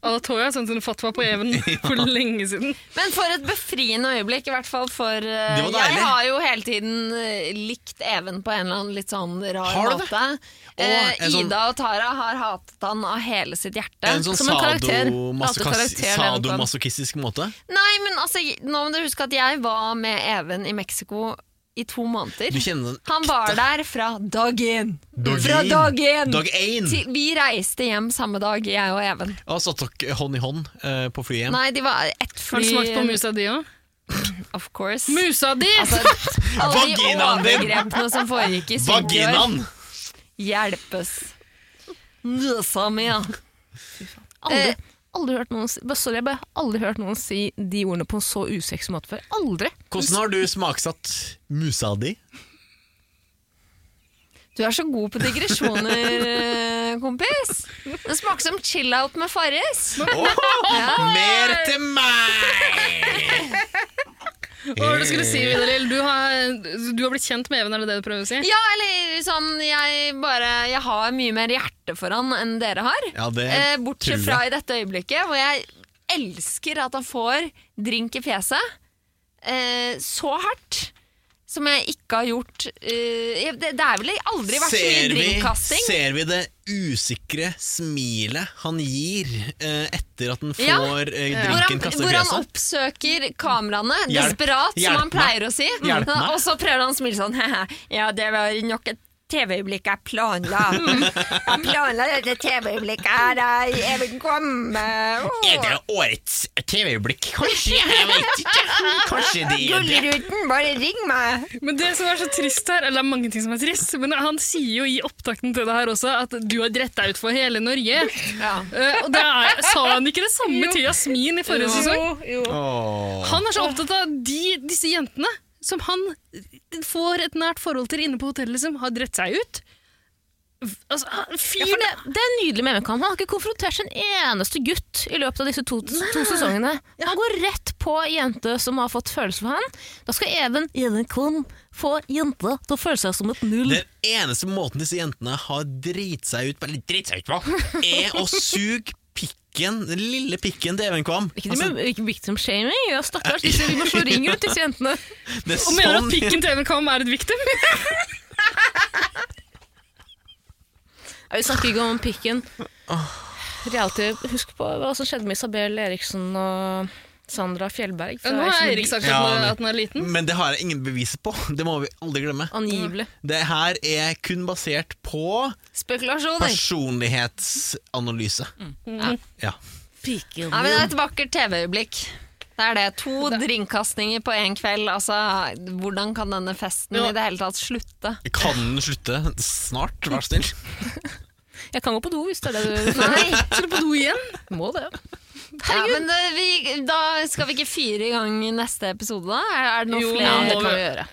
Speaker 4: Alatoya har sendt en fatwa på Even for lenge siden.
Speaker 5: Men for et befriende øyeblikk, i hvert fall for eh,
Speaker 3: Det var deilig.
Speaker 5: Jeg har jo hele tiden eh, likt Even på en eller annen litt sånn rar
Speaker 3: Har du det?
Speaker 5: måte. Eh,
Speaker 3: en sånn-
Speaker 5: Ida og Tara har hatet han av hele sitt hjerte.
Speaker 3: En sånn
Speaker 2: Som en karakter.
Speaker 3: sadomasokas-
Speaker 2: Hater karakteren, Even.
Speaker 3: sadomasochistisk måte.
Speaker 5: Nei, men altså, jeg- nå må du huske at jeg var med Even i Mexico i to måneder.
Speaker 3: Du kjenner den
Speaker 5: Han var der fra dag én.
Speaker 3: Dag
Speaker 5: fra
Speaker 3: én.
Speaker 5: dag én!
Speaker 3: Dag én!
Speaker 5: Til, vi reiste hjem samme dag, jeg og Even.
Speaker 3: Og satt dere hånd i hånd eh, på flyet hjem.
Speaker 5: Nei, de var ett fly.
Speaker 4: Har du smakt på musa di òg?
Speaker 5: Of course.
Speaker 4: Musa di!
Speaker 5: Altså, alle de
Speaker 3: Vaginaen din!
Speaker 5: overgrepene som foregikk i Sydney.
Speaker 3: Vaginaen!
Speaker 5: Hjelpes. Musa mi, ja.
Speaker 2: Aldri,
Speaker 5: Eh.
Speaker 2: aldri hørt noen si, bare, sorry, jeg bare aldri hørt noen si de ordene på en så usexy måte før. Aldri!
Speaker 3: Hvordan har du smaksatt musa di?
Speaker 5: Du er så god på digresjoner, eh, kompis. Det smaker som chill-out med Farris.
Speaker 3: Mer til meg!
Speaker 4: Hva var det du skulle si, Vidar Lill? Du, har- du har blitt kjent med Even, er det det du prøver å si?
Speaker 5: Ja, eller sånn jeg, bare, jeg har mye mer hjerte for han enn dere har.
Speaker 3: Ja, det
Speaker 5: eh, bortsett
Speaker 3: tror jeg.
Speaker 5: fra i dette øyeblikket, hvor jeg elsker at han får drink i fjeset eh, så hardt. som jeg ikke har gjort eh, jeg- det, det er vel aldri vært så mye
Speaker 3: Ser vi,
Speaker 5: drinkkasting?
Speaker 3: ser vi det usikre smilet han gir eh, etter at han
Speaker 5: Ja.
Speaker 3: får eh,
Speaker 5: Hvor
Speaker 3: drinken
Speaker 5: han,
Speaker 3: kastet i
Speaker 5: hvor han
Speaker 3: fjeset?
Speaker 5: oppsøker kameraene,
Speaker 3: Hjelp-
Speaker 5: desperat,
Speaker 3: hjelp
Speaker 5: som han
Speaker 3: meg.
Speaker 5: pleier å si.
Speaker 3: Hjelp meg.
Speaker 5: Og så prøver han å smile sånn. «Haha, Ja, det var nok et TV-øyeblikk jeg planla. Jeg planla dette TV-øyeblikket her, jeg- jeg vil komme.
Speaker 3: Er det årets TV-øyeblikk? Kanskje, jeg vet ikke. Kanskje de det.
Speaker 5: Gullruten, bare ring meg!
Speaker 4: Men det som er så trist her, eller det er mange ting som er trist, men han sier jo i opptakten til det her også at du har drett deg ut for hele Norge. Eh, og det er, sa han ikke det samme til Jasmin i forrige sesong? Han er så opptatt av de, disse jentene som han får et nært forhold til inne på hotellet, som har drett seg ut. V- Altså, han-
Speaker 2: For
Speaker 4: fyren
Speaker 2: det, det er nydelig med MKM. Han har ikke konfrontert sin eneste gutt i løpet av disse to, to sesongene. Han går rett på jente som har fått følelser for han. Da skal Even Jenekon få jente til å føle seg som et null.
Speaker 3: Den eneste måten disse jentene har drit seg ut på, eller drit seg ut på, er å suge pikken, den lille pikken til Even Kvam. Altså,
Speaker 2: Ikke det med ikke victim shaming. Ja, stakkars, disse, vi må slå ring rundt disse jentene.
Speaker 3: det er
Speaker 4: Og mener at
Speaker 3: sånn-
Speaker 4: pikken til Even Kam er et victim?
Speaker 2: Ja, vi snakker ikke om pikken. Reality, husk på hva som skjedde med Isabel Eriksen og Sandra Fjellberg. fra
Speaker 4: Nå har
Speaker 2: Ex on the
Speaker 4: Eirik sagt at
Speaker 3: Ja,
Speaker 4: den er-
Speaker 3: men-
Speaker 4: at den er liten.
Speaker 3: Men det har jeg ingen bevis på, det må vi aldri glemme.
Speaker 2: Beach. Angivelig.
Speaker 3: Det her er kun basert på
Speaker 5: Spekulasjoner.
Speaker 3: personlighetsanalyse.
Speaker 5: Mm.
Speaker 3: Ja.
Speaker 2: Piken.
Speaker 5: Ja, men det er et vakkert TV-øyeblikk. Det er det. To drinkkastninger på én kveld. Altså, hvordan kan denne festen i det hele tatt slutte?
Speaker 3: Kan den slutte snart, vær så snill?
Speaker 2: Jeg kan gå på do hvis det er det du
Speaker 5: Nei!
Speaker 4: Skal du på do igjen?
Speaker 2: må. det.
Speaker 5: Ja, men det, vi, da skal vi ikke fyre i gang neste episode, da? Er, er det noe
Speaker 4: Jo,
Speaker 5: flere?
Speaker 4: ja,
Speaker 2: det kan vi gjøre.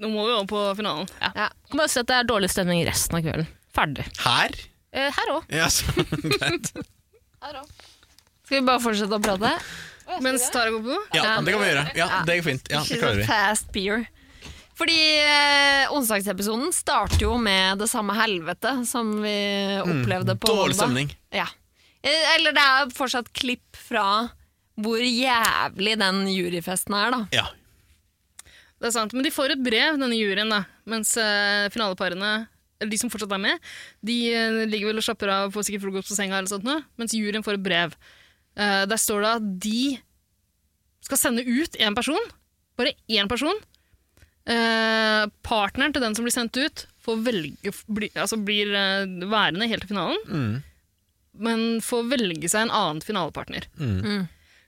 Speaker 4: Nå må vi over på finalen.
Speaker 5: Ja.
Speaker 2: Kan Bare si at det er dårlig stemning resten av kvelden. Ferdig.
Speaker 3: Her?
Speaker 2: Eh, her òg.
Speaker 3: Ja, så, greit.
Speaker 5: Skal vi bare fortsette å prate?
Speaker 4: Mens Tara går på do?
Speaker 3: Ja, det kan vi gjøre. Ja, det går fint. Ja, det
Speaker 5: She's a
Speaker 3: klarer vi.
Speaker 5: fast beer. Fordi eh, onsdagsepisoden starter jo med det samme helvete som vi opplevde på
Speaker 3: Dårlig
Speaker 5: mandag.
Speaker 3: stemning.
Speaker 5: Ja. Eh, Eller det er fortsatt klipp fra hvor jævlig den juryfesten er, da.
Speaker 3: Ja.
Speaker 4: Det er sant, men de får et brev, denne juryen, da. Mens eh, finaleparene, eller de som fortsatt er med, de eh, ligger vel og slapper av og får sikkert frokost på senga, eller sånt noe, mens juryen får et brev. Eh, der står det at de skal sende ut én person, bare én person. Eh, partneren til den som blir sendt ut, får velge, bli, altså blir eh, værende helt til finalen, men får velge seg en annen finalepartner.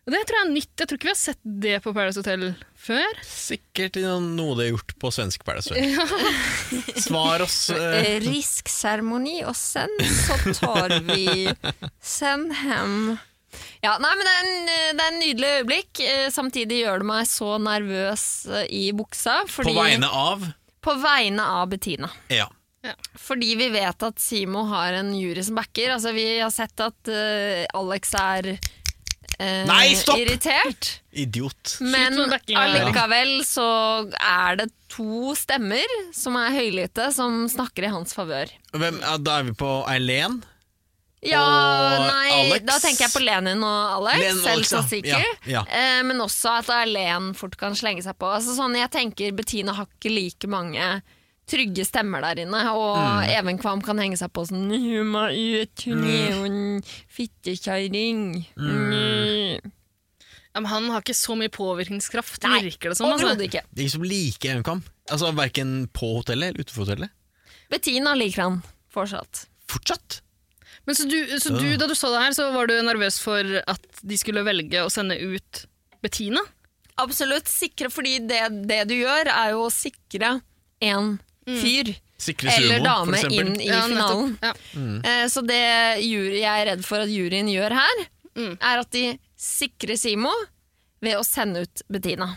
Speaker 4: Og det tror jeg er nytt. Jeg tror ikke vi har sett det på Paradise Hotel før.
Speaker 3: Sikkert noe det er gjort på svensk Paradise Hotel. Svar oss. eh,
Speaker 5: Risk-seremoni, og sen så tar vi Send hem. Ja, nei, men det er, en, eh, det er en nydelig øyeblikk. Eh, Samtidig gjør det meg så nervøs eh, i buksa.
Speaker 3: På
Speaker 5: Fordi,
Speaker 3: vegne av
Speaker 5: på vegne av Bettina.
Speaker 3: Ja.
Speaker 5: Fordi vi vet at Simo har en jury som backer. Altså, vi har sett at eh, Alex er eh,
Speaker 3: Nei, stopp!
Speaker 5: irritert.
Speaker 3: Idiot.
Speaker 5: Men
Speaker 4: med backinga.
Speaker 5: allikevel så er det to stemmer som er høylytte, som snakker i hans favør.
Speaker 3: Hvem, ja, da er vi på Eileen.
Speaker 5: Ja,
Speaker 3: Og
Speaker 5: nei,
Speaker 3: Alex?
Speaker 5: da tenker jeg på Lenin og Alex,
Speaker 3: Lenin og
Speaker 5: selv
Speaker 3: Alex,
Speaker 5: så
Speaker 3: ja.
Speaker 5: sikker.
Speaker 3: Ja, ja.
Speaker 5: Eh, men også at Alen fort kan slenge seg på. Altså, sånn, jeg tenker Bettina har ikke like mange trygge stemmer der inne, og
Speaker 3: Mm.
Speaker 5: Even Kvam kan henge seg på sånn Hun må ut, hun er jo en fittekjerring. Mm.
Speaker 4: Ja, men han har ikke så mye påvirkningskraft,
Speaker 5: Nei,
Speaker 4: virker det som. altså.
Speaker 5: Overhodet ikke.
Speaker 3: Det er ikke som like Evenkam. Altså, Verken på hotellet eller utenfor hotellet.
Speaker 5: Bettina liker han fortsatt.
Speaker 3: Fortsatt.
Speaker 4: Men så du, så
Speaker 3: Ah.
Speaker 4: du, da du så det her, så var du nervøs for at de skulle velge å sende ut Bettina?
Speaker 5: Absolutt sikre, fordi det, det du gjør, er jo å sikre en fyr.
Speaker 3: Sikre sumo,
Speaker 5: Eller
Speaker 3: for
Speaker 5: dame
Speaker 3: eksempel.
Speaker 5: inn i
Speaker 4: Ja, nettopp.
Speaker 5: finalen.
Speaker 4: Ja.
Speaker 5: Eh, Så det jury, jeg er redd for at juryen gjør her, er at de sikrer Simo ved å sende ut Bettina.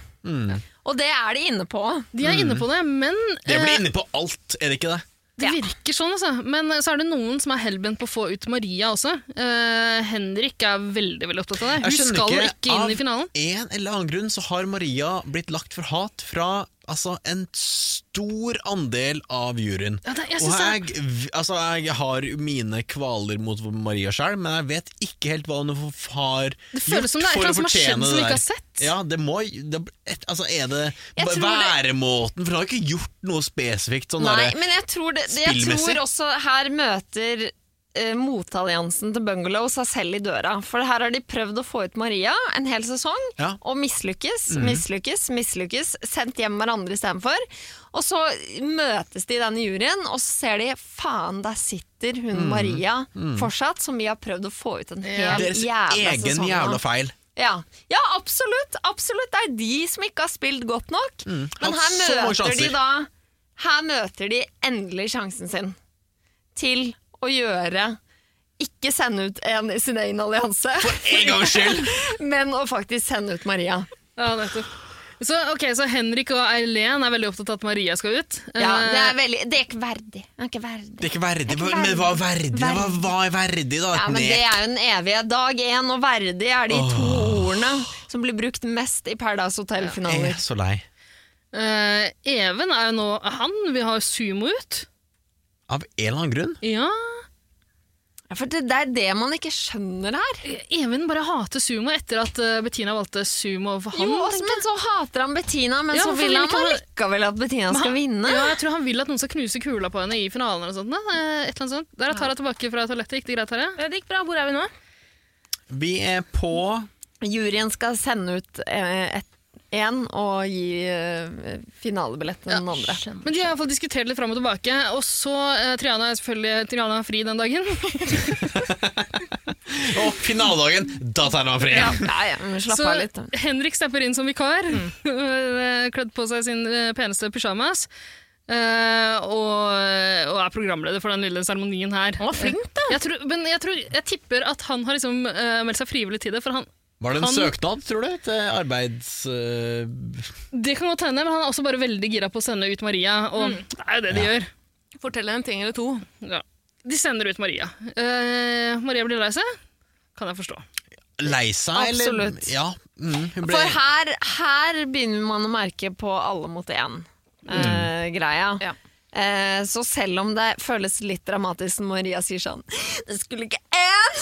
Speaker 5: Og det er de inne på.
Speaker 4: De er inne på det, men
Speaker 3: Jeg
Speaker 4: eh,
Speaker 3: Mm. blir inne på alt, er det ikke det?
Speaker 4: det
Speaker 5: Ja.
Speaker 4: virker sånn. altså. Men eh, så er det noen som er hellbent på å få ut Maria også. Eh, Henrik er veldig veldig opptatt av det. Hun skal ikke, inn i finalen.
Speaker 3: Av en eller annen grunn så har Maria blitt lagt for hat fra altså en stor andel av juryen.
Speaker 4: Ja, det- jeg
Speaker 3: og
Speaker 4: synes
Speaker 3: jeg, altså, jeg har mine kvaler mot Maria sjøl, men jeg vet ikke helt hva hun har
Speaker 4: Det føles
Speaker 3: gjort
Speaker 4: som det er et
Speaker 3: for å
Speaker 4: eller annet som har skjedd
Speaker 3: fortjene
Speaker 4: som
Speaker 3: det
Speaker 4: vi ikke
Speaker 3: der.
Speaker 4: har sett.
Speaker 3: Ja, det må det, et, Altså, er det
Speaker 7: Jeg
Speaker 3: b-
Speaker 7: tror det-
Speaker 3: væremåten For hun har ikke gjort noe spesifikt. Sånn
Speaker 7: Nei,
Speaker 3: derre-
Speaker 7: men jeg tror, det, det, jeg
Speaker 3: spillmessig.
Speaker 7: tror også her møter eh, motalliansen til Bungalow seg selv i døra. For her har de prøvd å få ut Maria en hel sesong,
Speaker 3: Ja. Mhm.
Speaker 7: og mislykkes, mislykkes, mislykkes. Sendt hjem hverandre istedenfor. Og så møtes de i denne juryen, og så ser de faen, der sitter hun
Speaker 3: Mhm.
Speaker 7: Maria fortsatt, som vi har prøvd å få ut en hel
Speaker 3: Deres
Speaker 7: jævla
Speaker 3: egen
Speaker 4: sånn
Speaker 7: sesong. nå.
Speaker 3: jævla feil.
Speaker 7: Ja. ja, absolutt. absolutt. Det er de som ikke har spilt godt nok.
Speaker 5: Mm.
Speaker 7: Men
Speaker 3: Hatt
Speaker 7: her
Speaker 3: så mange
Speaker 7: møter de
Speaker 3: sjanser.
Speaker 7: da Her møter de endelig sjansen sin til å gjøre Ikke sende ut en i sin egen allianse,
Speaker 3: En gangs skyld!
Speaker 7: men å faktisk sende ut Maria.
Speaker 4: Ja, nettopp. Så, ok, så Henrik og Eileen er veldig opptatt av at Maria skal ut.
Speaker 7: Ja,
Speaker 4: Eh,
Speaker 7: det er, veldig, det er ikke verdig. Det er ikke verdig.
Speaker 3: Det er ikke verdig,
Speaker 7: Det er ikke
Speaker 3: men hva er verdig? Hva,
Speaker 7: Verdig.
Speaker 3: hva er verdig, da?
Speaker 7: Ja, men det er jo den evige. Dag én og verdig er de to ordene som blir brukt mest i Paradise
Speaker 3: jeg
Speaker 7: Hotel-finaler.
Speaker 3: er så lei.
Speaker 4: eh, Even er jo nå han. Vi har sumo ut.
Speaker 3: Av en eller annen grunn.
Speaker 4: Ja.
Speaker 7: Ja, for det, det er det man ikke skjønner her.
Speaker 4: Even bare hater sumo etter at eh, Bettina valgte sumo for han.
Speaker 7: Jo, altså, også,
Speaker 4: tenker jeg.
Speaker 7: men så hater han Bettina, men
Speaker 4: Ja,
Speaker 7: så
Speaker 4: hvorfor
Speaker 7: vil
Speaker 4: vil
Speaker 7: han
Speaker 4: ikke han-
Speaker 7: likevel at Bettina skal vinne.
Speaker 4: Ja, jeg tror han vil at noen skal knuse kula på henne i finalen. Eller sånt, da. Eh, Et eller annet sånt. Der er Tara tilbake fra toalettet. Gikk det greit, Tara?
Speaker 2: Ja, Det gikk bra. Hvor er vi nå?
Speaker 3: Vi er på
Speaker 7: Juryen skal sende ut eh, ett- en og gi eh, finalebillett til den andre.
Speaker 4: Men de har i hvert fall diskutert litt fram og tilbake. Og så eh, Triana er selvfølgelig Triana er fri den dagen.
Speaker 3: Og finaledagen, da tar man fri!
Speaker 7: Ja, ja, ja, men slapp
Speaker 4: Så
Speaker 7: av litt. da. Mm.
Speaker 4: Henrik stepper inn som vikar. Kledd på seg sin eh, peneste pysjamas. eh, og, og er programleder for den lille seremonien her.
Speaker 2: Han var flink, da.
Speaker 4: Jeg, tror, men jeg, tror, jeg tipper at han har liksom, eh, meldt seg frivillig til det. For han,
Speaker 3: Var det en
Speaker 4: Han-
Speaker 3: søknad, tror du? Til arbeids... øh,
Speaker 4: det kan godt hende, men han er også bare veldig gira på å sende ut Maria. Og det er jo det de gjør.
Speaker 2: Mm. Fortell en ting eller to.
Speaker 4: Ja. De sender ut Maria. Eh, Maria blir lei seg. Kan jeg forstå.
Speaker 3: lei seg, eller?
Speaker 7: Absolutt.
Speaker 3: Ja. Mm, hun ble
Speaker 7: For her, her begynner man å merke på alle mot
Speaker 3: Mm.
Speaker 7: én-greia.
Speaker 2: Ja.
Speaker 7: Eh, så selv om det føles litt dramatisk når Maria sier sånn Det skulle ikke én,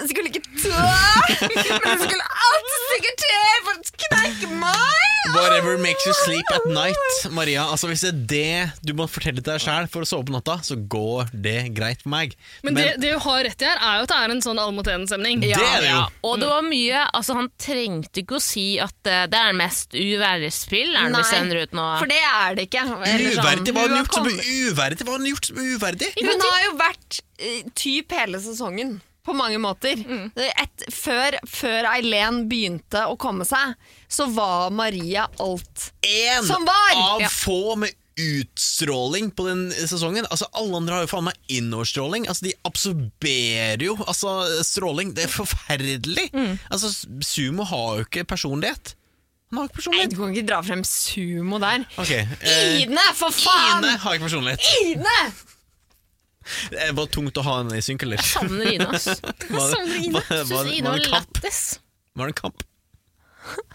Speaker 7: det skulle ikke to, men det skulle alltid sikkert til for å knekke meg!
Speaker 3: Whatever makes you sleep at night, Maria. Altså Hvis det er det du må fortelle til deg sjæl for å sove på natta, så går det greit for meg.
Speaker 4: Men, det, det hun har rett i her, er jo at det er en sånn all mot én-stemning.
Speaker 3: det er det jo!
Speaker 2: Og det var mye altså Han trengte ikke å si at eh, det er mest uverre spill er det
Speaker 7: Nei,
Speaker 2: vi sender ut nå.
Speaker 7: For det er det ikke. Eller sånn,
Speaker 3: Uverdig, hva har hun gjort som
Speaker 7: kommet-
Speaker 3: uverdig? Hva har hun gjort som uverdig?
Speaker 7: Hun har jo vært eh, typ hele sesongen. På mange måter.
Speaker 2: Mm.
Speaker 7: Et, før, før Eileen begynte å komme seg, så var Maria alt.
Speaker 3: Én
Speaker 7: Som var!
Speaker 3: av
Speaker 7: Ja.
Speaker 3: få med utstråling på den sesongen. Altså Alle andre har jo faen meg innoverstråling. Altså, de absorberer jo altså, stråling. Det er forferdelig!
Speaker 7: Mm.
Speaker 3: Altså, Sumo har jo ikke personlighet. Han har ikke
Speaker 7: Nei, du
Speaker 3: personlighet.
Speaker 7: kan ikke dra frem sumo der.
Speaker 3: Ok, eh,
Speaker 7: Ine, for faen!
Speaker 3: Ine har ikke personlighet.
Speaker 7: Ine!
Speaker 3: Det var tungt å ha henne i synk, eller?
Speaker 2: Savner Ine, ass.
Speaker 3: Var det-
Speaker 2: Savner Ine.
Speaker 3: var- var-
Speaker 2: Syns Ine
Speaker 3: var
Speaker 2: var
Speaker 3: det kamp?
Speaker 2: lættis.
Speaker 3: Var det en kamp?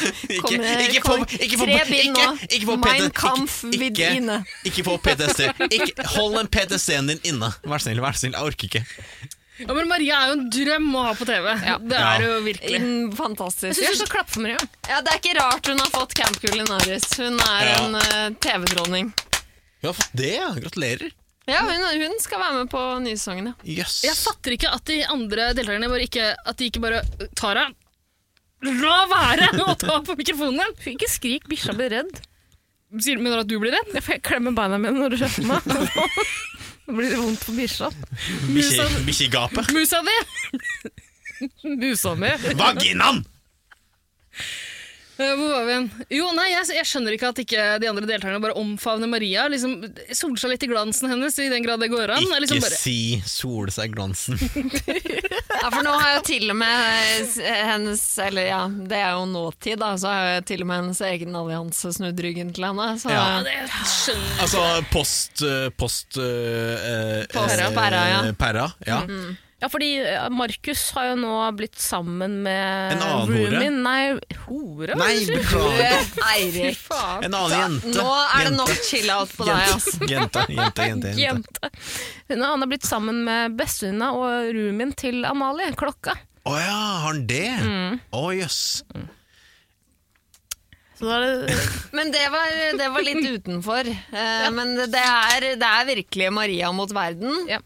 Speaker 3: Ikke,
Speaker 7: Kommer-
Speaker 3: ikke, få,
Speaker 7: kommer
Speaker 3: ikke, få,
Speaker 7: tre bind
Speaker 3: ikke,
Speaker 7: nå.
Speaker 3: ikke få
Speaker 7: Mein
Speaker 3: PT
Speaker 7: Kampf
Speaker 3: ikke,
Speaker 7: with
Speaker 3: ikke-
Speaker 7: Ine.
Speaker 3: Ikke få PTSD. Ikke, hold den PTSD-en din inne. Vær snill, vær snill, jeg orker ikke.
Speaker 4: Ja, men Maria er jo en drøm å ha på TV. Det
Speaker 3: Ja.
Speaker 4: er jo virkelig.
Speaker 7: Mm,
Speaker 2: Jeg
Speaker 7: Fantastisk.
Speaker 2: syns du skal klappe for Maria.
Speaker 7: Ja, det er ikke rart hun har fått Camp Culinaris. Hun er
Speaker 3: Ja.
Speaker 7: en eh, TV-dronning.
Speaker 3: Hun har fått det, ja. Gratulerer.
Speaker 7: Ja, hun, hun skal være med på nysesongen. ja.
Speaker 3: Jøss.
Speaker 4: Jeg fatter ikke at de andre deltakerne bare ikke, at de ikke bare Tara, la være å ta på mikrofonen!
Speaker 2: Ikke skrik, bikkja blir redd.
Speaker 4: Sier du mener du at du blir redd?
Speaker 2: Jeg får klemme beina mine når du kjefter meg. Nå blir det vondt på bikkja.
Speaker 3: Bikkje-
Speaker 7: liksom-
Speaker 3: Bikkjegapet.
Speaker 4: Musa di!
Speaker 2: Musa mi.
Speaker 3: Vaginaen!
Speaker 4: Eh, Hvor var vi igjen? Jo, nei, jeg, jeg skjønner ikke at ikke de andre deltakerne bare omfavner Maria. liksom Soler seg litt i glansen hennes, i den grad det går an.
Speaker 3: Ikke
Speaker 4: Liksom bare,
Speaker 3: si sol seg glansen.
Speaker 7: Ja, for nå har jo til og med eh, s- hennes Eller ja, det er jo nåtid, da. Så har jo til og med hennes egen allianse snudd ryggen til henne. Så
Speaker 3: Ja.
Speaker 4: det skjønner
Speaker 3: Altså post eh, Post eh, eh,
Speaker 7: Post-
Speaker 3: eh,
Speaker 7: Perra, ja. Mm.
Speaker 3: Perra, ja.
Speaker 2: Ja, fordi eh, Markus har jo nå blitt sammen med
Speaker 3: En annen
Speaker 2: roomien.
Speaker 3: hore?
Speaker 2: Nei, hore?
Speaker 3: Nei, beklager.
Speaker 7: Eirik.
Speaker 2: faen.
Speaker 3: En annen jente.
Speaker 7: Nå er
Speaker 3: Jente.
Speaker 7: det nok chill-out på deg, ass.
Speaker 3: Jente, jente, jente. jente.
Speaker 2: Jente. Hun han har blitt sammen med bestevenninna og roomien til Amalie, klokka.
Speaker 3: Å ja, har han det? Å
Speaker 7: Mm.
Speaker 3: jøss.
Speaker 2: Så da er det
Speaker 7: Men det var, det var litt utenfor. Eh, Men det det er, det er virkelig Maria mot verden.
Speaker 2: Ja.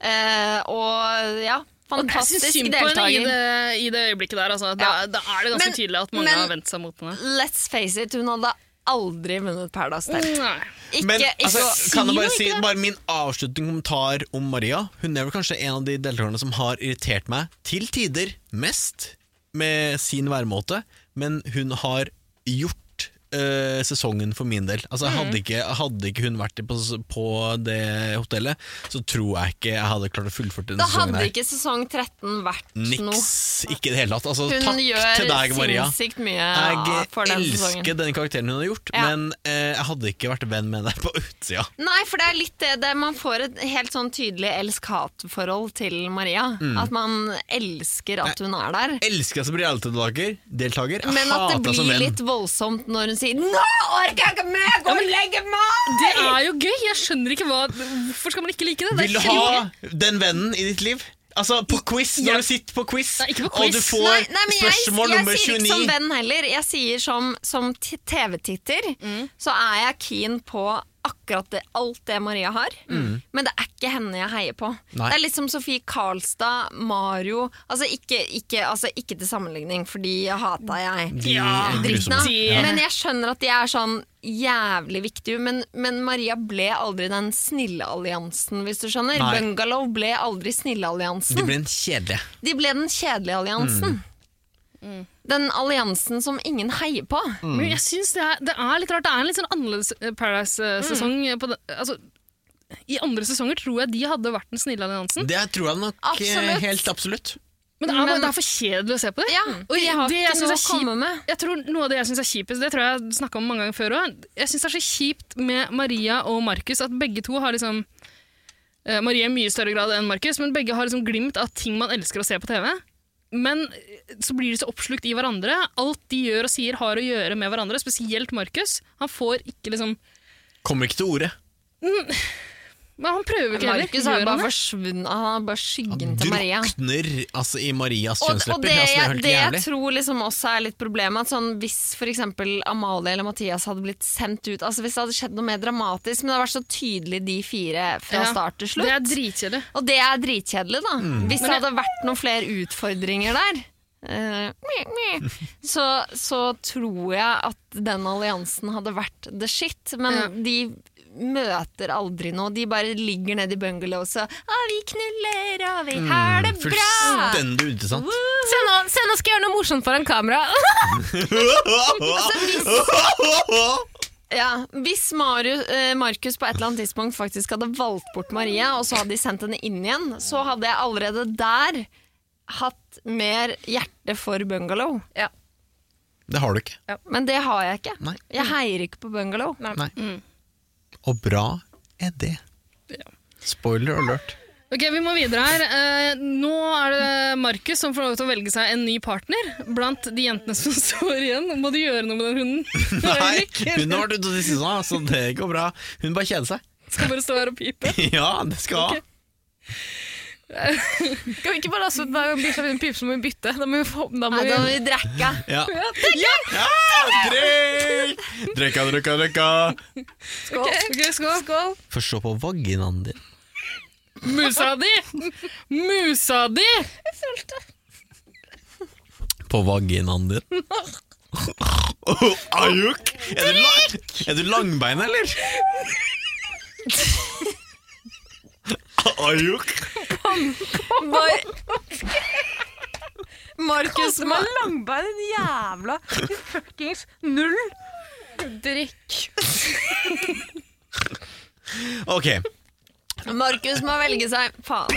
Speaker 7: Eh, og ja,
Speaker 4: Jeg syns
Speaker 7: fantastisk
Speaker 4: synd på henne i
Speaker 7: deltaker.
Speaker 4: det, i det øyeblikket der. Altså. Da,
Speaker 7: Ja.
Speaker 4: da er det ganske
Speaker 7: Men-
Speaker 4: tydelig at mange
Speaker 7: men-
Speaker 4: har vendt seg mot henne.
Speaker 7: Let's face it, hun hadde aldri vunnet Paradise Hotel.
Speaker 4: Nei.
Speaker 7: Ikke,
Speaker 3: Men
Speaker 7: ikke
Speaker 3: altså,
Speaker 7: å-
Speaker 3: kan jeg bare si bare min avsluttende kommentar om Maria? Hun er vel kanskje en av de deltakerne som har irritert meg til tider mest med sin væremåte, men hun har gjort eh, sesongen for min del. Altså, hadde,
Speaker 7: Mm.
Speaker 3: ikke, hadde ikke hun vært på, på det hotellet, så tror jeg ikke jeg hadde klart å fullføre denne
Speaker 7: Da
Speaker 3: sesongen.
Speaker 7: hadde
Speaker 3: her.
Speaker 7: ikke sesong 13 vært noe.
Speaker 3: Niks. Ikke i det hele tatt. Altså,
Speaker 7: Hun
Speaker 3: takk
Speaker 7: gjør
Speaker 3: til deg, Maria.
Speaker 7: sinnssykt mye ja,
Speaker 3: Jeg
Speaker 7: for den sesongen.
Speaker 3: elsker den karakteren hun har gjort,
Speaker 7: Ja.
Speaker 3: men eh, jeg hadde ikke vært venn med deg på utsida.
Speaker 7: Nei, for det er litt det, det Man får et helt sånn tydelig elsk-hat-forhold til Maria.
Speaker 3: Mm.
Speaker 7: At man elsker at hun er der.
Speaker 3: elsker deg som reality-deltaker. deltaker. Jeg
Speaker 7: Men at
Speaker 3: hater
Speaker 7: det
Speaker 3: deg som
Speaker 7: blir
Speaker 3: venn.
Speaker 7: litt voldsomt når hun sier 'Nå orker jeg ikke mer! Gå og legge meg!'
Speaker 4: Det er jo gøy! Jeg skjønner ikke hva Hvorfor skal man ikke like det? det er
Speaker 3: Vil du
Speaker 4: kjempe-
Speaker 3: ha den vennen i ditt liv? Altså, på quiz,
Speaker 4: Ja.
Speaker 3: når du sitter på quiz,
Speaker 4: Nei, ikke
Speaker 3: og
Speaker 4: på quiz.
Speaker 3: du får
Speaker 7: Nei, nei, men jeg,
Speaker 3: spørsmål
Speaker 7: jeg
Speaker 3: nummer
Speaker 7: sier ikke
Speaker 3: 29
Speaker 7: som venn heller. Jeg sier som, som t- TV-titter, så er jeg keen på akkurat det, alt det Maria har. Men det er ikke henne jeg heier på.
Speaker 3: Mm. Nei.
Speaker 7: Det er litt som Sofie Karlstad, Mario Altså ikke, ikke, altså, ikke til sammenligning, for de hata jeg.
Speaker 3: De
Speaker 4: Ja,
Speaker 3: er
Speaker 7: Dritten
Speaker 3: grusomme.
Speaker 7: av.
Speaker 4: Ja.
Speaker 7: Men jeg skjønner at de er sånn jævlig viktige, men, men Maria ble aldri den snille alliansen, hvis du skjønner.
Speaker 3: Nei.
Speaker 7: Bungalow ble aldri snille
Speaker 3: De
Speaker 7: alliansen.
Speaker 3: blir en kjedelige.
Speaker 7: De ble den kjedelige alliansen. Den alliansen som ingen heier på.
Speaker 4: Men jeg synes det, er, det er litt rart. Det er en litt sånn annerledes eh, Paradise-sesong. på den- Altså, I andre sesonger tror jeg de hadde vært den snille alliansen.
Speaker 3: Det tror jeg nok eh,
Speaker 7: Hm? Absolutt.
Speaker 3: helt absolutt.
Speaker 4: Men det er, bare-
Speaker 7: Mm, Men-
Speaker 4: det er for kjedelig å se på det.
Speaker 7: Ja,
Speaker 4: Og
Speaker 7: de har
Speaker 4: det jeg
Speaker 7: ikke
Speaker 4: synes
Speaker 7: noe
Speaker 4: er
Speaker 7: å
Speaker 4: kjipt-
Speaker 7: komme med.
Speaker 4: Jeg tror Noe av det jeg syns er kjipt, det tror jeg jeg snakka om mange ganger før òg. Jeg syns det er så kjipt med Maria og Markus at begge to har liksom eh, Maria i mye større grad enn Markus, men begge har liksom glimt av ting man elsker å se på TV. Men eh, så blir de så oppslukt i hverandre. Alt de gjør og sier, har å gjøre med hverandre. Spesielt Markus. Han får ikke liksom
Speaker 3: Kommer ikke til ordet.
Speaker 4: Men han prøver ikke heller.
Speaker 7: Markus har
Speaker 4: Gjør
Speaker 7: jo
Speaker 4: han
Speaker 7: bare
Speaker 4: det?
Speaker 7: forsvunnet. Han har bare skyggen til Maria.
Speaker 3: Drukner altså, i Marias
Speaker 7: Og, og
Speaker 3: kjønnslepper.
Speaker 7: det,
Speaker 3: altså, det er
Speaker 7: jeg,
Speaker 3: helt
Speaker 7: det jeg
Speaker 3: jævlig.
Speaker 7: tror liksom også er litt problemet, at sånn, hvis f.eks. Amalie eller Mathias hadde blitt sendt ut altså Hvis det hadde skjedd noe mer dramatisk, men det hadde vært så tydelig de fire fra
Speaker 4: Ja,
Speaker 7: start til
Speaker 4: Det er
Speaker 7: slutt.
Speaker 4: dritkjedelig.
Speaker 7: og det er dritkjedelig, da. Hvis det hadde vært noen flere utfordringer der, eh, meh, meh, så, så tror jeg at den alliansen hadde vært the shit. Men
Speaker 4: Ja.
Speaker 7: de møter aldri noe. De bare ligger nede i bungalows og Å, vi knuller, og vi har det bra!
Speaker 3: Fullstendig uinteressant.
Speaker 2: Se nå, se nå skal jeg gjøre noe morsomt foran kamera.
Speaker 7: Altså, Ja, Hvis Marius, eh, Markus på et eller annet tidspunkt faktisk hadde valgt bort Maria, og så hadde de sendt henne inn igjen, så hadde jeg allerede der hatt mer hjerte for bungalow.
Speaker 3: Det har du ikke.
Speaker 7: Men det har jeg ikke.
Speaker 3: Nei.
Speaker 7: Jeg heier ikke på bungalow.
Speaker 3: Nei. Og bra er det. Spoiler alert.
Speaker 4: Ok, Vi må videre her. Eh, nå er det Markus som får lov til å velge seg en ny partner. Blant de jentene som står igjen. Må du gjøre noe med den hunden?
Speaker 3: Nei,
Speaker 4: Eirik?
Speaker 3: hun har vært ute til siden, så det går bra. Hun bare kjeder seg.
Speaker 4: Skal bare stå her og pipe.
Speaker 3: Ja, det skal ha.
Speaker 2: Kan vi ikke bare altså, da bikkja begynner å pipe, så må vi bytte. Da må vi få, da må
Speaker 7: Nei,
Speaker 2: vi,
Speaker 7: da må vi drikke.
Speaker 3: Ja. ja! Drikk! Drikka, drikka, drikka.
Speaker 2: skål.
Speaker 4: Ok, skål.
Speaker 3: Få se på vaginaen din.
Speaker 4: Musa di! Musa di!
Speaker 3: På vaginaen din. Oh, Ajuk! Er du, lang, er du langbein, eller? Ajuk!
Speaker 7: Markus ma
Speaker 2: Langbein, din jævla fuckings null. Drikk.
Speaker 3: Ok,
Speaker 7: Markus må velge seg Faen.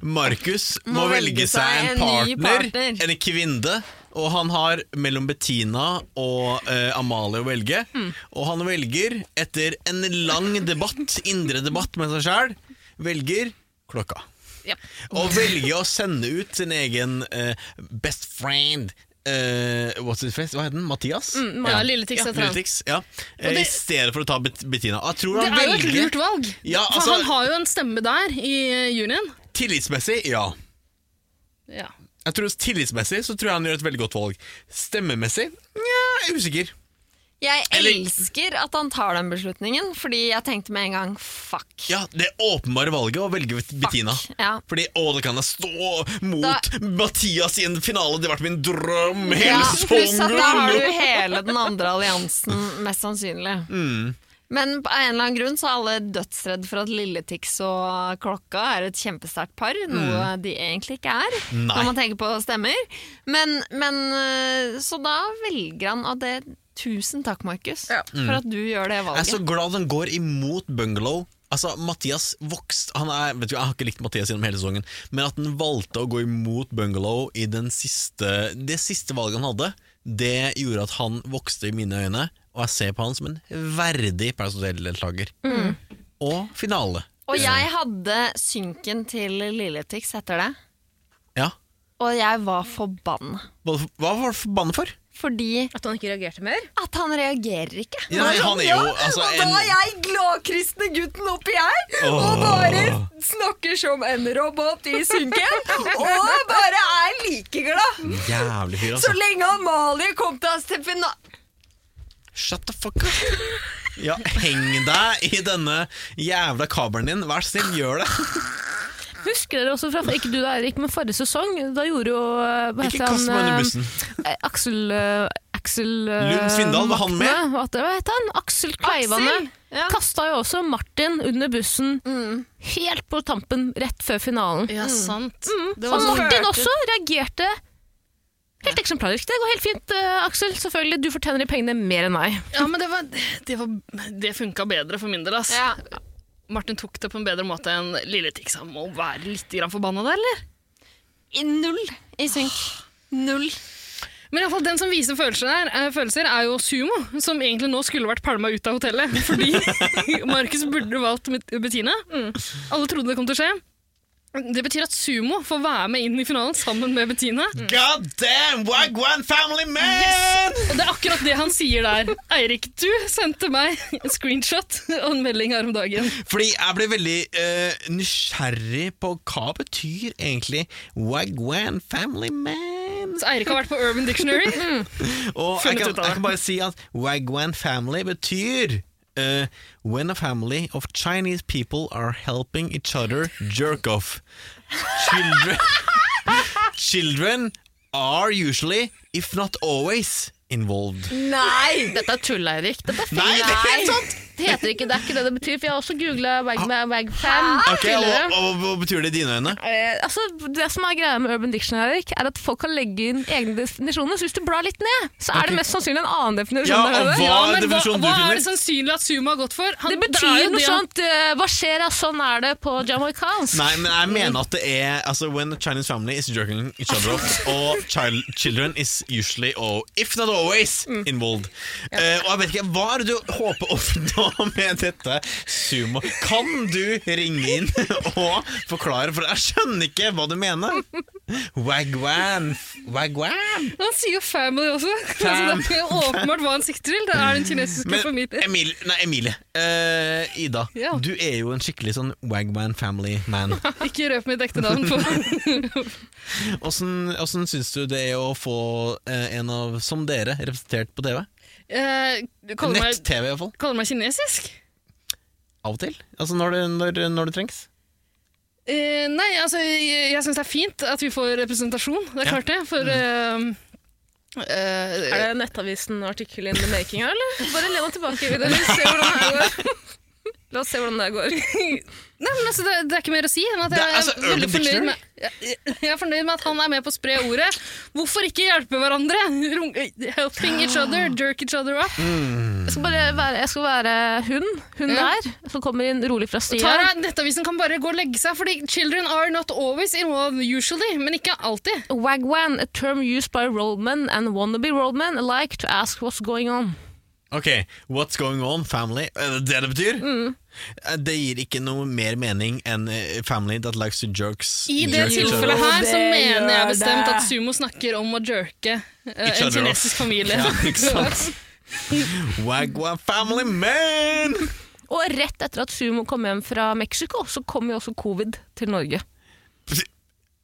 Speaker 3: Markus må velge seg en
Speaker 7: ny
Speaker 3: partner,
Speaker 7: partner.
Speaker 3: en kvinne, og han har mellom Bettina og eh, Amalie å velge.
Speaker 4: Hmm.
Speaker 3: Og han velger, etter en lang debatt, indre debatt med seg sjæl, velger klokka.
Speaker 4: Ja.
Speaker 3: Og velger å sende ut sin egen eh, best friend eh, What's his face? Hva heter den? Mathias?
Speaker 4: Ja, Lille Tix
Speaker 3: Ja,
Speaker 4: Mm, heter han.
Speaker 3: Lilletix, ja. Eh, I
Speaker 4: det-
Speaker 3: stedet for å ta Bet- Bettina. Jeg tror
Speaker 4: Det
Speaker 3: han
Speaker 4: er jo et
Speaker 3: velger
Speaker 4: lurt valg.
Speaker 3: Ja, altså-
Speaker 4: For han har jo en stemme der i eh, juryen.
Speaker 3: Tillitsmessig, ja.
Speaker 4: Ja.
Speaker 3: Jeg tror Tillitsmessig så tror jeg han gjør et veldig godt valg. Stemmemessig nja, jeg er usikker.
Speaker 5: Jeg
Speaker 3: Eller-
Speaker 5: elsker at han tar den beslutningen, fordi jeg tenkte med en gang fuck.
Speaker 3: Ja, Det åpenbare valget å velge Bettina.
Speaker 5: Ja.
Speaker 3: Fordi å, det kan jeg stå mot
Speaker 5: Da-
Speaker 3: Mathias i en finale, det har vært min drøm hele
Speaker 5: Ja, pluss at da har du
Speaker 3: sommeren!
Speaker 5: hele den andre alliansen, mest sannsynlig.
Speaker 3: Mm.
Speaker 5: Men av en eller annen grunn så er alle dødsredd for at Lilletix og Klokka er et kjempesterkt par, noe de egentlig ikke er,
Speaker 3: Mm. Nei.
Speaker 5: når man tenker på stemmer. Men, men øh, Så da velger han at det Tusen takk, Markus, for at du gjør det
Speaker 3: Jeg er så
Speaker 5: valget.
Speaker 3: glad den går imot Bungalow. Altså, Mathias vokst han er, vet du, Jeg har ikke likt Mathias gjennom hele sesongen, men at den valgte å gå imot Bungalow i den siste, det siste valget han hadde, det gjorde at han vokste i mine øyne, og jeg ser på han som en verdig Paradise Hotel-deltaker. Og finale.
Speaker 5: Og jeg hadde synken til Lilletix etter det,
Speaker 3: Ja.
Speaker 5: og jeg var forbanna.
Speaker 3: Hva hva var du forbanna for?
Speaker 5: Fordi
Speaker 2: At han ikke reagerte mer?
Speaker 5: At han reagerer ikke.
Speaker 3: Ja, Nei, han er jo,
Speaker 5: Ja,
Speaker 3: altså,
Speaker 5: og
Speaker 3: en-
Speaker 5: da er jeg gladkristne gutten oppi her,
Speaker 3: Åh.
Speaker 5: og bare snakker som en robot i synken, og bare er like glad.
Speaker 3: Jævlig fyr,
Speaker 5: Så
Speaker 3: altså.
Speaker 5: lenge Amalie kom til oss til finalen
Speaker 3: Shut the fuck up. Ja, heng deg i denne jævla kabelen din. Vær så snill, gjør det.
Speaker 2: Husker dere også fra ikke du da, Erik, men forrige sesong? Da gjorde jo eh, hva
Speaker 3: Ikke
Speaker 2: heter
Speaker 3: kast meg
Speaker 2: han,
Speaker 3: under
Speaker 2: eh,
Speaker 3: bussen.
Speaker 2: Eh, Aksel eh, Aksel eh,
Speaker 3: Lund Svindal, var han med?
Speaker 2: Maktene, hva heter- Hva heter han? Aksel Mm. Kleivane.
Speaker 5: ja.
Speaker 2: Kasta jo også Martin under bussen helt på tampen rett før finalen.
Speaker 4: Ja, sant. Det
Speaker 2: Og
Speaker 4: var sånn,
Speaker 2: Martin også reagerte helt eksemplarisk. Det går helt fint, eh, Aksel. Selvfølgelig, du fortjener de pengene mer enn meg.
Speaker 4: ja, men det, var, det, var, det funka bedre for min del, ass.
Speaker 5: Ja.
Speaker 4: Martin tok det på en bedre måte enn Lille Tix. Han må være litt grann forbanna der, eller?
Speaker 5: I null i synk. Null.
Speaker 4: Men i alle fall, den som viser følelser, der, eh, følelser er jo Sumo, som egentlig nå skulle vært palma ut av hotellet. Fordi Markus burde valgt Bet- Bettina. Alle trodde det kom til å skje. Det betyr at Sumo får være med inn i finalen sammen med Bettina.
Speaker 3: God damn, Wagwan family man!
Speaker 4: Og det er akkurat det han sier der. Eirik, du sendte meg en screenshot og en melding her om dagen.
Speaker 3: Fordi jeg ble veldig eh, nysgjerrig på hva betyr egentlig Wagwan family man?
Speaker 4: Så Eirik har vært på Urban Dictionary.
Speaker 3: Og jeg
Speaker 4: Funnet
Speaker 3: kan,
Speaker 4: ut av det.
Speaker 3: jeg kan bare si at Wagwan family betyr eh, When a family of Chinese people are helping each other jerk off. Children, children are usually, if not always, involved.
Speaker 5: Nei!
Speaker 2: Dette er tull, Eirik. Dette er
Speaker 3: Nei,
Speaker 2: feil.
Speaker 3: det er helt sant!
Speaker 2: Det heter ikke det, er ikke det det betyr, for jeg har også googla Wagfam.
Speaker 3: Ah. Ok, og, og Hva betyr det i dine øyne?
Speaker 2: Eh, altså, det som er greia med Urban Dictionary, Erik, er at folk kan legge inn egne definisjoner. Så hvis du blar litt ned, så er det mest sannsynlig en annen definisjon.
Speaker 3: Ja,
Speaker 2: der
Speaker 3: og
Speaker 2: nede.
Speaker 3: hva
Speaker 4: Ja,
Speaker 3: er
Speaker 4: men hva,
Speaker 3: definisjonen du
Speaker 4: hva
Speaker 3: finner?
Speaker 4: er det sannsynlig at Sumo har gått for? Han-
Speaker 2: Det
Speaker 4: er
Speaker 2: betyr
Speaker 4: jo
Speaker 2: noe
Speaker 4: det han-
Speaker 2: sånt eh, Hva skjer, ja, sånn er det på jamaicansk.
Speaker 3: Nei, men jeg mener at det er altså, When a Chinese family is jerking each other off Og child, children is usually or If not always involved Eh, Og jeg vet ikke, hva er det du håper å oppnå med dette sumo? Kan du ringe inn og forklare? For jeg skjønner ikke hva du mener Wagwan Wagwan
Speaker 4: Han sier jo family også.
Speaker 3: Fam.
Speaker 4: Altså, det er jo åpenbart hva han sikter til. Det er den kinesiske
Speaker 3: Men
Speaker 4: familien.
Speaker 3: Emil, nei, Emilie Eh, Ida,
Speaker 4: Ja.
Speaker 3: du er jo en skikkelig sånn Wagwan family man
Speaker 4: Ikke røp mitt ekte navn på
Speaker 3: Hvordan, hvordan syns du det er å få eh, en av, som dere, representert på TV?
Speaker 4: Eh, du kaller meg,
Speaker 3: Nett-TV i hvert fall.
Speaker 4: kaller meg kinesisk?
Speaker 3: Av og til. Altså når det, når, når det trengs.
Speaker 4: Eh, nei, altså, jeg, jeg syns det er fint at vi får representasjon. Det er
Speaker 3: Ja. Mm.
Speaker 4: klart, det. For eh, eh,
Speaker 2: Er det Nettavisen artikkel in the making her, eller? Bare len deg tilbake i det, vi ser hvordan det her går. La oss se hvordan det her går.
Speaker 4: Nei, men altså, det, det er ikke mer å si enn at
Speaker 3: Det er
Speaker 4: jeg er,
Speaker 3: altså Urban
Speaker 4: veldig fornøyd
Speaker 3: Dictionary.
Speaker 4: med, jeg, jeg er fornøyd med at han er med på å spre ordet. Hvorfor ikke hjelpe hverandre? Rung- Helping each other, jerk each other up.
Speaker 2: Jeg skal bare være, jeg skal være hun, hun
Speaker 4: Ja.
Speaker 2: der, som kommer inn rolig fra stia.
Speaker 4: Tara, Nettavisen kan bare gå og legge seg, fordi children are not always involved usually, men ikke alltid.
Speaker 2: Wagwan, a term used by roadmen and wannabe roadmen alike to ask what's going on.
Speaker 3: Ok, What's Going On Family, er det det det betyr? Eh, Det gir ikke noe mer mening enn eh, Family That Likes To Jerks
Speaker 4: I det
Speaker 3: jerk each other.
Speaker 4: tilfellet her så
Speaker 8: Det
Speaker 4: mener jeg
Speaker 8: gjør
Speaker 4: bestemt
Speaker 8: det.
Speaker 4: at Sumo snakker om å jerke eh,
Speaker 3: Each other
Speaker 4: en
Speaker 3: off.
Speaker 4: kinesisk familie.
Speaker 3: Ja, ikke sant? Wagwa Family Man!
Speaker 2: Og rett etter at Sumo kom hjem fra Mexico, så kom jo også covid til Norge.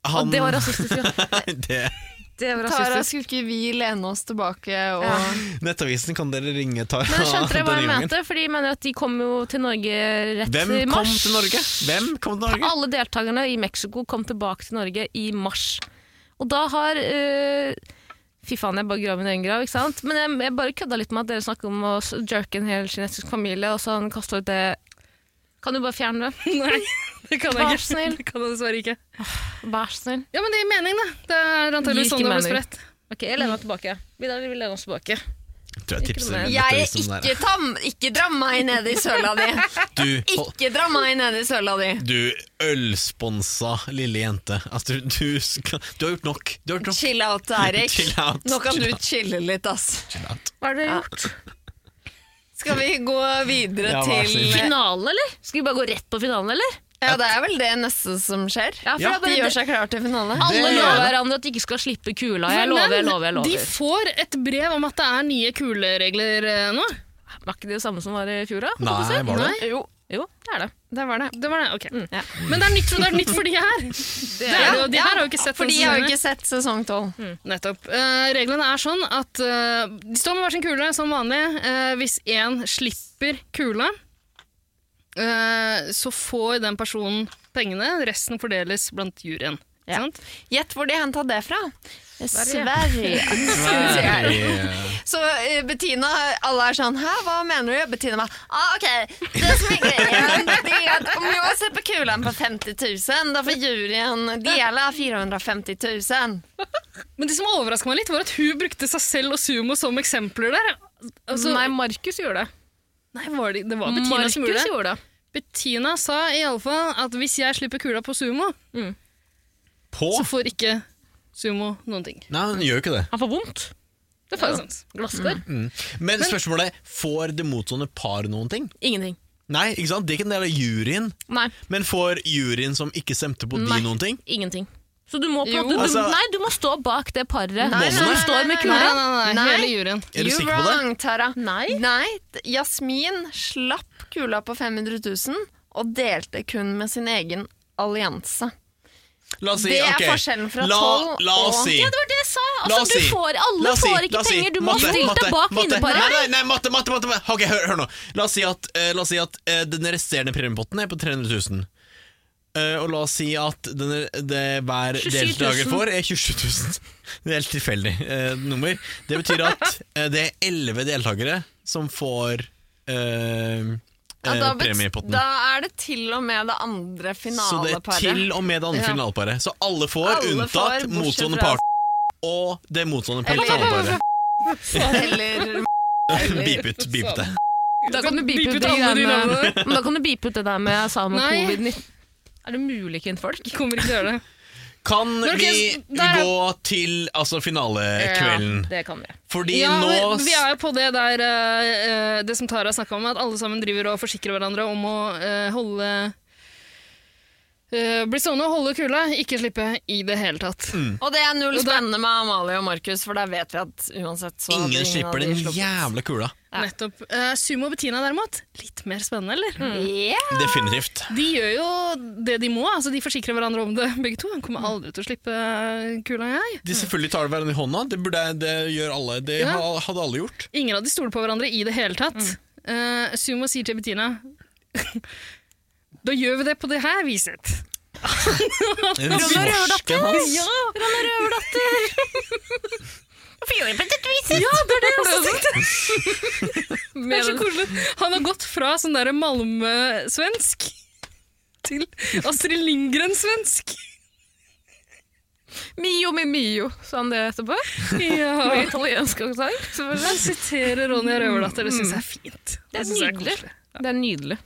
Speaker 3: Han
Speaker 2: Og det var rasistisk, ja.
Speaker 3: det.
Speaker 2: Det var
Speaker 8: Tara,
Speaker 2: rasistisk.
Speaker 8: skulle ikke vi lene oss tilbake og
Speaker 3: Nettavisen kan dere ringe Tara
Speaker 2: Men skjønte dere hva jeg
Speaker 3: denne gangen.
Speaker 2: mente? For de mener at de kom jo til Norge rett
Speaker 3: Hvem
Speaker 2: i
Speaker 3: kom
Speaker 2: mars.
Speaker 3: til Norge? Hvem kom til Norge?
Speaker 2: Alle deltakerne i Mexico kom tilbake til Norge i mars. Og da har eh, Fy faen, jeg bare graver min egen grav, ikke sant? Men jeg, jeg bare kødda litt med at dere snakker om å s- jerke en hel kinesisk familie, og så han kaster ut det Kan du bare fjerne det?
Speaker 4: Nei, det kan
Speaker 2: Vær så
Speaker 4: jeg ikke.
Speaker 2: snill.
Speaker 4: Det kan jeg dessverre ikke.
Speaker 2: Vær så snill.
Speaker 4: Ja, men det gir mening, da. Det er antakeligvis
Speaker 2: Gir ikke
Speaker 4: sånn det ble
Speaker 2: mening.
Speaker 4: spredt.
Speaker 2: Ok, jeg lener meg tilbake. Vidar, vi lener oss tilbake.
Speaker 3: Jeg tror jeg tipser
Speaker 2: meg.
Speaker 7: Jeg er
Speaker 3: Nettavisen liksom der.
Speaker 7: ikke tam... Ikke dra meg ned i søla di!
Speaker 3: Du, hold-
Speaker 7: Ikke dra meg ned i søla di!
Speaker 3: du ølsponsa lille jente. Altså, du, du, skal, du har gjort nok. Du har gjort nok.
Speaker 7: Chill out, Eirik.
Speaker 3: Chill out,
Speaker 7: Nå kan
Speaker 3: chill
Speaker 7: du chille litt, ass.
Speaker 2: Hva har dere gjort?
Speaker 7: Skal vi gå videre
Speaker 9: Ja, vær så
Speaker 7: til
Speaker 2: Eh,
Speaker 9: snill.
Speaker 2: Finalen, eller? Skal vi bare gå rett på finalen, eller?
Speaker 7: Ja, det er vel det neste som skjer.
Speaker 2: Ja, for
Speaker 3: Ja.
Speaker 2: jeg
Speaker 7: De
Speaker 2: bare,
Speaker 7: gjør seg klar til finale.
Speaker 2: Alle
Speaker 3: Det-
Speaker 2: lover hverandre at de ikke skal slippe kula. Jeg lover, jeg lover. jeg
Speaker 4: Men De
Speaker 2: lover.
Speaker 4: får et brev om at det er nye kuleregler eh, nå.
Speaker 2: Var ikke det det samme som var i fjor? da? Holdt på å
Speaker 3: Nei,
Speaker 2: si?
Speaker 3: var det?
Speaker 2: Jo. jo, det er det.
Speaker 4: Det var det. var det, ok.
Speaker 2: ja.
Speaker 4: Men det er nytt, det er nytt for de her. Det er, det jo- de
Speaker 7: Ja,
Speaker 4: her har jo ikke sett
Speaker 7: For de
Speaker 4: denne
Speaker 7: har jo
Speaker 4: sesongen.
Speaker 7: ikke sett Mm. sesong tolv.
Speaker 4: Nettopp. Eh, reglene er sånn at eh, de står med hver sin kule som vanlig. Eh, hvis én slipper kula, eh, så får den personen pengene. Resten fordeles blant juryen. Ikke
Speaker 7: Ja.
Speaker 4: sant?
Speaker 7: Gjett hvor de henta det fra.
Speaker 2: Sverige.
Speaker 7: Sverige. Så eh, Bettina, alle er sånn Hæ, hva mener du? Bettina bare ah, OK, det som er greia, det er at om jeg slipper kulen på 50 000, da får juryen dele 450 000.
Speaker 4: Men det som overraska meg litt, var at hun brukte seg selv og Sumo som eksempler der. Altså,
Speaker 2: Nei, Markus gjorde det.
Speaker 4: nei, var det, det var Bettina
Speaker 2: Markus
Speaker 4: som gjorde det.
Speaker 2: gjorde det.
Speaker 4: Bettina sa iallfall at hvis jeg slipper kula på Sumo,
Speaker 3: På?
Speaker 4: så får ikke Sumo noen ting.
Speaker 3: Nei, hun gjør jo ikke det.
Speaker 2: Han får vondt.
Speaker 4: Det er sant.
Speaker 2: Glasskår.
Speaker 3: Men spørsmålet er, får det motstående par noen ting?
Speaker 2: Ingenting.
Speaker 3: Nei, ikke sant? det er ikke en del av juryen.
Speaker 2: Nei,
Speaker 3: Men får juryen som ikke stemte på
Speaker 2: Nei.
Speaker 3: de, noen ting?
Speaker 2: ingenting. Så du må på en
Speaker 4: Jo.
Speaker 2: måte du,
Speaker 3: Altså-
Speaker 2: Nei, du må stå bak det paret
Speaker 3: nei,
Speaker 2: som
Speaker 3: nei,
Speaker 2: står med
Speaker 4: Nei,
Speaker 2: kula.
Speaker 4: nei, nei,
Speaker 7: Nei.
Speaker 4: hele juryen.
Speaker 3: Er du
Speaker 7: You
Speaker 3: sikker på det?
Speaker 7: wrong, Tara.
Speaker 2: Nei.
Speaker 7: Nei, t- Jasmin slapp kula på 500 000 og delte kun med sin egen allianse.
Speaker 3: La oss si,
Speaker 7: Det er
Speaker 3: ok.
Speaker 7: forskjellen fra
Speaker 3: la,
Speaker 7: tolv
Speaker 3: la oss
Speaker 7: og-
Speaker 3: si.
Speaker 2: Ja, det var det jeg sa!
Speaker 3: La oss
Speaker 2: Altså,
Speaker 3: si-
Speaker 2: du får, alle
Speaker 3: la oss si-
Speaker 2: får
Speaker 3: la
Speaker 2: ikke
Speaker 3: oss si-
Speaker 2: penger. Du må
Speaker 3: matte,
Speaker 2: stille
Speaker 3: matte,
Speaker 2: deg bak
Speaker 3: matte. Nei,
Speaker 2: vinnerparet.
Speaker 3: nei, nei, matte, matte, matte. matte. Ok, hør, hør nå. La oss si at, eh, la oss si at eh, den resterende premiepotten er på 300 000. Eh, og la oss si at den, det hver
Speaker 2: 27 000.
Speaker 3: deltaker får, er 27 000. Det er helt tilfeldig eh, nummer. Det betyr at eh, det er 11 deltakere som får eh,
Speaker 7: Ja,
Speaker 3: eh,
Speaker 7: da, bet-
Speaker 3: premiepotten.
Speaker 7: da er det til og med det andre
Speaker 3: Så det er
Speaker 7: finaleparet.
Speaker 3: til og med det andre
Speaker 7: Ja.
Speaker 3: finaleparet. Så alle får,
Speaker 7: Alle får,
Speaker 3: unntatt
Speaker 7: bortsett
Speaker 3: motstående
Speaker 7: fra-
Speaker 3: part. Og det motstående
Speaker 7: Eller-
Speaker 3: finaleparet.
Speaker 7: Eller
Speaker 3: Beep
Speaker 4: sånn.
Speaker 3: ut, beep ut det.
Speaker 2: Da kan du
Speaker 4: Beep
Speaker 2: beepe
Speaker 4: ut
Speaker 2: ut det
Speaker 4: alle de
Speaker 2: greiene-
Speaker 4: navnene.
Speaker 2: Men da kan du beepe ut det der med jeg sa med
Speaker 4: Nei.
Speaker 2: covid-19. Er det mulig, kvinnfolk?
Speaker 4: Kommer ikke til å gjøre det.
Speaker 3: Kan
Speaker 4: Men ok,
Speaker 3: vi
Speaker 4: der er-
Speaker 3: gå til altså, finalekvelden?
Speaker 2: det kan vi.
Speaker 3: Fordi
Speaker 4: Ja,
Speaker 3: nå
Speaker 4: men vi er jo på det der eh, eh, Det som Tara snakka om, at alle sammen driver og forsikrer hverandre om å eh, holde eh, Bli stående og holde kula, ikke slippe i det hele tatt.
Speaker 7: Og det er null
Speaker 4: Og da-
Speaker 7: spennende med Amalie og Markus, for der vet vi at uansett så hadde
Speaker 3: ingen
Speaker 7: av
Speaker 3: slipper
Speaker 7: de
Speaker 3: den
Speaker 7: sluppet.
Speaker 3: jævla kula.
Speaker 4: Nettopp. Eh, Sumo og Bettina derimot, litt mer spennende, eller?
Speaker 7: Ja.
Speaker 3: Definitivt.
Speaker 4: De gjør jo det de må, altså de forsikrer hverandre om det begge to. Han kommer aldri til å slippe eh, kula, jeg.
Speaker 3: De selvfølgelig tar hverandre i hånda. Det, burde, det gjør alle. Det
Speaker 4: Ja.
Speaker 3: ha- hadde alle gjort.
Speaker 4: Ingen av de stoler på hverandre i det hele tatt. Eh, Sumo sier til Bettina Da gjør vi det på det her viset.
Speaker 3: Den Norsken hans.
Speaker 4: Det er så koselig. Han har gått fra sånn derre Malmö-svensk til Astrid Lindgren-svensk.
Speaker 2: Mio mi mio, sa han det etterpå.
Speaker 4: Ja.
Speaker 2: Med italiensk aksent, selvfølgelig. Mm.
Speaker 4: Han siterer Ronja Røverdatter, det syns jeg er fint.
Speaker 2: Det er
Speaker 4: synes jeg
Speaker 2: nydelig.
Speaker 4: koselig.
Speaker 2: Det er nydelig.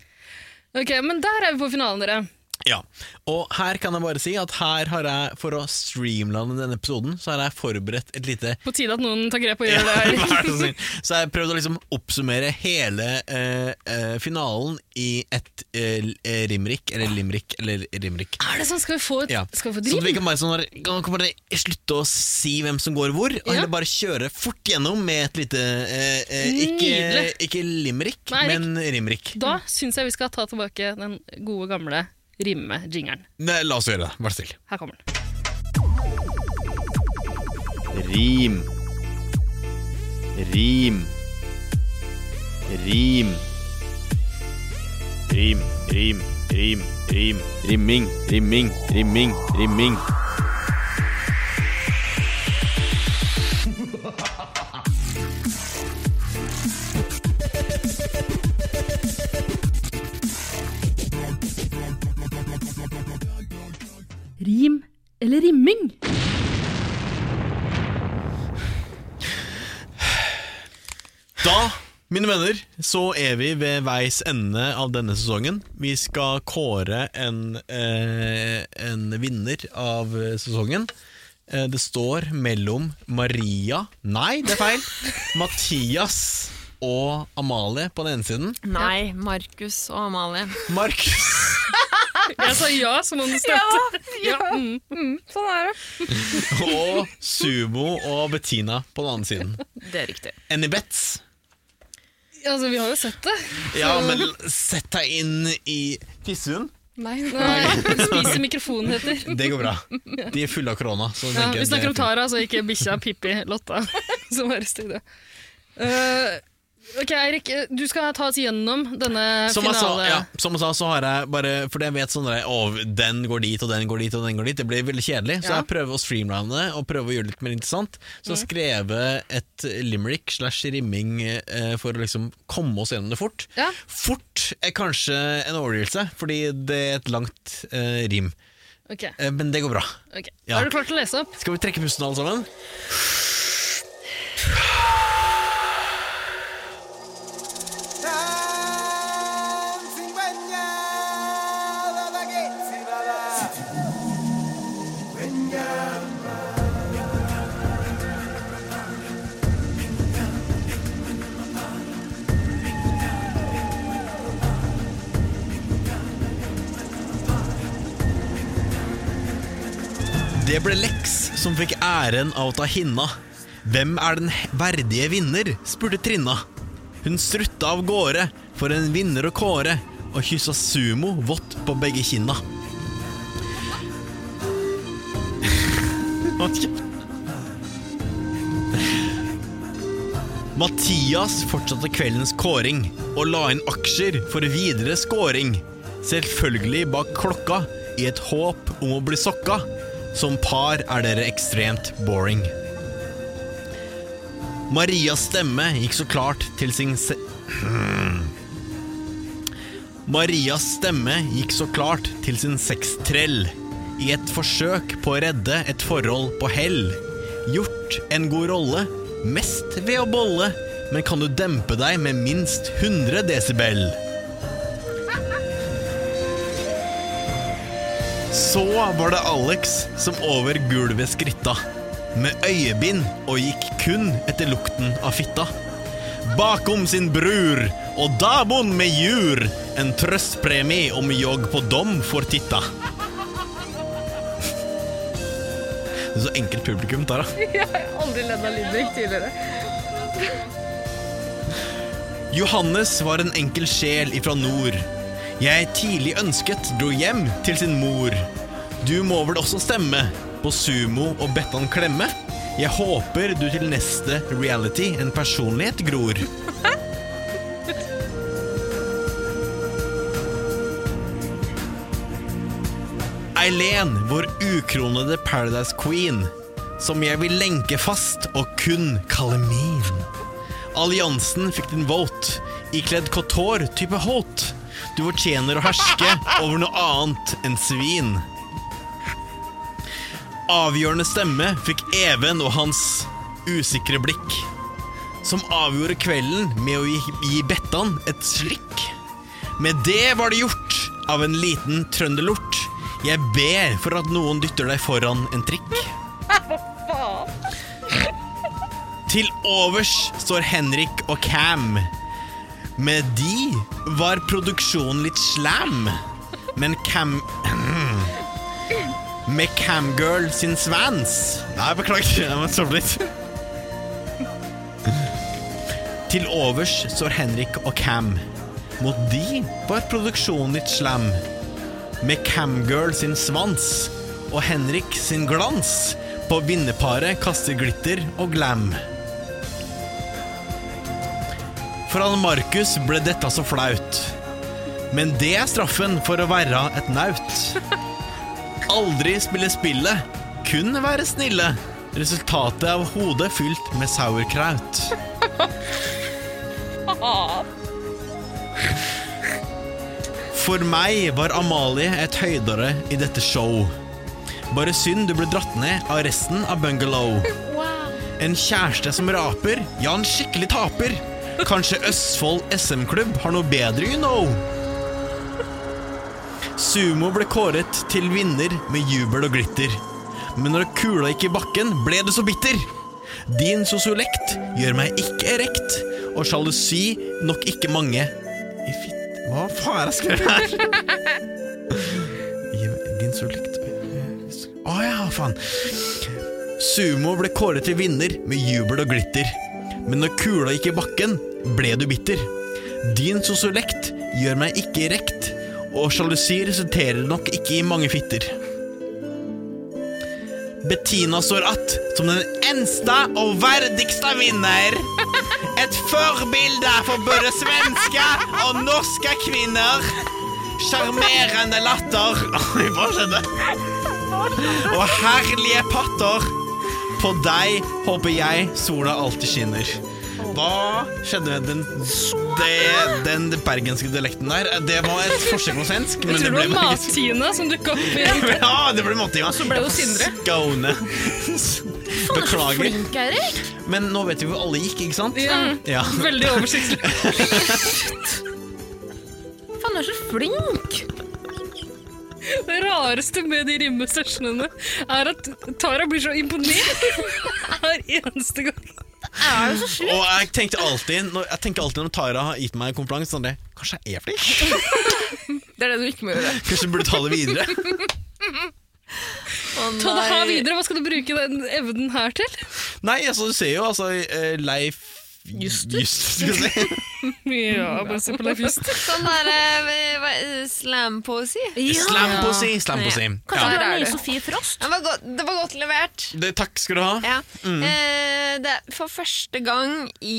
Speaker 4: Ok, Men der er vi på finalen, dere.
Speaker 3: Ja, og her kan jeg bare si at her har jeg, for å streamlande denne episoden, så har jeg forberedt et lite
Speaker 4: På tide at noen tar grep og gjør det her.
Speaker 3: Vær så snill. Så jeg prøvde å liksom oppsummere hele eh, eh, finalen i et eh, eh, limerick, eller limerick, eller limerick.
Speaker 4: Er det sånn? Skal vi få et
Speaker 3: Ja.
Speaker 4: skal vi få
Speaker 3: Så at vi
Speaker 4: driv?
Speaker 3: kan bare, sånn, kan kan bare slutte å si hvem som går hvor, og
Speaker 4: Ja.
Speaker 3: heller bare kjøre fort gjennom med et lite eh, eh, ikke,
Speaker 4: Nydelig.
Speaker 3: ikke limerick,
Speaker 4: Nei, Erik.
Speaker 3: men rimerick.
Speaker 4: Da syns jeg vi skal ta tilbake den gode, gamle rimme-jingeren.
Speaker 3: Nei, La oss gjøre det. Vær så snill.
Speaker 4: Her kommer den.
Speaker 10: Rim. Rim. Rim. Rim, rim, rim, rim. Rimming, rimming, rimming, rimming.
Speaker 11: Rim eller rimming?
Speaker 3: Da, mine venner, så er vi ved veis ende av denne sesongen. Vi skal kåre en, eh, en vinner av eh, sesongen. Eh, det står mellom Maria Nei, det er feil. Mathias og Amalie på den ene siden.
Speaker 5: Nei, Markus og Amalie.
Speaker 3: Markus
Speaker 4: Jeg sa ja, som om det støtte. Ja, mm.
Speaker 3: og Sumo og Bettina på den andre siden.
Speaker 2: Det er riktig.
Speaker 3: Annie Betz
Speaker 4: Altså, vi har jo sett det.
Speaker 3: Ja, men sett deg inn i Tissehund.
Speaker 4: Nei, Spiser mikrofonen, heter.
Speaker 3: Det går bra. De er fulle av korona. så jeg
Speaker 4: Ja,
Speaker 3: tenker at
Speaker 4: vi
Speaker 3: det
Speaker 4: snakker om
Speaker 3: er fint.
Speaker 4: Tara, så ikke bikkja Pippi Lotta, som er i studio. Eh, ok, Eirik, eh, du skal ta oss gjennom denne
Speaker 3: som jeg, sa,
Speaker 4: finale...
Speaker 3: ja, som jeg sa, så har jeg bare Fordi jeg vet sånn der, å, den går dit, og den går dit, og den går dit. Det blir veldig kjedelig. Så
Speaker 4: Ja. Mm.
Speaker 3: jeg prøver å streamline det, og prøver å gjøre det litt mer interessant. Så jeg skrev et limerick slash rimming eh, for å liksom komme oss gjennom det fort.
Speaker 4: Ja.
Speaker 3: Fort er kanskje en overdrivelse, fordi det er et langt eh, rim.
Speaker 4: Ok,
Speaker 3: Eh, men det går bra.
Speaker 4: ok.
Speaker 3: Ja.
Speaker 4: Er du klar til å lese opp?
Speaker 3: Skal vi trekke pusten alle sammen? Det ble Lex som fikk æren av å ta hinna. Hvem er den he- verdige vinner? spurte Trinna. Hun strutta av gårde for en vinner å kåre, og kyssa Sumo vått på begge kinna. Hold kjeft. Mathias fortsatte kveldens kåring og la inn aksjer for videre scoring. Selvfølgelig bak klokka, i et håp om å bli sokka. Som par er dere ekstremt boring. Marias stemme gikk så klart til sin se... Marias stemme gikk så klart til sin sextrell i et forsøk på å redde et forhold på hell. Gjort en god rolle, mest ved å bolle, men kan du dempe deg med minst 100 desibel? Så var det Alex som over gulvet skritta, med øyebind og gikk kun etter lukten av fitta bakom sin brur og daboen med jur. En trøstpremie om jogg på dom får titta. Det er så enkelt publikum, Tara.
Speaker 4: Aldri ledd av Lindvik tidligere.
Speaker 3: Johannes var en enkel sjel ifra nord. Jeg tidlig ønsket dro hjem til sin mor. Du må vel også stemme på Sumo og Bettan Klemme? Jeg håper du til neste reality en personlighet gror. Eileen, vår ukronede Paradise Queen, som jeg vil lenke fast og kun kalle min. Alliansen fikk din vote. Ikledd couture type hot. Du fortjener å herske over noe annet enn svin. Avgjørende stemme fikk Even og hans usikre blikk. Som avgjorde kvelden med å gi, gi Bettan et slikk. Med det var det gjort. av en liten trønderlort. Jeg ber for at noen dytter deg foran en trikk. Til overs står Henrik og Cam. Med de var produksjonen litt slam, men Cam Med Camgirl sin svans Nei, beklager. Jeg må sove litt. Til overs står Henrik og Cam. Mot de var produksjonen litt slam. Med Camgirl sin svans og Henrik sin glans. På vinnerparet kaster glitter og glam. For han Markus ble dette så flaut. Men det er straffen for å være et naut. Aldri spille spillet, kun være snille. Resultatet av hodet fylt med sauerkraut. For meg var Amalie et høydere i dette show. Bare synd du ble dratt ned av resten av Bungalow. En kjæreste som raper, ja, en skikkelig taper. Kanskje Østfold SM-klubb har noe bedre, you know. Sumo ble kåret til vinner med jubel og glitter. Men når kula gikk i bakken, ble du så bitter. Din sosiolekt gjør meg ikke erekt, og sjalusi nok ikke mange i fitt... Hva faen er det jeg skrev her? Gi- Din sosiolekt Å ja, faen. Sumo ble kåret til vinner med jubel og glitter. Men når kula gikk i bakken, ble du bitter. Din sosiolekt gjør meg ikke rekt, og sjalusi resulterer nok ikke i mange fitter. Bettina står att som den eneste og verdigste vinner. Et forbilde for både svenske og norske kvinner. Sjarmerende latter Oi, Hva skjedde? Og herlige patter. På deg håper jeg sola alltid skinner. Hva skjedde med den, det- den bergenske dialekten der? Det var et forsøk på svensk, men
Speaker 4: Jeg
Speaker 3: det
Speaker 4: tror det
Speaker 3: ble
Speaker 4: var
Speaker 3: bergensk.
Speaker 4: Mat-Tina som dukka opp i
Speaker 3: Ja, det ble mattinga. Så
Speaker 4: ble det jo Sindre.
Speaker 3: Skåne.
Speaker 2: Han er så
Speaker 3: Beklager.
Speaker 2: flink, Eirik.
Speaker 3: Men nå vet vi hvor alle gikk, ikke sant?
Speaker 4: ja,
Speaker 3: Ja.
Speaker 4: Veldig oversiktlig.
Speaker 2: Han er så flink.
Speaker 4: Det rareste med de rimmesessionene er at Tara blir så imponert hver eneste gang.
Speaker 3: Og jeg tenkte alltid når, jeg tenker alltid når Tara har gitt meg en kompliment, sånn det Kanskje jeg er flink?
Speaker 12: Det er det du ikke må gjøre.
Speaker 3: Kanskje jeg burde ta det videre?
Speaker 4: Ta det her videre, Hva skal du bruke den evnen her til?
Speaker 3: Nei, altså, du ser jo altså eh, Leif Juster, skal jeg si.
Speaker 4: Mm, Ja, bare se på Leif Just.
Speaker 7: Sånn der eh, hva- eh, slam-poesi.
Speaker 3: Slam på si, slam på si.
Speaker 2: Kanskje altså. du er
Speaker 3: Ja.
Speaker 7: Der er
Speaker 2: nye
Speaker 7: du.
Speaker 2: Sofie Frost?
Speaker 7: Det var godt, det var godt levert.
Speaker 3: Det, takk skal du ha.
Speaker 7: Ja.
Speaker 3: Mm.
Speaker 7: Eh, det er for første gang i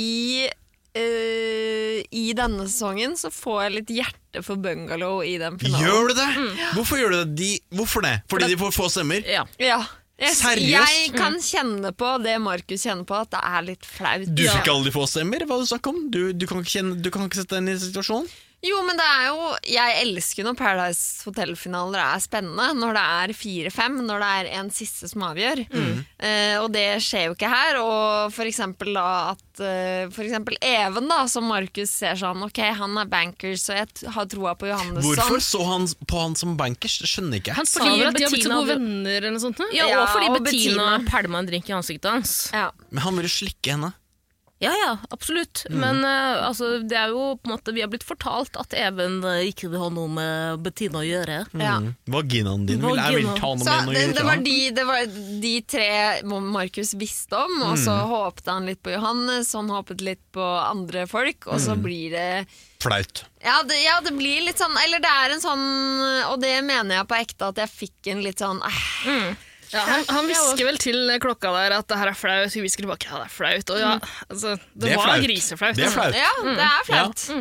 Speaker 7: eh, I denne sesongen så får jeg litt hjerte for Bungalow i den finalen.
Speaker 3: Gjør du det? Hvorfor gjør du det? De, hvorfor det? Fordi de får få stemmer?
Speaker 2: Ja.
Speaker 7: Ja. Jeg,
Speaker 3: Seriøst? Mm.
Speaker 7: jeg kan kjenne på det Markus kjenner på, at det er litt flaut.
Speaker 3: Du fikk aldri få stemmer? Hva er det du snakker om? Du, du, kan ikke kjenne, du kan ikke sette deg inn i situasjonen?
Speaker 7: Jo, men det er jo Jeg elsker når Paradise Hotel-finaler er spennende. Når det er fire-fem, når det er en siste som avgjør. Eh, og det skjer jo ikke her. Og for eksempel da at eh, For eksempel Even, da, som Markus ser sånn Ok, han er bankers, og jeg t- har troa på sånn. Johannesson.
Speaker 3: Hvorfor så han på han som bankers? Det skjønner ikke jeg.
Speaker 4: Han sa vel at de har blitt så
Speaker 2: Bettina-
Speaker 4: gode venner eller noe sånt? nå?
Speaker 2: Ja,
Speaker 7: Ja,
Speaker 2: og fordi
Speaker 7: og
Speaker 2: Bettina
Speaker 7: Bettina.
Speaker 2: pælma en drink i ansiktet hans.
Speaker 7: Ja.
Speaker 3: Men han ville slikke henne.
Speaker 2: Ja, ja, absolutt. Men eh, altså, det er jo på en måte Vi har blitt fortalt at Even eh, ikke vil ha noe med Bettina å gjøre.
Speaker 7: ja.
Speaker 3: Mm. Vaginaen din vil jeg vil
Speaker 2: Vagina.
Speaker 3: ta noe
Speaker 7: Så
Speaker 3: med noe
Speaker 7: det, det, var
Speaker 3: gjøre.
Speaker 7: de, det var de tre Markus visste om, og så håpet han litt på Johannes, han håpet litt på andre folk, og så blir det
Speaker 3: Flaut.
Speaker 7: Ja det, ja, det blir litt sånn Eller det er en sånn Og det mener jeg på ekte at jeg fikk en litt sånn eh,
Speaker 4: Ja, han, han hvisker vel til klokka der at det her er flaut. Hun hvisker tilbake ja, det er flaut. Og ja,
Speaker 5: Mm.
Speaker 4: altså, det,
Speaker 3: Det er
Speaker 4: var
Speaker 3: flaut.
Speaker 4: griseflaut.
Speaker 3: Det er flaut.
Speaker 7: Ja, det er flaut.
Speaker 3: Ja.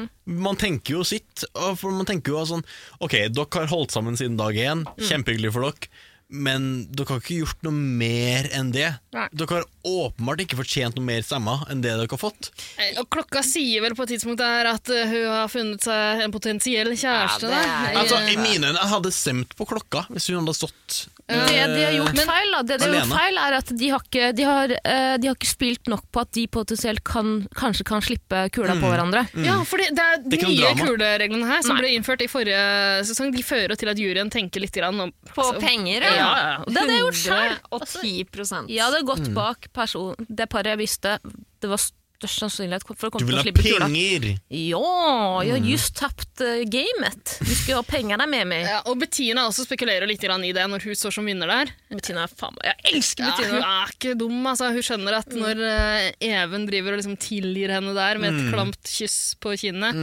Speaker 3: Man tenker jo sitt. og For man tenker jo sånn Ok, dere har holdt sammen siden dag én. Kjempehyggelig for dere. Men dere har ikke gjort noe mer enn det.
Speaker 4: Nei.
Speaker 3: Dere har åpenbart ikke fortjent noe mer stemmer enn det dere har fått.
Speaker 4: Eh, Og klokka sier vel på et tidspunkt der at eh, hun har funnet seg en potensiell kjæreste.
Speaker 5: Ja, det
Speaker 4: da.
Speaker 5: er-
Speaker 4: Jeg-
Speaker 3: Altså, I mine øyne jeg hadde stemt på klokka hvis hun hadde stått eh,
Speaker 2: Det de har gjort
Speaker 4: Men-
Speaker 2: feil, da. Det de har gjort
Speaker 3: Alene.
Speaker 2: feil er at de har, ikke, de, har, eh, de har ikke spilt nok på at de potensielt kan, kanskje kan slippe kula på hverandre.
Speaker 4: Mm. Ja, for det, det er de
Speaker 3: ikke noe
Speaker 4: nye
Speaker 3: drama.
Speaker 4: kulereglene her som
Speaker 2: Nei.
Speaker 4: ble innført i forrige sesong. De fører jo til at juryen tenker litt grann om
Speaker 5: På penger,
Speaker 4: Ja,
Speaker 5: ja.
Speaker 4: ja.
Speaker 2: Og det hadde jeg gjort selv.
Speaker 5: Og 10
Speaker 2: Jeg hadde gått bak person, det paret jeg visste det var størst sannsynlighet for å komme
Speaker 3: Du
Speaker 2: til
Speaker 3: vil
Speaker 2: å
Speaker 3: ha
Speaker 2: slippe kula.
Speaker 3: penger!
Speaker 2: Ja, jeg har just tapt eh, gamet. Du skal jo ha pengene med meg.
Speaker 4: Ja, og Bettina også spekulerer litt grann i det når hun står som vinner der.
Speaker 2: Bettina er faen meg Jeg elsker
Speaker 4: Ja, hun
Speaker 2: Bettina!
Speaker 4: er ikke dum, altså. Hun skjønner at når eh, Even driver og liksom tilgir henne der med et
Speaker 3: Mm.
Speaker 4: klamt kyss på kinnet,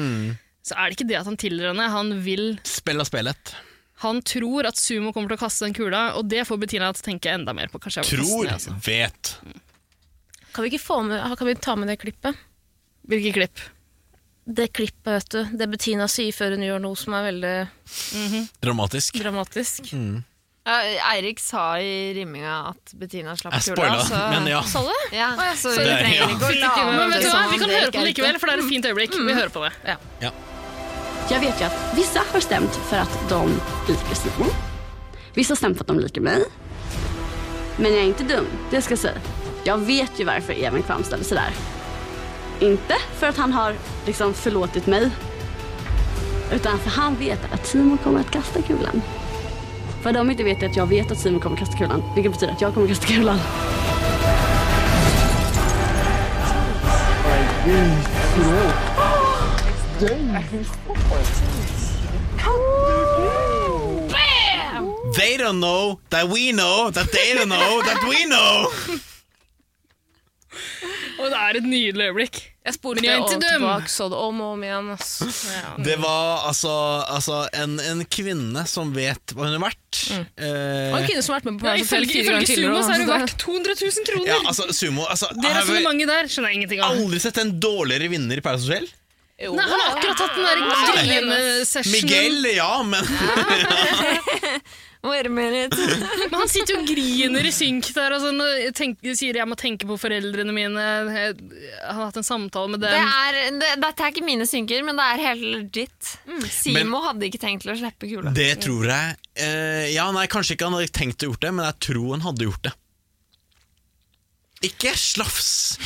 Speaker 4: så er det ikke det at han tilgir henne. Han vil
Speaker 3: Spill av spillet.
Speaker 4: Han tror at Sumo kommer til å kaste den kula, og det får Bettina til å tenke enda mer på. Kanskje jeg vil kaste
Speaker 3: Tror,
Speaker 4: den, altså.
Speaker 3: vet.
Speaker 2: Kan vi ikke få med, kan vi ta med det klippet?
Speaker 4: Hvilke klipp?
Speaker 2: Det klippet, vet du. Det Bettina sier før hun gjør noe som er veldig
Speaker 3: Dramatisk.
Speaker 2: dramatisk.
Speaker 5: Ja, Eirik sa i rimminga at Bettina slapp
Speaker 3: Jeg
Speaker 5: kula,
Speaker 3: spoila,
Speaker 5: så
Speaker 3: men ja.
Speaker 2: altså. Sa du det?
Speaker 5: Ja, så vi
Speaker 3: Det er-
Speaker 5: trenger ikke å
Speaker 4: Fikk
Speaker 5: late
Speaker 4: ikke med, men vet du hva?
Speaker 5: som
Speaker 4: Vi kan
Speaker 5: det
Speaker 4: høre
Speaker 5: ikke
Speaker 4: på
Speaker 5: er
Speaker 4: det likevel,
Speaker 5: riktig.
Speaker 4: for det er Mm. et fint øyeblikk. Vi hører på det. Ja.
Speaker 11: Jeg vet jo at visse har stemt for at de liker Simon. Visse har stemt for at de liker meg. Men jeg er ikke dum, det skal jeg si. Jeg vet jo hvorfor Even framstiller seg der. Ikke for at han har liksom forlatt meg, utan for han vet at Simon kommer til å kaste kulen. For de ikke vet er at jeg vet at Simon kommer til å kaste kulen, hvilket betyr at jeg kommer til å kaste kulen.
Speaker 3: They don't know that we know that they don't know that we know!
Speaker 4: Og det er et nydelig øyeblikk.
Speaker 2: Jeg spoler
Speaker 4: Men jeg
Speaker 2: det
Speaker 4: er ikke
Speaker 2: og
Speaker 4: dum.
Speaker 2: tilbake, så det om og om igjen. ass.
Speaker 3: Det var altså, altså en, en kvinne som vet hva hun er verdt.
Speaker 2: Mm. Og en
Speaker 3: Eh,
Speaker 2: kvinne som har vært med på
Speaker 4: Ja,
Speaker 2: Paradise Hotel
Speaker 4: ifølge
Speaker 2: fire ganger
Speaker 4: ifølge Sumo
Speaker 2: tidligere.
Speaker 4: så er det
Speaker 2: da.
Speaker 4: verdt 200 000 kroner!
Speaker 3: ja, altså, sumo altså,
Speaker 4: det
Speaker 3: Jeg har vel
Speaker 4: resonnementet der skjønner jeg ingenting av.
Speaker 3: aldri sett en dårligere vinner i Paradise Hotel.
Speaker 2: Jo,
Speaker 4: Nei, han har akkurat hatt den der grinesessionen.
Speaker 3: Miguel, ja, men
Speaker 5: Wait a minute.
Speaker 4: Men han sitter jo og griner i synk der og sånn, og tenker, sier 'jeg må tenke på foreldrene mine'. Han har hatt en samtale med
Speaker 5: Det
Speaker 4: dem.
Speaker 5: er, det, dette er ikke mine synker, men det er helt legit. Simo
Speaker 3: Men-
Speaker 5: hadde ikke tenkt til å slippe kula.
Speaker 3: Det tror jeg eh, Ja, nei, kanskje ikke han hadde tenkt å gjort det, men jeg tror han hadde gjort det. Ikke slafs!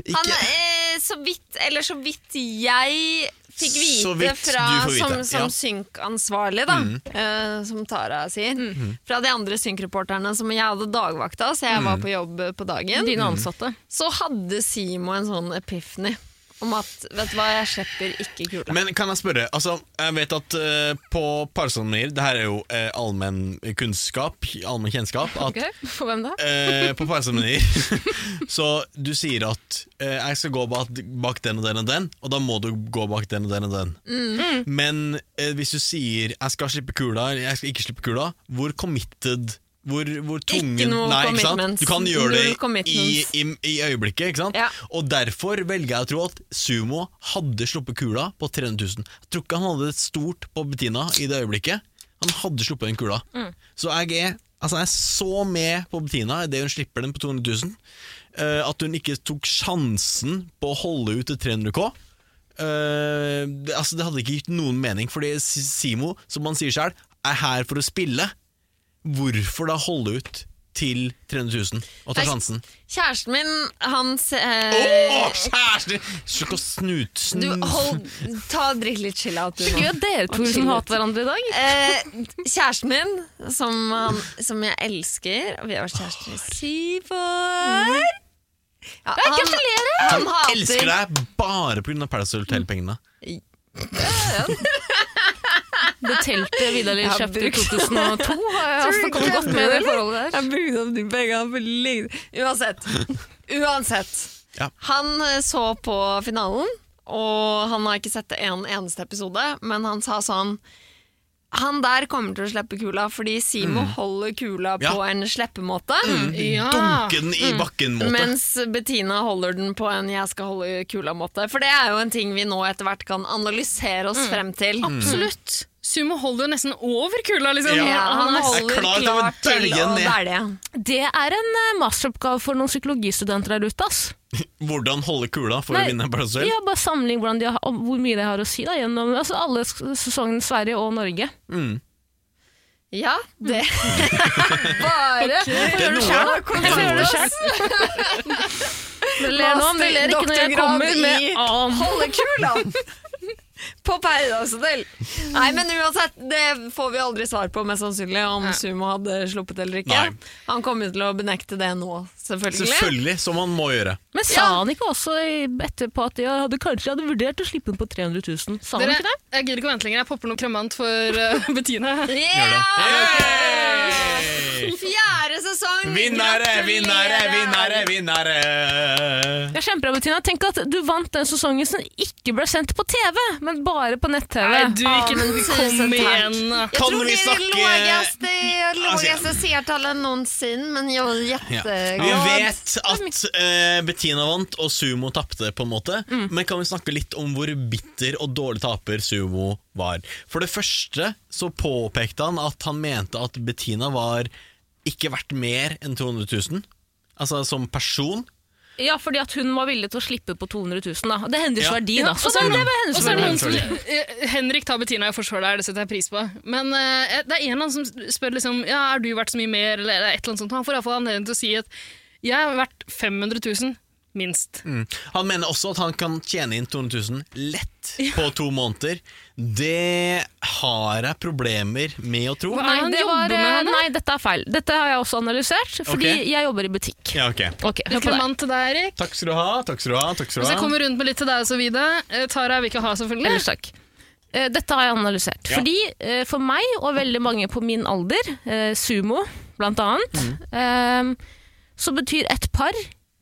Speaker 5: Han,
Speaker 3: Ikke
Speaker 5: eh, så vidt, eller så vidt jeg fikk vite,
Speaker 3: Så vidt
Speaker 5: fra,
Speaker 3: du får vite,
Speaker 5: som, som
Speaker 3: ja. Mm.
Speaker 5: synkansvarlig, da, eh, som Tara sier,
Speaker 2: Mm.
Speaker 5: fra de andre synkreporterne som jeg hadde dagvakta, så jeg
Speaker 3: Mm.
Speaker 5: var på jobb eh, på dagen,
Speaker 2: Dine ansatte.
Speaker 5: så hadde Simo en sånn epiphany om at vet du hva, jeg slipper ikke kula.
Speaker 3: Men kan jeg spørre, altså, jeg vet at eh, på Parsonomir, det her er jo uh, allmenn kunnskap, allmenn kjennskap, at
Speaker 2: Ok, For hvem da?
Speaker 3: eh, på Parsonomir, så du sier at eh, jeg skal gå bak, bak den og den og den, og da må du gå bak den og den og den.
Speaker 5: Mm.
Speaker 3: Men eh, hvis du sier jeg skal slippe kula, eller jeg skal ikke slippe kula, hvor committed hvor, hvor tungen,
Speaker 5: noe
Speaker 3: nei, ikke sant?
Speaker 5: commitments.
Speaker 3: Du kan gjøre
Speaker 5: Null
Speaker 3: det i,
Speaker 5: commitments.
Speaker 3: i, i øyeblikket, ikke sant?
Speaker 5: Ja.
Speaker 3: Og derfor velger jeg å tro at Sumo hadde sluppet kula på 300 000. Jeg tror ikke han hadde et stort på Bettina i det øyeblikket. Han hadde sluppet den kula.
Speaker 5: Mm.
Speaker 3: Så jeg er, altså jeg er så med på Bettina idet hun slipper den på 200 000, eh, at hun ikke tok sjansen på å holde ut til 300 K. Eh, det, altså det hadde ikke gitt noen mening, fordi S- Simo, som han sier sjøl, er her for å spille. Hvorfor da holde ut til 300 000 og ta
Speaker 5: Nei,
Speaker 3: sjansen?
Speaker 5: Kjæresten min, han eh,
Speaker 3: Åh, kjæresten Slutt å snute
Speaker 5: Du,
Speaker 3: snu-
Speaker 5: hold, ta og drikk litt chill out, du nå.
Speaker 2: Gøy at dere to
Speaker 5: Og
Speaker 2: liksom
Speaker 5: chillet.
Speaker 2: hater hverandre i dag.
Speaker 5: Eh, kjæresten min, som, han, som jeg elsker og Vi har vært kjærester i syv år. Ja, han, Gratulerer! Han,
Speaker 3: Han elsker deg
Speaker 5: hater
Speaker 3: bare pga. Paradise
Speaker 5: Mm.
Speaker 3: Hotel-pengene.
Speaker 2: Det teltet Vidar Lill
Speaker 5: Jeg har
Speaker 2: kjøpte i
Speaker 5: brukt-
Speaker 2: 2002, har jeg altså
Speaker 5: Tror du
Speaker 2: kommet
Speaker 5: ikke
Speaker 2: godt
Speaker 5: jeg
Speaker 2: med i det
Speaker 5: gjør det?
Speaker 2: forholdet der.
Speaker 5: Jeg brukte opp de pengene for lenge Uansett. Uansett.
Speaker 3: Ja.
Speaker 5: Han eh, så på finalen, og han har ikke sett en eneste episode, men han sa sånn han der kommer til å slippe kula, fordi Simo holder kula
Speaker 3: Mm. Ja. Mm.
Speaker 5: på en sleppemåte.
Speaker 4: Ja.
Speaker 3: Dunke den
Speaker 5: Mm.
Speaker 3: i bakken-måte.
Speaker 5: Mens Bettina holder den på en 'jeg skal holde kula'-måte. For det er jo en ting vi nå etter hvert kan analysere oss frem til.
Speaker 4: Absolutt. Sumo holder jo nesten over kula, liksom.
Speaker 3: Ja.
Speaker 5: Mm. Ja, han
Speaker 4: Han er,
Speaker 3: er
Speaker 5: holder
Speaker 3: klar til å
Speaker 5: klar til
Speaker 3: dælje
Speaker 5: å
Speaker 3: ned.
Speaker 5: dælje.
Speaker 2: Det er en eh, masteroppgave for noen psykologistudenter der ute. ass.
Speaker 3: Hvordan holde kula for
Speaker 2: Nei,
Speaker 3: å vinne en plass selv?
Speaker 2: Ja, bare sammenlign hvordan de har, og hvor mye de har å si da, gjennom altså, alle s- sesongene Sverige og Norge.
Speaker 5: Ja, det Bare
Speaker 3: Det er noe.
Speaker 2: Jeg får gjøre det selv.
Speaker 5: Kontant.
Speaker 2: Dere ler nå, men dere ler ikke når jeg kommer med
Speaker 5: Doktorgrad i-
Speaker 2: annen.
Speaker 5: Holde kula! På Paradise Hotel. Nei, men uansett, det får vi aldri svar på, mest sannsynlig, om
Speaker 4: Nei.
Speaker 5: Sumo hadde sluppet eller ikke.
Speaker 3: Nei.
Speaker 5: Han kommer jo til å benekte det nå, selvfølgelig.
Speaker 3: Selvfølgelig, som man må gjøre.
Speaker 2: Men sa han ikke også i- etterpå at jeg hadde, kanskje jeg hadde vurdert å slippe den på 300 000? Sa han
Speaker 4: dere,
Speaker 2: ikke det?
Speaker 4: jeg gidder ikke å vente lenger. Jeg popper noe kremant for eh, Bettina.
Speaker 5: Yeah! Fjerde sesong!
Speaker 3: Vinnere, vinnere,
Speaker 5: Gratulerer!
Speaker 3: vinnere, vinnere!
Speaker 2: Jeg kjemper, Bettina. Tenk at du vant den sesongen som ikke ble sendt på TV, men bare på nett-TV.
Speaker 4: Nei, du ikke
Speaker 5: tusen
Speaker 4: Kom
Speaker 5: takk.
Speaker 4: igjen, da.
Speaker 5: Jeg
Speaker 3: Kan
Speaker 5: tror
Speaker 3: vi
Speaker 5: det er
Speaker 3: snakke-
Speaker 5: laveste,
Speaker 3: Altså,
Speaker 5: laveste seertallet noensinne, men jeg er
Speaker 3: Ja. Vi
Speaker 5: jätteglad.
Speaker 3: vet at eh, Bettina vant og Sumo tapte, på en måte. Men kan vi snakke litt om hvor bitter og dårlig taper Sumo var? For det første så påpekte han at han mente at Bettina var ikke verdt mer enn 200 000. Altså som person.
Speaker 2: Ja, fordi at hun var villig til å slippe på 200 000. Da. Det er hennes
Speaker 3: Ja.
Speaker 2: verdi,
Speaker 4: Ja,
Speaker 2: da. Mm. Så
Speaker 4: og så er
Speaker 2: det, det
Speaker 4: det-
Speaker 2: var
Speaker 4: Og
Speaker 2: hennes
Speaker 4: så er det
Speaker 2: verdi.
Speaker 4: noen som, eh, Henrik tar Bettina i forsvar der, det setter jeg pris på. Men eh, det er en eller annen som spør liksom, ja, er du verdt så mye mer, eller et eller annet sånt. Han får iallfall anledning til å si at jeg er verdt 500 000, minst.
Speaker 3: Mm. Han mener også at han kan tjene inn 200 000 lett på to måneder. Det har jeg problemer med å tro.
Speaker 4: Hva?
Speaker 2: Nei,
Speaker 4: Han
Speaker 2: det
Speaker 4: jobber
Speaker 2: var, eh,
Speaker 4: med det. eh,
Speaker 2: nei, dette er feil. Dette har jeg også analysert, fordi
Speaker 3: Ok.
Speaker 2: jeg jobber i butikk.
Speaker 3: Ja, ok.
Speaker 2: Ok, hør på deg.
Speaker 4: Kremant til deg, Erik.
Speaker 3: Takk skal du ha. takk skal du ha, takk skal
Speaker 4: Hvis
Speaker 3: du
Speaker 4: jeg
Speaker 3: ha.
Speaker 4: kommer rundt med litt til deg også, Vida. Eh, Tara vil ikke ha, selvfølgelig.
Speaker 2: Ellers takk. Eh, Dette har jeg analysert. Fordi eh, for meg, og veldig mange på min alder, eh, sumo blant annet,
Speaker 3: Mm.
Speaker 2: eh, så betyr ett par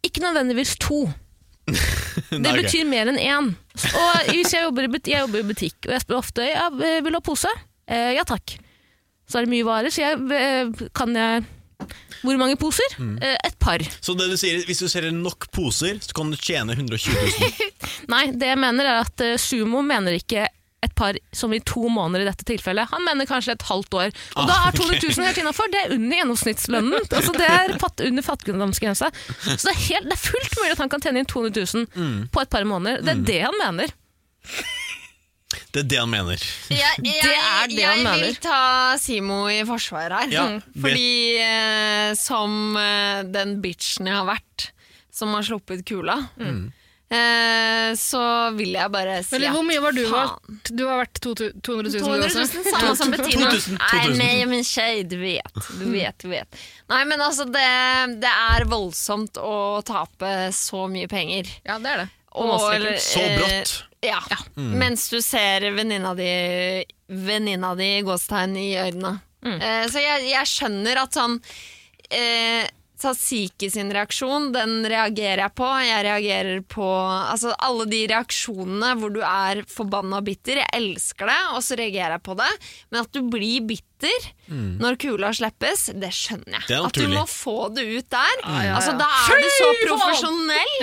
Speaker 2: ikke nødvendigvis to. Det
Speaker 3: Nei, ok.
Speaker 2: betyr mer enn én. Og hvis jeg jobber i butikk, jeg jobber i butikk og jeg spør ofte ja, eh, vil du ha pose. Eh, ja takk. Så er det mye varer, så jeg eh, kan jeg Hvor mange poser?
Speaker 3: Mm.
Speaker 2: Eh, et par.
Speaker 3: Så det du sier, hvis du selger nok poser, så kan du tjene 120 000.
Speaker 2: Nei, det jeg mener er at eh, Sumo mener ikke et par som i to måneder i dette tilfellet. Han mener kanskje et halvt år. Og da
Speaker 3: Ah,
Speaker 2: er 200 000 helt innafor. Det er under gjennomsnittslønnen. Altså, det er fatt, under fattigdomsgrensa. Så det er, helt, det er fullt mulig at han kan tjene inn 200 000
Speaker 3: Mm.
Speaker 2: på et par måneder. Det er det han mener.
Speaker 3: Det er det han mener.
Speaker 5: Jeg, jeg,
Speaker 2: Det er det han
Speaker 5: jeg vil
Speaker 2: mener.
Speaker 5: ta Simo i forsvar her.
Speaker 3: Ja,
Speaker 5: Mm.
Speaker 3: det-
Speaker 5: Fordi eh, som eh, den bitchen jeg har vært, som har sluppet kula,
Speaker 3: Mm.
Speaker 5: eh, så vil jeg bare si
Speaker 4: Eller
Speaker 5: at
Speaker 4: hvor mye var du
Speaker 5: faen.
Speaker 4: verdt? Du var verdt to- 200 000, du
Speaker 5: 200
Speaker 4: også.
Speaker 5: 000, samme som Bettina.
Speaker 3: 2000,
Speaker 5: Nei,
Speaker 3: 2000.
Speaker 5: nei, min tjej, du vet. Du vet, du vet. Nei, men altså, det, det er voldsomt å tape så mye penger.
Speaker 4: Ja, det er det.
Speaker 5: Og, eller,
Speaker 3: Så brått. Mm.
Speaker 5: Eh, ja. Mens du ser venninna di Venninna di i gåstegn i øynene.
Speaker 4: Mm.
Speaker 5: Eh, så jeg, jeg skjønner at sånn eh, Sasiki sin reaksjon, den reagerer jeg på. Jeg reagerer på altså, alle de reaksjonene hvor du er forbanna bitter. Jeg elsker det, og så reagerer jeg på det. Men at du blir bitter
Speaker 4: Mm.
Speaker 5: når kula slippes, det skjønner jeg.
Speaker 3: Det er
Speaker 5: at du
Speaker 3: naturlig.
Speaker 5: må få det ut der.
Speaker 4: ja,
Speaker 5: Altså,
Speaker 4: ja.
Speaker 5: da er du så
Speaker 4: Fy faen! Mm.
Speaker 5: profesjonell.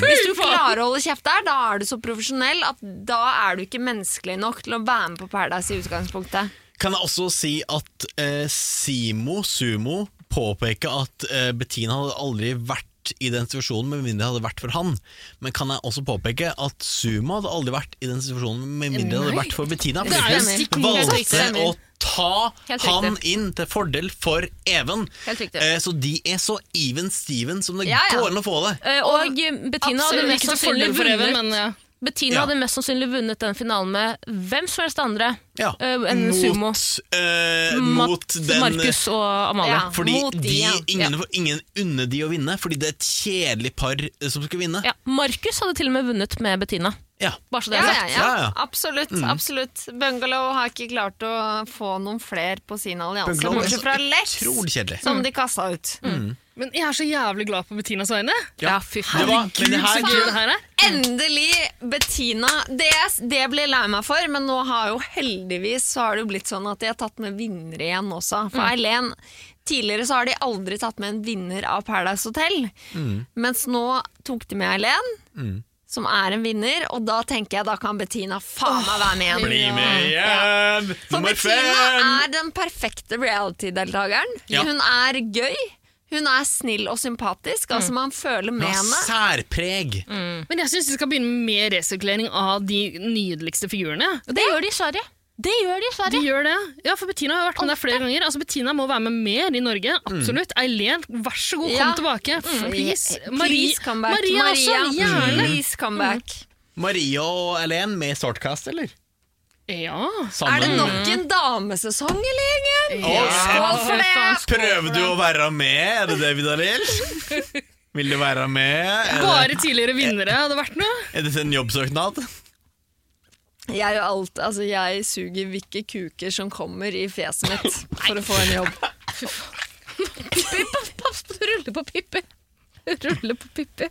Speaker 5: Hvis du klarer å holde kjeft der, da er du så profesjonell at da er du ikke menneskelig nok til å være med på Paradise i utgangspunktet.
Speaker 3: Kan jeg også si at eh, Simo Sumo påpeker at eh, Bettina hadde aldri vært i den situasjonen med mindre det hadde vært for han. Men kan jeg også påpeke at Sumo hadde aldri vært i den situasjonen med mindre det hadde vært for Bettina.
Speaker 4: Det er jo
Speaker 3: Fordi
Speaker 4: stikk
Speaker 3: hun
Speaker 4: motsatt.
Speaker 3: valgte å ta
Speaker 2: Helt
Speaker 3: han
Speaker 2: riktig.
Speaker 3: inn til fordel for Even.
Speaker 2: Helt riktig.
Speaker 3: Eh, så de er så even steven som det
Speaker 5: Ja, ja.
Speaker 3: går an å få det.
Speaker 2: Eh, Og eh, Bettina hadde,
Speaker 4: Absolutt
Speaker 2: mest
Speaker 4: ikke til
Speaker 2: sannsynlig
Speaker 4: fordel for Even,
Speaker 2: vunnet,
Speaker 4: men ja.
Speaker 2: Bettina
Speaker 3: Ja.
Speaker 2: hadde mest sannsynlig vunnet den finalen med hvem som helst andre
Speaker 3: Ja.
Speaker 2: eh, enn Sumo.
Speaker 3: eh,
Speaker 2: Mat-
Speaker 3: mot den
Speaker 2: Markus og Amalie.
Speaker 5: Ja.
Speaker 3: Fordi
Speaker 5: Mot de,
Speaker 3: de,
Speaker 5: ja.
Speaker 3: ingen, ingen unner de å vinne, fordi det er et kjedelig par eh, som skal vinne.
Speaker 2: Ja, Markus hadde til og med vunnet med Bettina.
Speaker 3: Ja.
Speaker 2: Bare så det
Speaker 5: Ja,
Speaker 2: er
Speaker 5: ja,
Speaker 2: sagt.
Speaker 5: ja.
Speaker 3: Ja, Mm. ja.
Speaker 5: Absolutt. absolutt. Bungalow har ikke klart å få noen fler på sin allianse,
Speaker 3: Bungalow er så
Speaker 5: bortsett fra Lex,
Speaker 3: Utrolig kjedelig.
Speaker 5: som de kasta
Speaker 4: Mm.
Speaker 5: ut.
Speaker 4: Men jeg er så jævlig glad på Bettinas vegne.
Speaker 2: Ja, fy
Speaker 3: Det
Speaker 2: faen.
Speaker 3: var, men det
Speaker 4: Så
Speaker 3: her,
Speaker 4: gøy det her er.
Speaker 5: Endelig, Bettina. Det, det ble jeg lei meg for, men nå har jo heldigvis så har det jo blitt sånn at de har tatt med vinnere igjen også. For Eileen, tidligere så har de aldri tatt med en vinner av Paradise Hotel. Mens nå tok de med Eileen.
Speaker 7: som er en vinner, og da tenker jeg da kan Bettina faen meg være med igjen.
Speaker 3: Bli med igjen!
Speaker 7: For
Speaker 3: Nummer
Speaker 7: Bettina
Speaker 3: fem!
Speaker 7: er den perfekte reality-deltakeren.
Speaker 3: Ja.
Speaker 7: Hun er gøy, hun er snill og sympatisk. Altså Man føler med
Speaker 3: Hun har
Speaker 7: henne.
Speaker 3: særpreg.
Speaker 4: Men jeg syns de skal begynne med mer resirkulering av de nydeligste figurene.
Speaker 2: Det gjør de i Sverige. Det gjør de i
Speaker 4: De
Speaker 2: Sverige.
Speaker 4: gjør det. Ja, for Bettina har vært med der flere ganger. Altså, Bettina må være med mer i Norge.
Speaker 3: Mm.
Speaker 4: Absolutt. Eileen, vær så god, kom
Speaker 7: Ja. Mm.
Speaker 4: tilbake. Please. Marie,
Speaker 7: Please come back.
Speaker 4: Maria, også. Gjerne.
Speaker 7: Please come back.
Speaker 3: Maria og Elaine med i Startcast, eller?
Speaker 4: Ja.
Speaker 3: Sammen.
Speaker 7: Er det nok en damesesong, eller, gjengen?
Speaker 3: Å,
Speaker 7: Skål for det!
Speaker 3: Prøver du å være med? Er det det, Vidar Lill? Vil du være med? Er,
Speaker 4: Bare tidligere vinnere hadde vært noe.
Speaker 3: det, er dette en jobbsøknad?
Speaker 7: Jeg, er jo alt, altså, jeg suger hvilke kuker som kommer i fjeset mitt for å få en jobb.
Speaker 2: Pass på, du ruller på pipper. Ruller på pipper.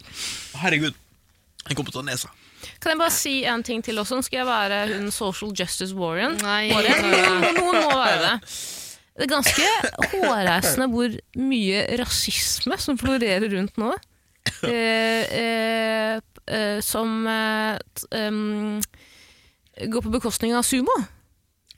Speaker 3: Herregud. Jeg kom på tånesa.
Speaker 2: Kan jeg bare si en ting til også? Skal jeg være hun social justice warrior?
Speaker 4: Nei.
Speaker 2: Warrior? Noen må være det. Det er ganske hårreisende hvor mye rasisme som florerer rundt nå. Eh, eh, eh, som eh, t, em, går på bekostning av sumo.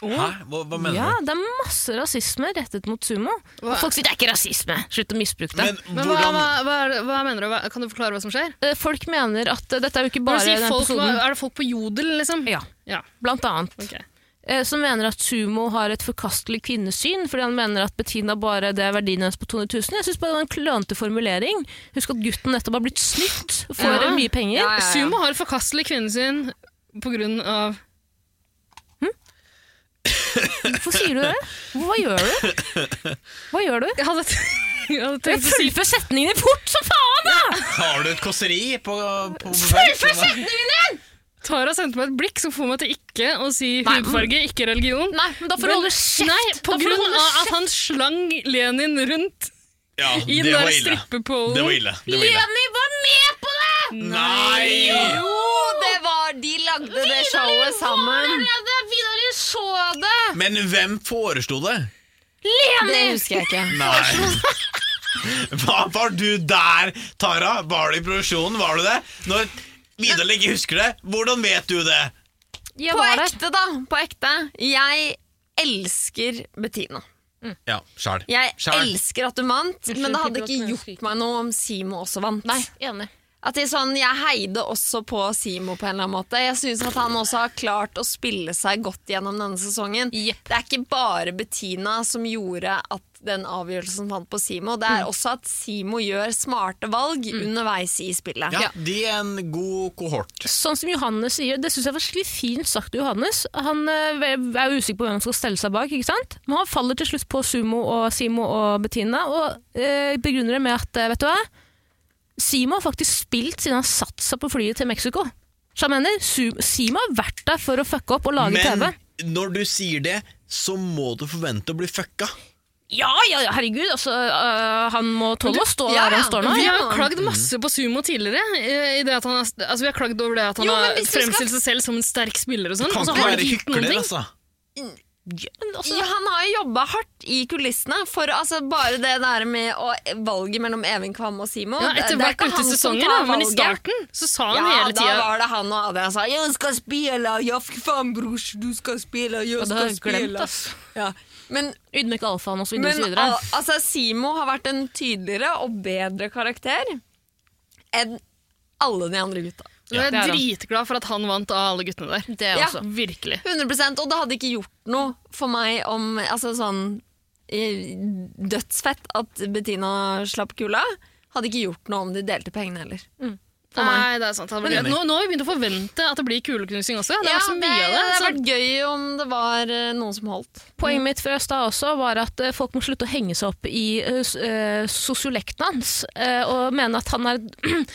Speaker 3: Hæ? Hva, hva mener
Speaker 2: Ja,
Speaker 3: du?
Speaker 2: det er masse rasisme rettet mot sumo. Og folk sier det er ikke rasisme! Slutt å misbruke det.
Speaker 3: Men
Speaker 4: Men hva,
Speaker 3: hvordan
Speaker 4: hva, hva, er det- hva mener du? Hva, kan du forklare hva som skjer?
Speaker 2: Eh, folk mener at eh, dette er jo ikke
Speaker 4: Når
Speaker 2: bare
Speaker 4: du sier
Speaker 2: den
Speaker 4: folk, hva,
Speaker 2: episoden.
Speaker 4: er det folk på jodel, liksom?
Speaker 2: Ja,
Speaker 4: Ja,
Speaker 2: blant annet.
Speaker 4: ok.
Speaker 2: eh, som mener at sumo har et forkastelig kvinnesyn, fordi han mener at Bettina bare det er verdien hennes på 200 000. Jeg synes bare det var en klønete formulering. Husk at gutten nettopp har blitt snytt for
Speaker 4: Ja.
Speaker 2: mye penger.
Speaker 7: Ja, ja, ja.
Speaker 4: Sumo har forkastelig kvinnesyn på grunn av
Speaker 2: Hvorfor sier du det? Hva gjør du? Hva gjør du?
Speaker 4: Jeg hadde, jeg hadde
Speaker 2: Jeg
Speaker 4: tenkt å si
Speaker 2: fullfører setningene fort som faen, da!
Speaker 3: Har du et kåseri på, på Fullførsett!
Speaker 4: Tara sendte meg et blikk som får meg til ikke å si hudfarge, ikke religion.
Speaker 2: Nei, men da får du holde kjeft!
Speaker 4: Nei, på
Speaker 2: Da får du
Speaker 4: grunn
Speaker 2: holde
Speaker 4: av at
Speaker 2: kjeft.
Speaker 4: han slang Lenin rundt
Speaker 3: Ja,
Speaker 4: i
Speaker 3: det
Speaker 4: den
Speaker 3: var
Speaker 4: der
Speaker 3: ille.
Speaker 4: strippepolen.
Speaker 3: Det var ille. Det var ille.
Speaker 2: Jenny var med på det!
Speaker 3: Nei!
Speaker 7: Jo, det var De lagde det showet sammen.
Speaker 2: det! Vidar så det!
Speaker 3: Men hvem foreslo det?
Speaker 7: Det husker jeg ikke.
Speaker 3: Nei. Hva var du der, Tara? Var du i produksjonen? Var du det? Når Vidar ikke husker det, hvordan vet du det?
Speaker 2: Jeg
Speaker 7: På
Speaker 2: var der.
Speaker 7: ekte, da. På ekte. Jeg elsker Bettina.
Speaker 3: Ja, sjæl.
Speaker 7: Jeg
Speaker 3: Sjæl.
Speaker 7: elsker at du vant, men det hadde
Speaker 2: Unnskyld,
Speaker 7: ikke
Speaker 2: Pippi, at jeg
Speaker 7: gjort meg noe om Simo også vant.
Speaker 2: Nei, enig.
Speaker 7: At det er sånn, Jeg heide også på Simo på en eller annen måte. Jeg syns at han også har klart å spille seg godt gjennom denne sesongen.
Speaker 2: Jepp.
Speaker 7: Det er ikke bare Bettina som gjorde at den avgjørelsen fant på Simo. Det
Speaker 4: Mm.
Speaker 7: er også at Simo gjør smarte valg underveis i spillet.
Speaker 3: Ja, de er en god kohort.
Speaker 2: Sånn som Johannes sier, det synes jeg var skikkelig fint sagt av Johannes. Han eh, er jo usikker på hvem han skal stelle seg bak, ikke sant? Men han faller til slutt på Sumo og Simo og Bettina, og eh, begrunner det med at, eh, vet du hva, Simo har faktisk spilt siden han satt seg på flyet til Mexico. Så han mener, Su- Simo har vært der for å fucke opp og lage
Speaker 3: Men
Speaker 2: TV.
Speaker 3: når du sier det, så må du forvente å bli fucka.
Speaker 2: Ja, ja, ja, herregud, altså, eh, han må tåle å stå
Speaker 7: Ja,
Speaker 2: der han står nå.
Speaker 4: Vi har jo
Speaker 7: Ja.
Speaker 4: klagd masse på Sumo tidligere. eh, I det at han er, altså vi har klagd over det at han
Speaker 7: Jo, men
Speaker 4: har
Speaker 7: hvis du skal-
Speaker 4: fremstilt seg selv som en sterk spiller og sånn.
Speaker 3: Kan
Speaker 4: Og så
Speaker 3: ikke
Speaker 4: har han
Speaker 3: være
Speaker 4: ikke gjort noen
Speaker 3: hykler,
Speaker 4: ting.
Speaker 3: altså.
Speaker 2: Ja, men altså-
Speaker 7: Ja, han har jo jobba hardt i kulissene for altså, bare det der med å, valget mellom Even Kvam og Simo.
Speaker 4: Ja,
Speaker 7: det-
Speaker 4: etter
Speaker 7: det er
Speaker 4: hvert
Speaker 7: ikke
Speaker 4: ut i
Speaker 7: han som
Speaker 4: sesongen, da,
Speaker 7: tar
Speaker 4: men i
Speaker 7: valget.
Speaker 4: starten så sa han
Speaker 7: ja,
Speaker 4: hele tida
Speaker 7: da var det han og Adrian sa 'Jeg skal spille, ja, fy faen, brors, du skal spille, jeg
Speaker 2: Og det har
Speaker 7: skal
Speaker 2: jeg
Speaker 7: spille'.
Speaker 2: glemt, ass.
Speaker 7: Ja. Men,
Speaker 2: Ydmyk alfaen og så videre og så
Speaker 7: men
Speaker 2: videre.
Speaker 7: al altså, Simo har vært en tydeligere og bedre karakter enn alle de andre gutta.
Speaker 4: Jeg
Speaker 2: det er
Speaker 4: er
Speaker 2: han.
Speaker 4: dritglad for at han vant av alle guttene der. altså,
Speaker 2: Det
Speaker 7: Ja.
Speaker 2: også.
Speaker 4: Virkelig.
Speaker 7: 100 Og det hadde ikke gjort noe for meg om altså, sånn, eh, Dødsfett at Bettina slapp kula. Hadde ikke gjort noe om de delte pengene heller.
Speaker 4: Nei, det er sant. det hadde vært greit. Nå, nå har vi begynt å forvente at det blir kuleknusing også. Det er så mye
Speaker 7: det,
Speaker 4: av det.
Speaker 7: hadde
Speaker 4: Så
Speaker 7: vært gøy om det var eh, noen som holdt.
Speaker 2: Poenget mitt fra Østad også var at eh, folk må slutte å henge seg opp i eh, s- eh, sosiolekten hans, eh, og mene at han er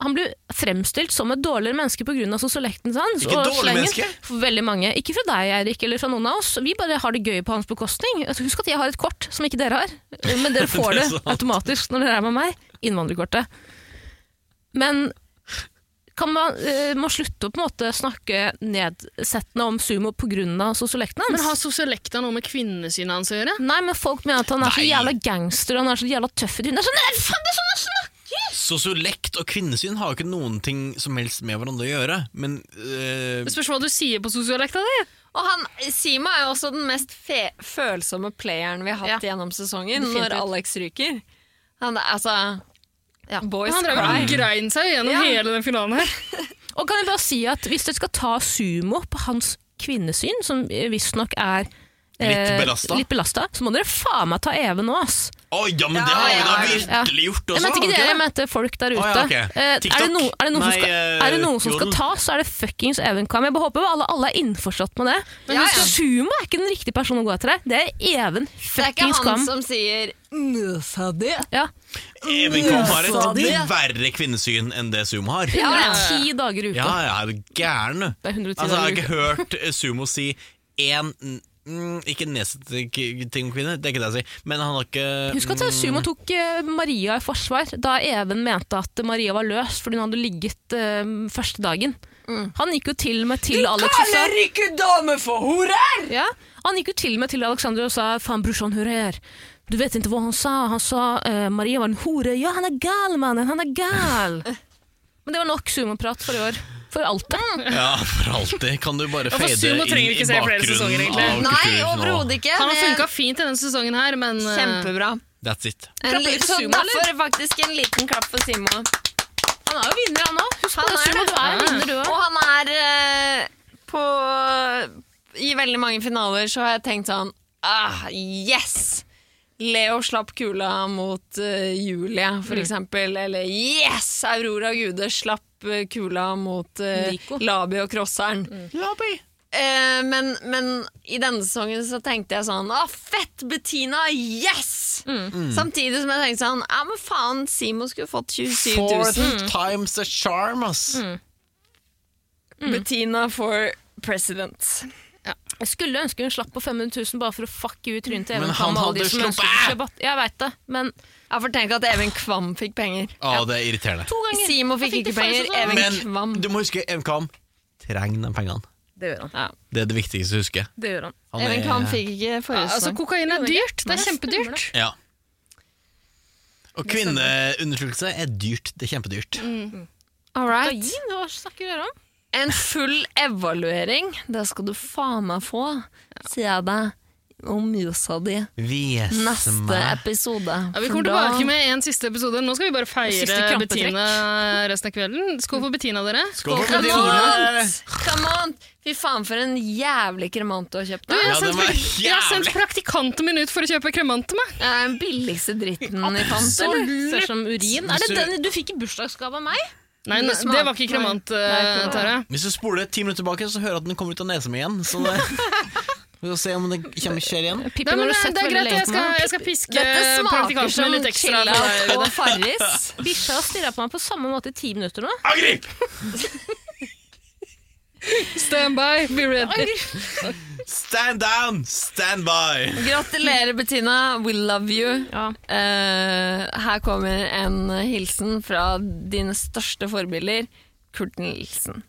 Speaker 2: Han blir fremstilt som et dårligere menneske pga. sosiolekten hans.
Speaker 3: Ikke
Speaker 2: og
Speaker 3: dårlig
Speaker 2: slengen.
Speaker 3: menneske.
Speaker 2: For Veldig mange. Ikke fra deg, Eirik, eller fra noen av oss. Vi bare har det gøy på hans bekostning. Altså, Husk at jeg har et kort som ikke dere har, eh, men dere får
Speaker 3: Det
Speaker 2: det,
Speaker 3: er sant.
Speaker 2: automatisk når dere er med meg. Innvandrerkortet. Men kan man eh, må slutte å på en måte snakke nedsettende om sumo pga. sosiolekten hans.
Speaker 4: Men har sosiolekta noe med kvinnesynet hans å gjøre?
Speaker 2: Nei, men folk mener at han er så
Speaker 3: Nei.
Speaker 2: jævla gangster og han er så jævla tøff i trynet. Det er sånn, "Nei, faen, det er sånn jeg snakker!
Speaker 3: Sosiolekt og kvinnesyn har jo ikke noen ting som helst med hverandre å gjøre, men eh,
Speaker 4: Det spørs hva du sier på sosiolekta di.
Speaker 7: Og han, Sima er jo også den mest fe følsomme playeren vi har hatt gjennom sesongen, når Alex ryker. Han, er- altså, boys
Speaker 4: Han drev
Speaker 7: cry.
Speaker 4: og grein seg gjennom
Speaker 7: Ja.
Speaker 4: hele den finalen her.
Speaker 2: Og kan jeg bare si at Hvis dere skal ta sumo på hans kvinnesyn, som visstnok er
Speaker 3: Litt belasta.
Speaker 2: Eh, litt belasta, så må dere faen meg ta Even nå, ass.
Speaker 3: Å ja, men det har vi da virkelig gjort
Speaker 2: Jeg
Speaker 3: også!
Speaker 2: mente
Speaker 3: har vi
Speaker 2: ikke dere,
Speaker 3: det?
Speaker 2: jeg mente folk der ute.
Speaker 3: Å ja, ok.
Speaker 2: Eh, er, det
Speaker 3: TikTok?
Speaker 2: no, er det noen
Speaker 3: Nei,
Speaker 2: som skal, er det noen som
Speaker 3: eh,
Speaker 2: skal
Speaker 3: Jodel.
Speaker 2: ta, så er det fuckings Even Kam. Jeg bare håper alle, alle er innforstått med det. Men
Speaker 7: Ja,
Speaker 2: husk,
Speaker 7: ja.
Speaker 2: Sumo er ikke den riktige personen å gå etter deg. Det er Even
Speaker 7: Det er
Speaker 2: fuckings
Speaker 7: ikke han
Speaker 2: Kam.
Speaker 7: som sier
Speaker 2: Ja.
Speaker 3: Even Kom har et verre kvinnesyn enn det Sumo har. Ja,
Speaker 2: 110 dager i uka.
Speaker 3: ja, er du gæren, du?
Speaker 2: Det er 110
Speaker 3: Altså, jeg har
Speaker 2: dager i
Speaker 3: ikke
Speaker 2: uka.
Speaker 3: hørt eh, Sumo si én mm, Ikke nedsettende k- ting om kvinner, det er ikke det jeg sier, men han har ikke
Speaker 2: Husk at Sumo tok eh, Maria i forsvar da Even mente at Maria var løs fordi hun hadde ligget eh, første dagen. Han gikk jo til og med til Alex og sa
Speaker 13: ikke dame for horer!
Speaker 2: ja, Han gikk jo til og med til Alexander og sa 'faen, brorsan, hør her'. Du vet ikke hva han sa. Han sa eh, 'Maria var en hore'. Ja, han er gal, mannen! Han er gal! Men det var nok sumoprat for i år. For alltid.
Speaker 3: Ja, for alltid. Kan du bare
Speaker 4: for
Speaker 3: fade
Speaker 4: Sumo
Speaker 3: inn
Speaker 4: trenger vi
Speaker 3: i
Speaker 4: ikke se flere
Speaker 3: bakgrunnen
Speaker 4: sesonger, egentlig.
Speaker 3: av
Speaker 7: Nei,
Speaker 3: kulturen nå.
Speaker 7: overhodet ikke.
Speaker 4: Han har
Speaker 7: Det-
Speaker 4: funka fint i denne sesongen her, men eh,
Speaker 7: Kjempebra.
Speaker 3: That's it.
Speaker 7: En,
Speaker 2: Klapper
Speaker 7: li-
Speaker 2: du for
Speaker 7: så
Speaker 2: Sumo,
Speaker 7: da
Speaker 2: eller?
Speaker 7: får jeg faktisk en liten klapp for Simo.
Speaker 2: Han er jo vinner, han òg. Husk på
Speaker 7: Han
Speaker 2: det,
Speaker 7: er
Speaker 2: Sumo.
Speaker 7: det.
Speaker 2: Du er en vinner, du
Speaker 7: Og
Speaker 2: òg.
Speaker 7: han er eh, på I veldig mange finaler så har jeg tenkt sånn ah, Yes! Leo slapp kula mot eh, Julie, for
Speaker 2: Mm.
Speaker 7: eksempel. Eller yes! Aurora Gude slapp eh, kula mot eh,
Speaker 2: Nico. Mm.
Speaker 7: Labi og crosseren. Eh, men, men i denne sesongen så tenkte jeg sånn Å, fett! Bettina! Yes!
Speaker 2: Mm.
Speaker 7: Samtidig som jeg tenkte sånn Ja, men faen, Simo skulle fått 27 000.
Speaker 3: Fourth time's a charm, ass.
Speaker 7: Bettina for president.
Speaker 2: Jeg skulle ønske hun slapp på 500 000 bare for å fucke ut trynet til Even
Speaker 3: Men
Speaker 2: Kam.
Speaker 3: han
Speaker 2: og alle de
Speaker 3: hadde
Speaker 2: som
Speaker 3: sluppet.
Speaker 2: ønsker å kjøpe- Jeg veit det, men
Speaker 7: Jeg får tenke at Even Kvam fikk penger.
Speaker 3: Å, det er irriterende.
Speaker 2: to ganger.
Speaker 7: Simo
Speaker 2: Han
Speaker 7: fikk ikke
Speaker 2: det faktisk
Speaker 7: penger,
Speaker 2: også.
Speaker 7: Even Kvam.
Speaker 3: Men du må huske, Even Kam trenger de pengene.
Speaker 2: Det gjør han.
Speaker 7: Ja.
Speaker 3: Det er det viktigste å huske.
Speaker 2: Det gjør han.
Speaker 3: Han
Speaker 7: Even
Speaker 3: er-
Speaker 7: Kvam fikk ikke
Speaker 4: ja,
Speaker 7: forrige
Speaker 4: altså,
Speaker 7: sesong.
Speaker 4: kokain er dyrt. Det er kjempedyrt.
Speaker 3: Ja. Og kvinneundertrykkelse er dyrt. Det er kempedyrt.
Speaker 7: All right.
Speaker 2: Gin, hva snakker dere om?
Speaker 7: En full evaluering, det skal du faen meg få, sier jeg deg om musa di
Speaker 3: Vis
Speaker 7: neste
Speaker 3: meg
Speaker 7: episode.
Speaker 4: Ja, vi kommer
Speaker 7: For da-
Speaker 4: tilbake med en siste episode. Nå skal vi bare
Speaker 2: Siste
Speaker 4: feire
Speaker 2: krampetrekk.
Speaker 4: Bettina resten av kvelden. Skål for Bettina, dere.
Speaker 3: Skål for
Speaker 7: Come on!
Speaker 3: Bettina!
Speaker 7: Come on! Fy faen, for en jævlig kremant du har kjøpt.
Speaker 4: Du, jeg har,
Speaker 7: deg.
Speaker 3: Ja,
Speaker 4: sendt,
Speaker 3: den var
Speaker 4: prak- jeg har sendt
Speaker 3: jævlig.
Speaker 4: praktikanten min ut for å kjøpe kremant til meg.
Speaker 7: Det er Den billigste dritten i fant,
Speaker 2: Eller?
Speaker 7: eller?
Speaker 2: Ser som urin. Er det den du fikk i bursdagsgave av meg?
Speaker 4: Nei,
Speaker 7: Men
Speaker 4: ne,
Speaker 7: det smak-
Speaker 4: det var ikke kremant, eh,
Speaker 7: ikke det.
Speaker 4: Tara.
Speaker 3: Hvis du spoler ti minutter tilbake, så hører jeg at den kommer ut av nesa mi igjen. Så det... Vi får se om det kommer skjer igjen.
Speaker 4: Nei,
Speaker 2: Pippen
Speaker 4: men,
Speaker 2: har du
Speaker 4: eh,
Speaker 2: sett
Speaker 4: det er
Speaker 2: veldig
Speaker 4: greit,
Speaker 2: lenge
Speaker 4: jeg
Speaker 2: på
Speaker 4: skal,
Speaker 2: meg.
Speaker 4: jeg skal
Speaker 2: eh,
Speaker 4: piske
Speaker 7: Dette smaker
Speaker 4: praktikanten
Speaker 7: som
Speaker 4: min litt ekstra.
Speaker 7: chillout og Farris.
Speaker 2: Bikkja har stirra på meg på samme måte i ti minutter nå.
Speaker 3: Angrip!
Speaker 4: Stand by, be ready.
Speaker 3: Stand down! Stand by!
Speaker 7: Gratulerer, Bettina. We love you.
Speaker 2: Ja.
Speaker 7: Eh, her kommer en hilsen fra dine største forbilder, Kurt Nilsen.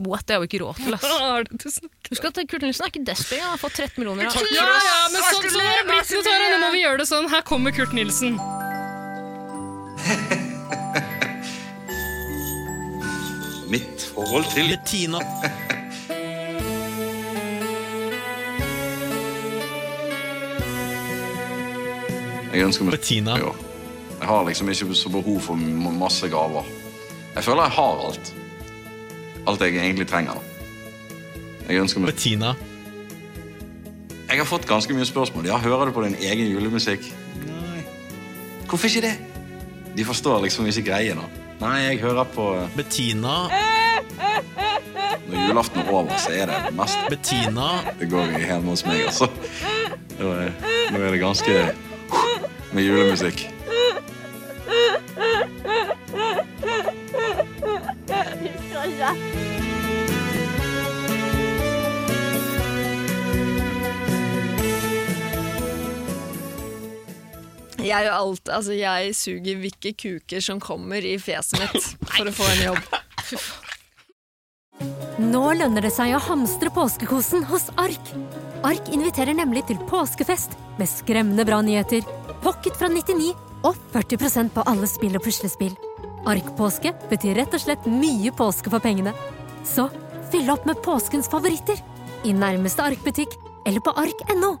Speaker 2: What, det har vi ikke råd til. ass.
Speaker 4: Hva er det du snakker om?
Speaker 2: Husk at Kurt Nilsen er ikke desperat, han har fått 13 millioner. av-
Speaker 4: Ja, ja, men sånn sånn har det blitt nå, Tara. Nå må vi gjøre det sånn. Her kommer Kurt Nilsen.
Speaker 14: Mitt forhold til
Speaker 3: Bettina.
Speaker 14: Jeg ønsker meg
Speaker 3: Bettina.
Speaker 14: Ja. Jeg har liksom ikke så behov for m- masse gaver. Jeg føler jeg har alt. Alt jeg egentlig trenger. da. Jeg ønsker meg
Speaker 3: Bettina.
Speaker 14: Jeg har fått ganske mye spørsmål. Ja, hører du på din egen julemusikk? Nei. Hvorfor ikke det? De forstår liksom ikke greien. da. Nei, jeg hører på eh,
Speaker 3: Bettina.
Speaker 14: Når julaften er over, så er det mest
Speaker 3: Bettina.
Speaker 14: Det går hjemme hos meg, altså. Nå er, nå er det ganske med julemusikk.
Speaker 7: Jeg, gjør alt, altså, jeg suger hvilke kuker som kommer i fjeset mitt for å få en jobb.
Speaker 15: Nå lønner det seg å hamstre påskekosen hos Ark. Ark inviterer nemlig til påskefest med skremmende bra nyheter, pocket fra 99 og 40 på alle spill og puslespill.
Speaker 7: Arkpåske betyr rett og slett mye påske for pengene. Så fyll opp med påskens favoritter i nærmeste arkbutikk eller på ark.no.